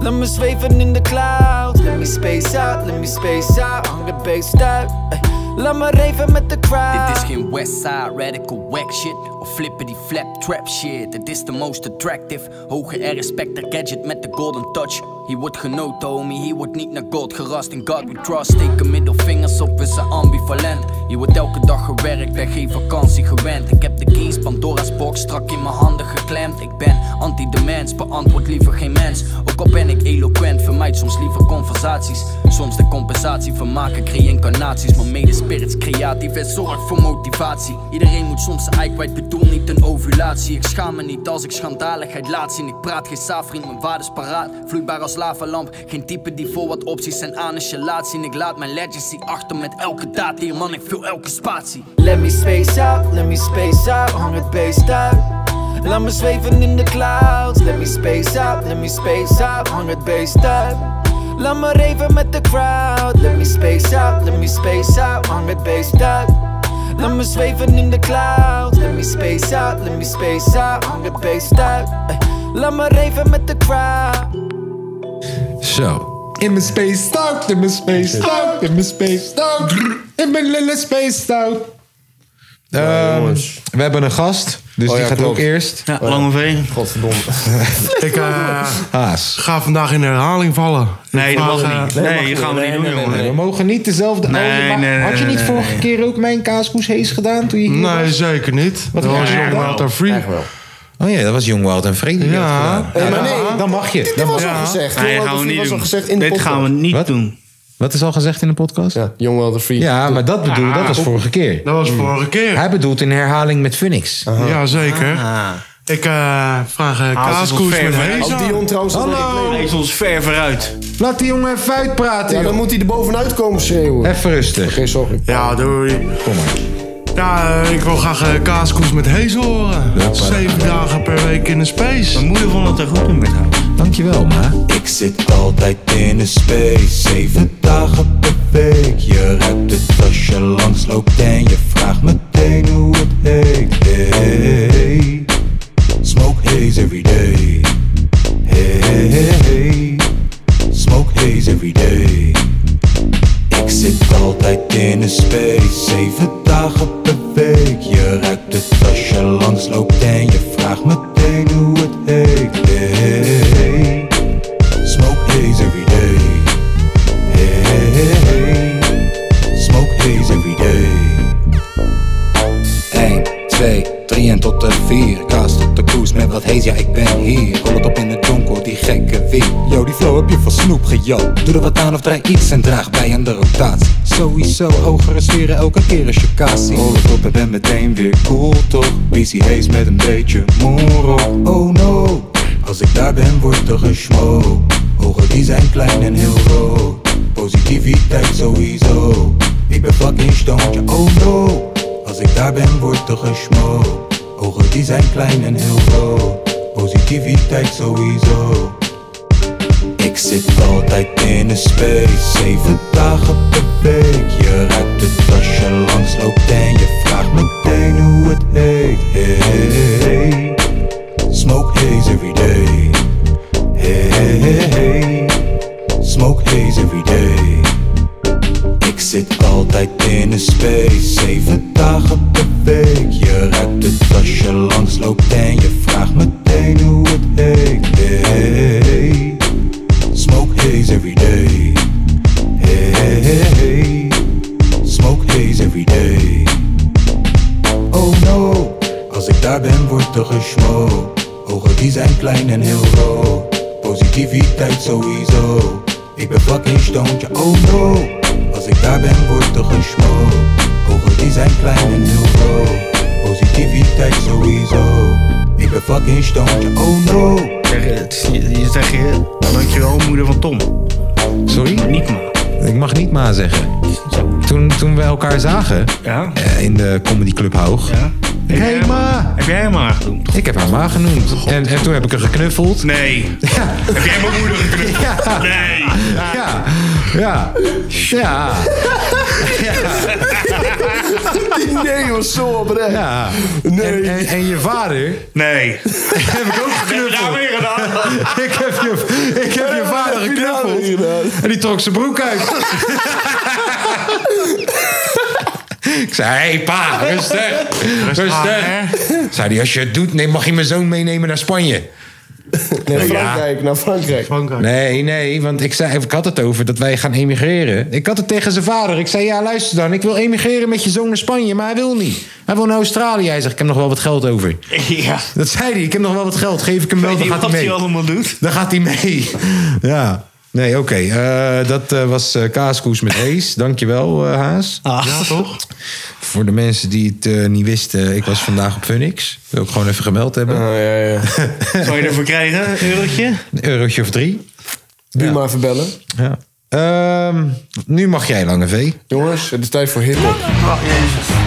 Laat me zweven in de clouds. Let me space out, let me space out. Hang het beest uit. Ey, Laat me raven met de crowd.
Dit is geen Westside radical wack shit of flippen die flap trap shit. Dit is de most attractive, hoge R specter gadget met de golden touch. Hier wordt genoten homie, hier wordt niet naar gold gerast. In God we trust, steken middelvingers op, we zijn ambivalent. Hier wordt elke dag gewerkt en geen vakantie gewend. Ik heb de keys, Pandora's box strak in mijn handen geklemd. Ik ben anti-de mens, beantwoord liever geen mens. Ook al ben ik eloquent, vermijd soms liever conversaties. Soms de compensatie van maken reïncarnaties. Maar medespirits creatief en zorg voor motivatie. Iedereen moet soms zijn ei kwijt, bedoel niet een ovulatie. Ik schaam me niet als ik schandaligheid laat zien. Ik praat geen saafvriend, mijn waarde is paraat. Vloeibaar als lavalamp, geen type die voor wat opties zijn aan is je laat zien. Ik laat mijn legacy achter met elke daad hier, man, ik vul elke spatie.
Let me space out, let me space out, hang het beest uit. Laat me zweven in de clouds. Let me space out, let me space out, hang het beest uit. Laat me raven met de crowd. Let me space out, let me space out, hang het beest uit. Laat me zweven in de clouds. Let me space out, let me space out, hang het beest uit. Ey, Laat me raven met de crowd.
Zo. In mijn space stout, in mijn space stout, in mijn space stout, in mijn lille space stout. Ehm, we hebben een gast, dus
Oh
die
ja,
gaat
klopt.
ook eerst.
Ja, Lange V.
Godverdomme.
Ik eh,
Haas.
ga vandaag in herhaling vallen.
Nee, dat
Ik
mag
vraag,
niet.
eh,
Nee, dat gaan we niet doen, jongen.
We mogen niet dezelfde
Nee,
oude- maar
nee, nee,
Had je niet
nee,
vorige keer ook mijn kaaskoes hees gedaan toen je hier
Nee,
was?
zeker niet. Dat was
ja,
Young
wel.
Walter Free.
Echt wel.
Oh ja, dat was Jong Wild en Vreemd. die
Ja.
dat gedaan.
Eh, maar
Ja,
nee,
dan mag je.
Dit, dit
Dan
was
mag-
al gezegd.
Nee,
Jong
gaan we
Wilder Free
niet
was al
doen.
gezegd in de
Dit
podcast.
gaan we niet
Wat?
doen.
Wat is al gezegd in de podcast? Ja,
Ja, Young Wilder Free.
maar dat bedoel dat was vorige keer.
Dat
Mm.
was vorige keer.
Hij bedoelt in herhaling met Phoenix.
Ah.
Ja, zeker. Ik eh, vraag eh,
het is
kaaskoes
wel
met
ver, hè?
Als
Heza.
Dion trouwens... dat weet ik
Hij is ons ver vooruit.
Laat die jongen even
niet. Ja,
uitpraten.
dan moet hij er bovenuit komen schreeuwen.
Even rustig.
Geen zorgen.
Ja, doei.
Kom maar.
Ja, eh, ik wil graag eh, kaaskoes met Hazel horen. Zeven dagen per week in de space.
Mijn moeder vond het er goed in met haar.
Dankjewel, ma.
Ik zit altijd in een space, zeven dagen per week. Je ruikt het als je langs loopt en je vraagt meteen hoe het heet. Hey, hey, smoke haze every day. Hey, hey, hey, smoke haze every day. Ik zit altijd in een space, zeven dagen per week. Je ruikt het als je langs loopt en je vraagt meteen hoe het heet. Hey, hey, hey. Smoke haze every day. Hey, hey, hey, hey. Smoke haze every day.
1, 2, 3 en tot de 4. Kaas tot de koers met wat hees, ja ik ben hier. Rol het op in het donker, die gekke wind. Yo, die flow heb je van snoep gejat. Doe er wat aan of draai iets en draag bij aan de rotatie. Sowieso hogere sferen, elke keer een chocatie. Rol het op en ben meteen weer cool toch? Busy haze met een beetje moerok. Oh no, als ik daar ben wordt er gesmoke. Ogen die zijn klein en heel rood. Positiviteit sowieso. Ik ben fucking stoontje, oh no. Als ik daar ben, wordt er gesmoord. Ogen die zijn klein en heel rood. Positiviteit sowieso.
Ik zit altijd in een space, zeven dagen per week. Je ruikt het als je langs loopt en je vraagt meteen hoe het heet. Hey, hey, hey. Smoke haze every day. Hey, hey, hey, hey. Smoke haze every day. Ik zit altijd in een space, zeven dagen per week. Je ruikt het als je langs loopt en je vraagt meteen hoe het heet. Hey, hey, hey. Smoke haze every day. Hey, hey, hey, hey. Smoke haze every day. Oh no, als ik daar ben wordt er gesmokt. Ogen die zijn klein en heel rood. Positiviteit sowieso. Ik ben fucking stoontje, oh no. Als ik daar ben wordt er gesmokt. Ogen die zijn klein en heel rood. Positiviteit sowieso. Ik ben fucking stoned, oh no.
eh, Je zegt je, dankjewel moeder van Tom.
Sorry?
Niet maar.
Ik mag niet ma zeggen. Toen, toen we elkaar zagen eh, in de Comedy Club Hoog. Hey ma!
Heb jij hem maar genoemd?
Ik heb haar ma genoemd. En, en toen heb ik haar geknuffeld.
Nee. Heb jij mijn moeder geknuffeld? Nee.
Ja. Ja. Ja.
Die nee was zo oprecht.
Ja. Nee. En, en, en je vader?
*laughs* Nee.
heb ik ook geknuffeld.
weer gedaan.
ik, heb je, ik heb je vader geknuffeld. En die trok zijn broek *laughs* uit. Ik zei, hé hey, pa, rustig. Rustig. Zei die als je het doet, nee, mag je mijn zoon meenemen naar Spanje?
Naar
Nou ja.
Frankrijk, naar Frankrijk.
Nee, nee, want ik, zei, ik had het over dat wij gaan emigreren. Ik had het tegen zijn vader. Ik zei, ja, luister dan. Ik wil emigreren met je zoon naar Spanje, maar hij wil niet. Hij wil naar Australië. Hij zegt, ik heb nog wel wat geld over.
Ja.
Dat zei hij, ik heb nog wel wat geld. Geef ik hem wel,
Weet
dan
je
gaat hij
wat hij
mee.
allemaal doet?
Dan gaat hij mee. *laughs* Ja. Nee, oké. eh, dat eh, was eh, Kaaskoes met Hees. Dankjewel, eh Haas.
Ja, toch?
Voor de mensen die het eh, niet wisten, ik was vandaag op Phoenix. Wil ik gewoon even gemeld hebben.
Ah, ja, ja.
Zou je ervoor krijgen, een eurotje?
Een eurotje of drie.
Nu maar verbellen.
Ja. Ehm, nu mag jij, Lange V.
Jongens, het is tijd voor hip-hop.
Oh,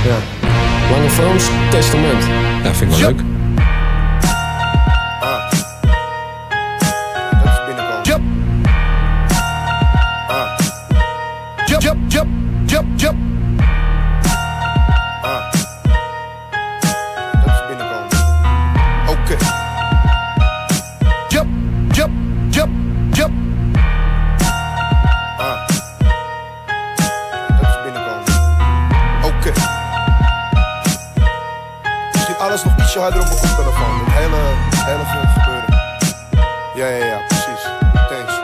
Ja. Lange Frans Testament.
Ja, vind ik wel leuk.
Jump, jump, jump, jump, jump. Ah. Oké. Jump, jump, jump, jump. Ah. Oké. Misschien alles nog ietsje harder op mijn koptelefoon. Het hele, hele veel gebeuren. Ja, ja, ja, precies. Thanks.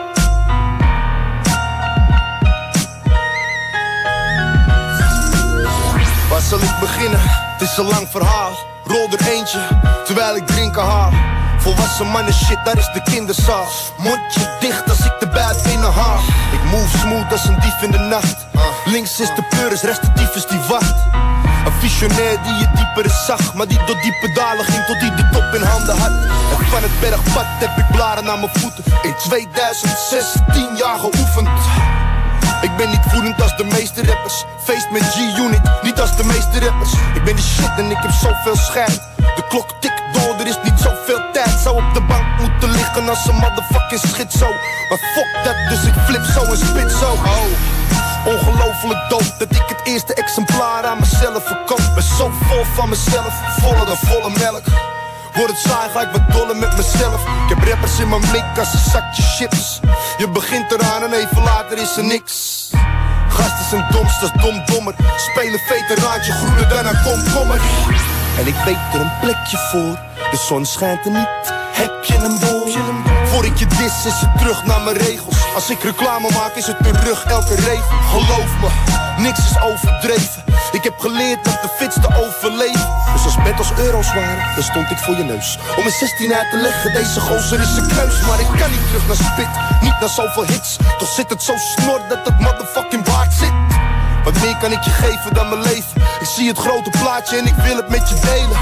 Waar zal ik beginnen? Het is een lang verhaal. Rol er eentje, terwijl ik drinken haal. Volwassen mannen shit, daar is de kinderzaal. Mondje dicht als ik de buit haal. Ik move smooth als een dief in de nacht. Links is de pleuris, rechts de tyfus die wacht. Een visionair die je dieper zag, maar die door diepe dalen ging tot die de top in handen had. En van het bergpad heb ik blaren aan mijn voeten. In 2016 jaar geoefend. Ik ben niet voelend als de meeste rappers. Feest met G-Unit, niet als de meeste rappers. Ik ben de shit en ik heb zoveel schijt. De klok tikt door, er is niet zoveel tijd. Zou op de bank moeten liggen als een motherfucking schit zo. Maar fuck dat, dus ik flip zo en spit zo. Oh. Ongelooflijk dood dat ik het eerste exemplaar aan mezelf verkoop. Ben zo vol van mezelf, voller dan volle melk. Word het saai, ga ik wat dollen met mezelf. Ik heb rappers in mijn mik als een zakje chips. Je begint eraan en even later is er niks. Gasten zijn domst als domdommer. Spelen veteraantje groener dan een komkommer. En ik weet er een plekje voor. De zon schijnt er niet. Heb je een bol? Voor ik je dis is het terug naar mijn regels. Als ik reclame maak is het terug elke regel. Geloof me, niks is overdreven. Ik heb geleerd dat de fitste overleven. Dus als bed als euro's waren, dan stond ik voor je neus. Om een 16 uit te leggen, deze gozer is een kneus. Maar ik kan niet terug naar spit, niet naar zoveel hits. Toch zit het zo snor dat dat motherfucking waard zit. Wat meer kan ik je geven dan mijn leven? Ik zie het grote plaatje en ik wil het met je delen.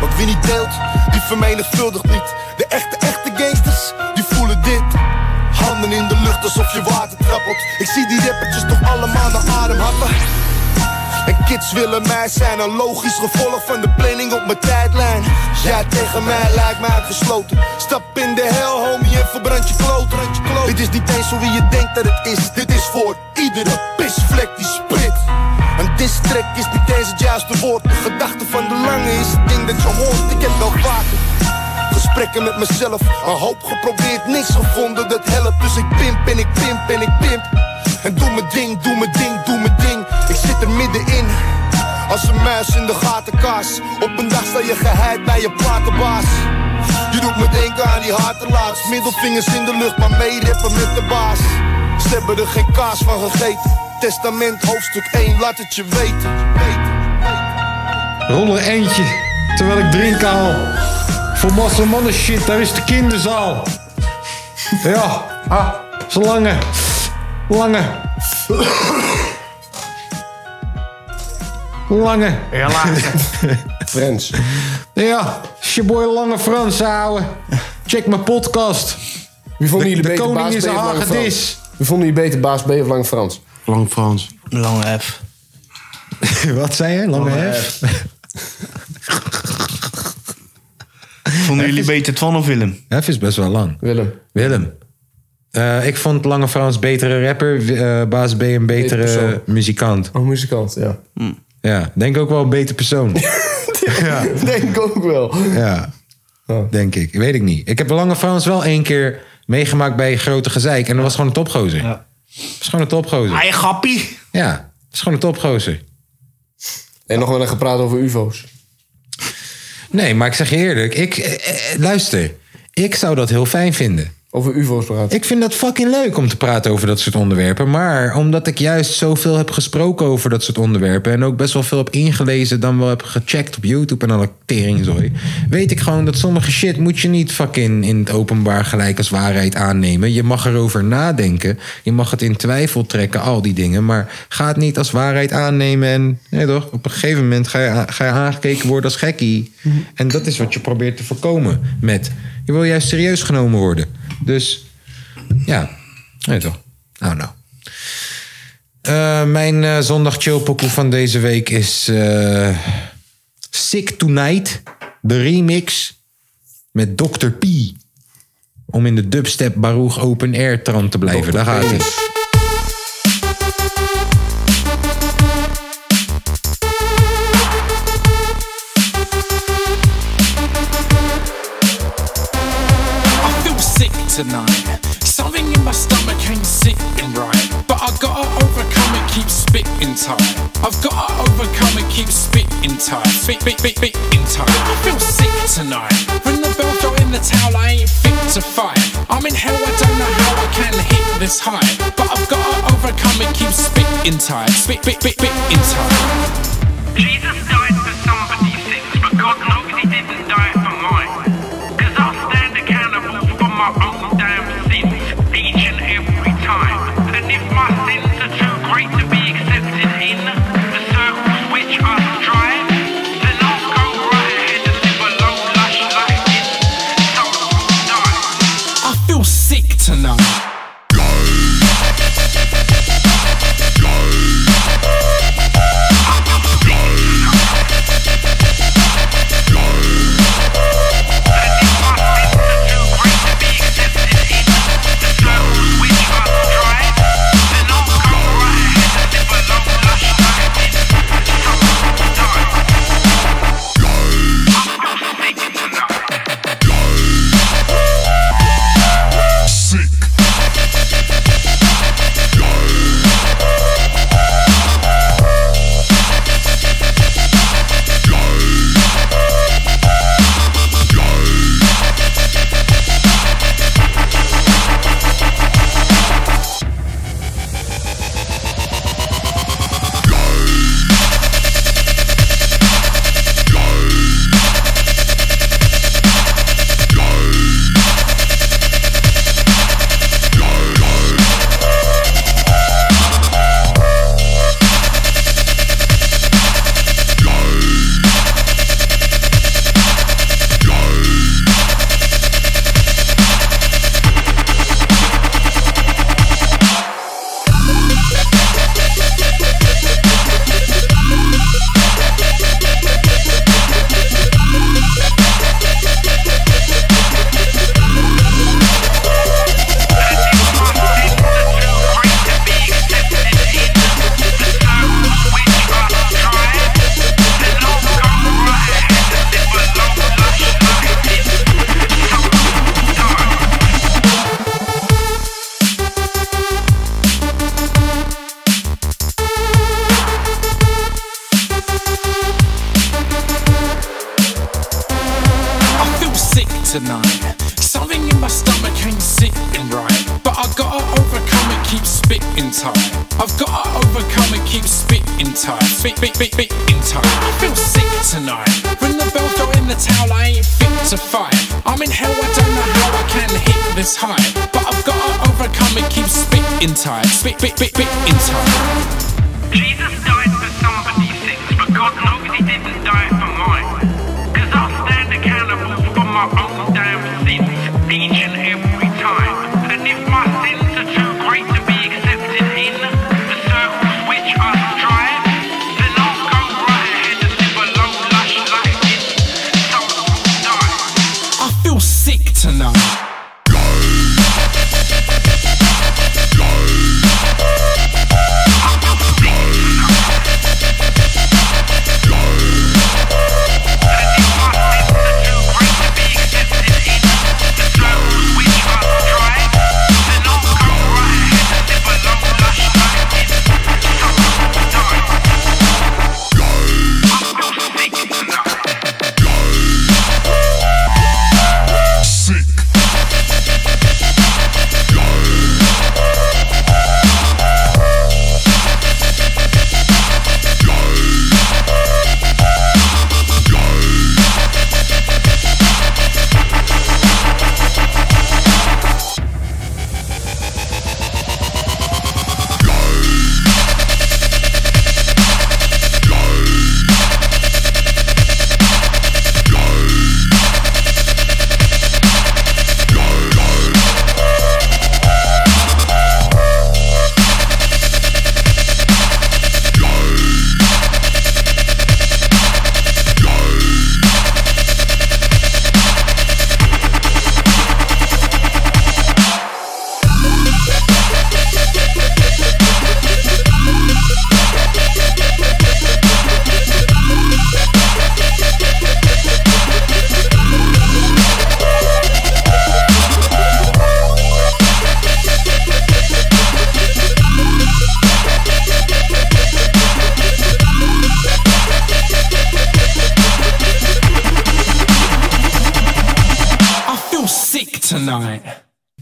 Want wie niet deelt, die vermenigvuldigt niet. De echte, echte gangsters, die voelen dit. Handen in de lucht alsof je water trappelt. Ik zie die rappertjes toch allemaal naar adem happen. En kids willen mij zijn een logisch gevolg van de planning op mijn tijdlijn. Jij tegen mij lijkt mij uitgesloten. Stap in de hel, homie, en verbrand je kloot. Dit is niet eens zo wie je denkt dat het is. Dit is voor iedere pisvlek die split. Een distrek is niet eens het juiste woord. De gedachte van de lange is het ding dat je hoort. Ik heb wel vaker. Gesprekken met mezelf, een hoop geprobeerd, niks gevonden dat helpt. Dus ik pimp en ik pimp en ik pimp. En doe mijn ding, doe mijn ding, doe mijn ding. Ik zit er middenin, als een muis in de gatenkaas. Op een dag sta je geheid bij je platenbaas. Je doet me denken aan die hartenlaars. Middelvingers in de lucht, maar meerippen met de baas. Ze hebben er geen kaas van gegeten. Testament hoofdstuk 1, laat het je weten.
Rol er eentje, terwijl ik drink al. Volwassen mannen shit, daar is de kinderzaal. Ja, ah, ze lange. Lange. Lange.
Ja, lager.
Frans. Ja, is je boy Lange Frans, ouwe. Check mijn podcast.
Wie vonden
de,
jullie
de
beter
koning
baas
is
B
een
of Lange
hagedis.
Frans? Wie vonden jullie beter baas B of Lang Frans?
Lang Frans.
Lange F.
*laughs* Wat zei je? Lange,
Lange
hef?
Vonden jullie beter Twan of Willem?
Hef is best wel lang.
Willem.
Willem. Eh, ik vond Lange Frans betere rapper, w- eh, Baas B een betere
persoon.
muzikant.
Oh, muzikant, ja. *laughs*
Ja, denk ook wel een beter persoon. ja.
Denk ik ook wel.
Ja, denk ik. Weet ik niet. Ik heb Lange Frans wel één keer meegemaakt bij Grote Gezeik. En dat was gewoon een topgozer. Ja. Dat is gewoon een topgozer.
Hij grappie.
Ja, dat is gewoon een topgozer.
En nog wel een gepraat over ufo's.
Nee, maar ik zeg je eerlijk. Ik, eh, eh, luister, ik zou dat heel fijn vinden.
Over ufo's praten.
Ik vind dat fucking leuk om te praten over dat soort onderwerpen. Maar omdat ik juist zoveel heb gesproken over dat soort onderwerpen... en ook best wel veel heb ingelezen... dan wel heb gecheckt op YouTube en alle teringzooi... weet ik gewoon dat sommige shit moet je niet fucking in het openbaar gelijk als waarheid aannemen. Je mag erover nadenken. Je mag het in twijfel trekken, al die dingen. Maar ga het niet als waarheid aannemen. En nee toch, op een gegeven moment ga je, ga je aangekeken worden als gekkie. En dat is wat je probeert te voorkomen met... je wil juist serieus genomen worden. Dus... Ja, nee toch? Nou, nou. Eh, mijn eh zondag chillpokoe van deze week is eh, Sick Tonight, de remix met Dr. P. Om in de dubstep Baruch Open Air trant te blijven. Daar gaat hij.
I feel sick tonight. Something in my stomach ain't sitting right. But I gotta overcome it, keep spitting tight. I've gotta overcome it, keep spitting tight. Spit, spit, spit, spitting tight. I feel sick tonight. Ring the bell, throw in the towel, I ain't fit to fight. I'm in hell, I don't know how I can hit this high. But I've gotta overcome it, keep spitting tight. Spit, spit, spit, spitting tight.
Jesus died for somebody's sins, but God knows he didn't die for mine. Cause I stand accountable for my own damn sins, each and every time. And if my sins are too great to be accepted in the circles which I strive, then I'll go right ahead and live a low, lush life in some die.
I feel sick tonight. I feel sick tonight. Something in my stomach ain't sitting right. But I gotta overcome it, keep spitting tight. I've gotta overcome it, keep spitting tight. Spit, spit, spit, spitting tight. I feel sick tonight. Ring the bell, throw in the towel, I ain't fit to fight. I'm in hell, I don't know how I can hit this high. But I've gotta overcome it, keep spitting tight. Spit, spit, spit, spitting tight.
Jesus died for somebody's sins, but God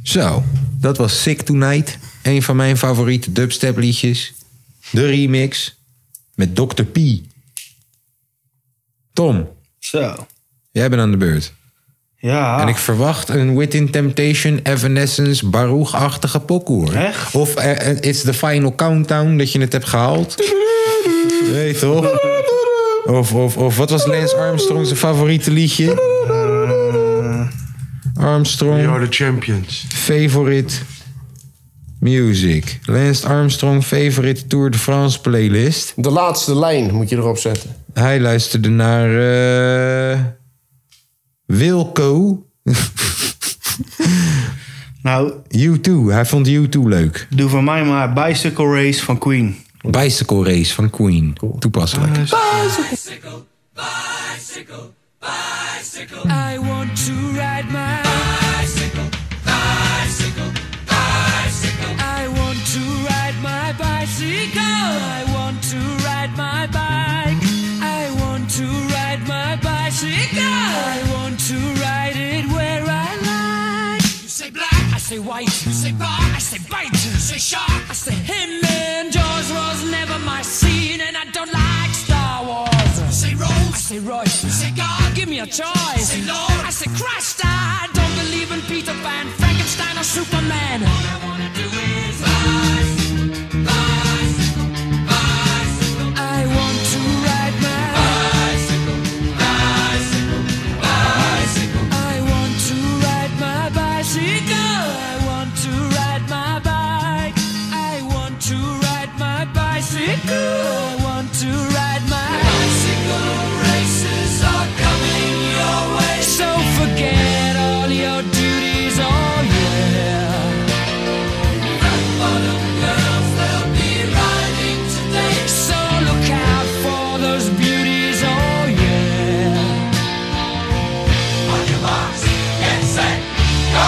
Zo, dat was Sick Tonight. Een van mijn favoriete dubstep liedjes. De remix met Dr. P. Tom.
Zo.
Jij bent aan de beurt.
Ja.
En ik verwacht een Within Temptation, Evanescence, Baruch-achtige pokoe. hoor. Of eh, eh, It's the Final Countdown, dat je het hebt gehaald. Nee, toch? Of, of, of wat was Lance Armstrong zijn favoriete liedje? Armstrong. You are the champions. Favorite music. Lance Armstrong favorite Tour de France playlist.
De laatste lijn moet je erop zetten.
Hij luisterde naar eh, Wilco. *laughs*
nou,
U2. Hij vond U2 leuk.
Doe van mij maar Bicycle Race van Queen.
Bicycle Race van Queen. Toepasselijk.
Ah,
Bicycle, bicycle, bicycle. I want to ride my bicycle, bicycle, bicycle. I want to ride my bicycle. I want to ride my bike. I want to ride my bicycle. I want to ride it where I like. You say black, I say white. You say bar, I say bite. You say shark, I say him. And Jaws was never my scene, and I don't like Star Wars. You say Rose, I say Royce. You say God, give me a choice. Say Lord, I say Christ. I don't believe in Peter Pan, Frankenstein, or Superman. All I wanna do is bicycle, bicycle, bicycle. I want to ride my bicycle, bicycle, bicycle. I want to ride my bicycle. I want to ride my bike. I want to ride my bicycle. I want to ride my bicycle. Races are coming your way, so forget all your duties. Oh yeah. Rock bottom girls, they'll be riding today, so look out for those beauties. Oh yeah. On your marks, get set, go!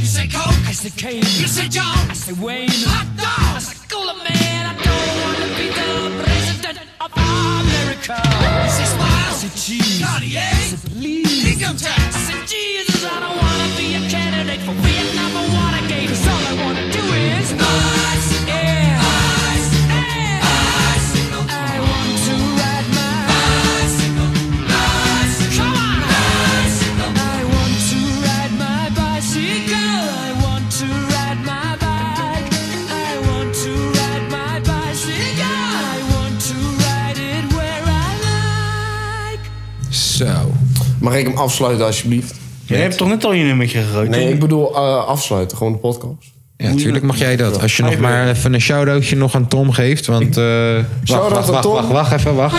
You say Coke, I say Kane. You say John, I say Wayne. Hot dog, I say Cooler Man. I don't wanna be the president of America. You say Smile, I say Cheese. Cartier, I say Please. Income tax, I say Jesus. I don't wanna be a candidate for Vietnam or Watergate. 'Cause all I wanna do is bicycle. Yeah. Bicycle. I want to ride my bicycle. Bicycle. Come on. Bicycle. I want to ride my bicycle. I want to ride my bike. I want to ride my bicycle. I want to ride it where I
Zo.
Mag ik hem afsluiten alsjeblieft?
Jij hebt toch net al je nummertje gegooid?
Nee, ik bedoel eh, afsluiten, gewoon de podcast.
Ja, natuurlijk mag jij dat. Als je nog
Hij
maar even een shout-outje nog aan Tom geeft. Want. eh wacht,
Shout-out
wacht,
aan
wacht,
Tom.
wacht, wacht even, wacht.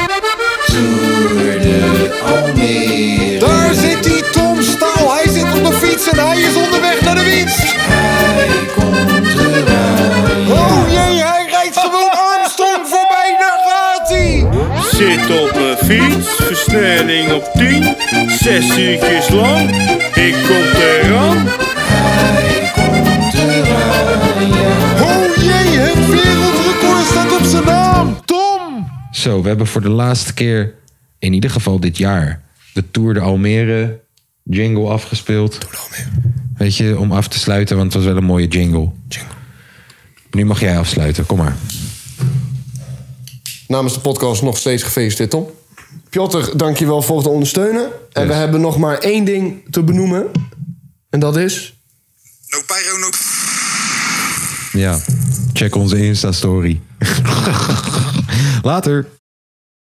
Daar zit die Tom Staal. Hij zit op de fiets en hij is onderweg naar de winst. Hij komt eruit. Oh jee, hij rijdt gewoon Armstrong voorbij. Daar gaat hij.
Zit op mijn fiets, versnelling op 10, 6 uurtjes lang, ik kom eraan.
Oh jee, het wereldrecord staat op zijn naam. Tom.
Zo, we hebben voor de laatste keer, in ieder geval dit jaar, de Tour de Almere jingle afgespeeld. Weet je, om af te sluiten, want het was wel een mooie jingle. Nu mag jij afsluiten, kom maar.
Namens de podcast nog steeds gefeliciteerd, Tom. Piotr, dankjewel voor het ondersteunen. En we hebben nog maar één ding te benoemen. En dat is...
Ja. Check onze Insta-story. Later.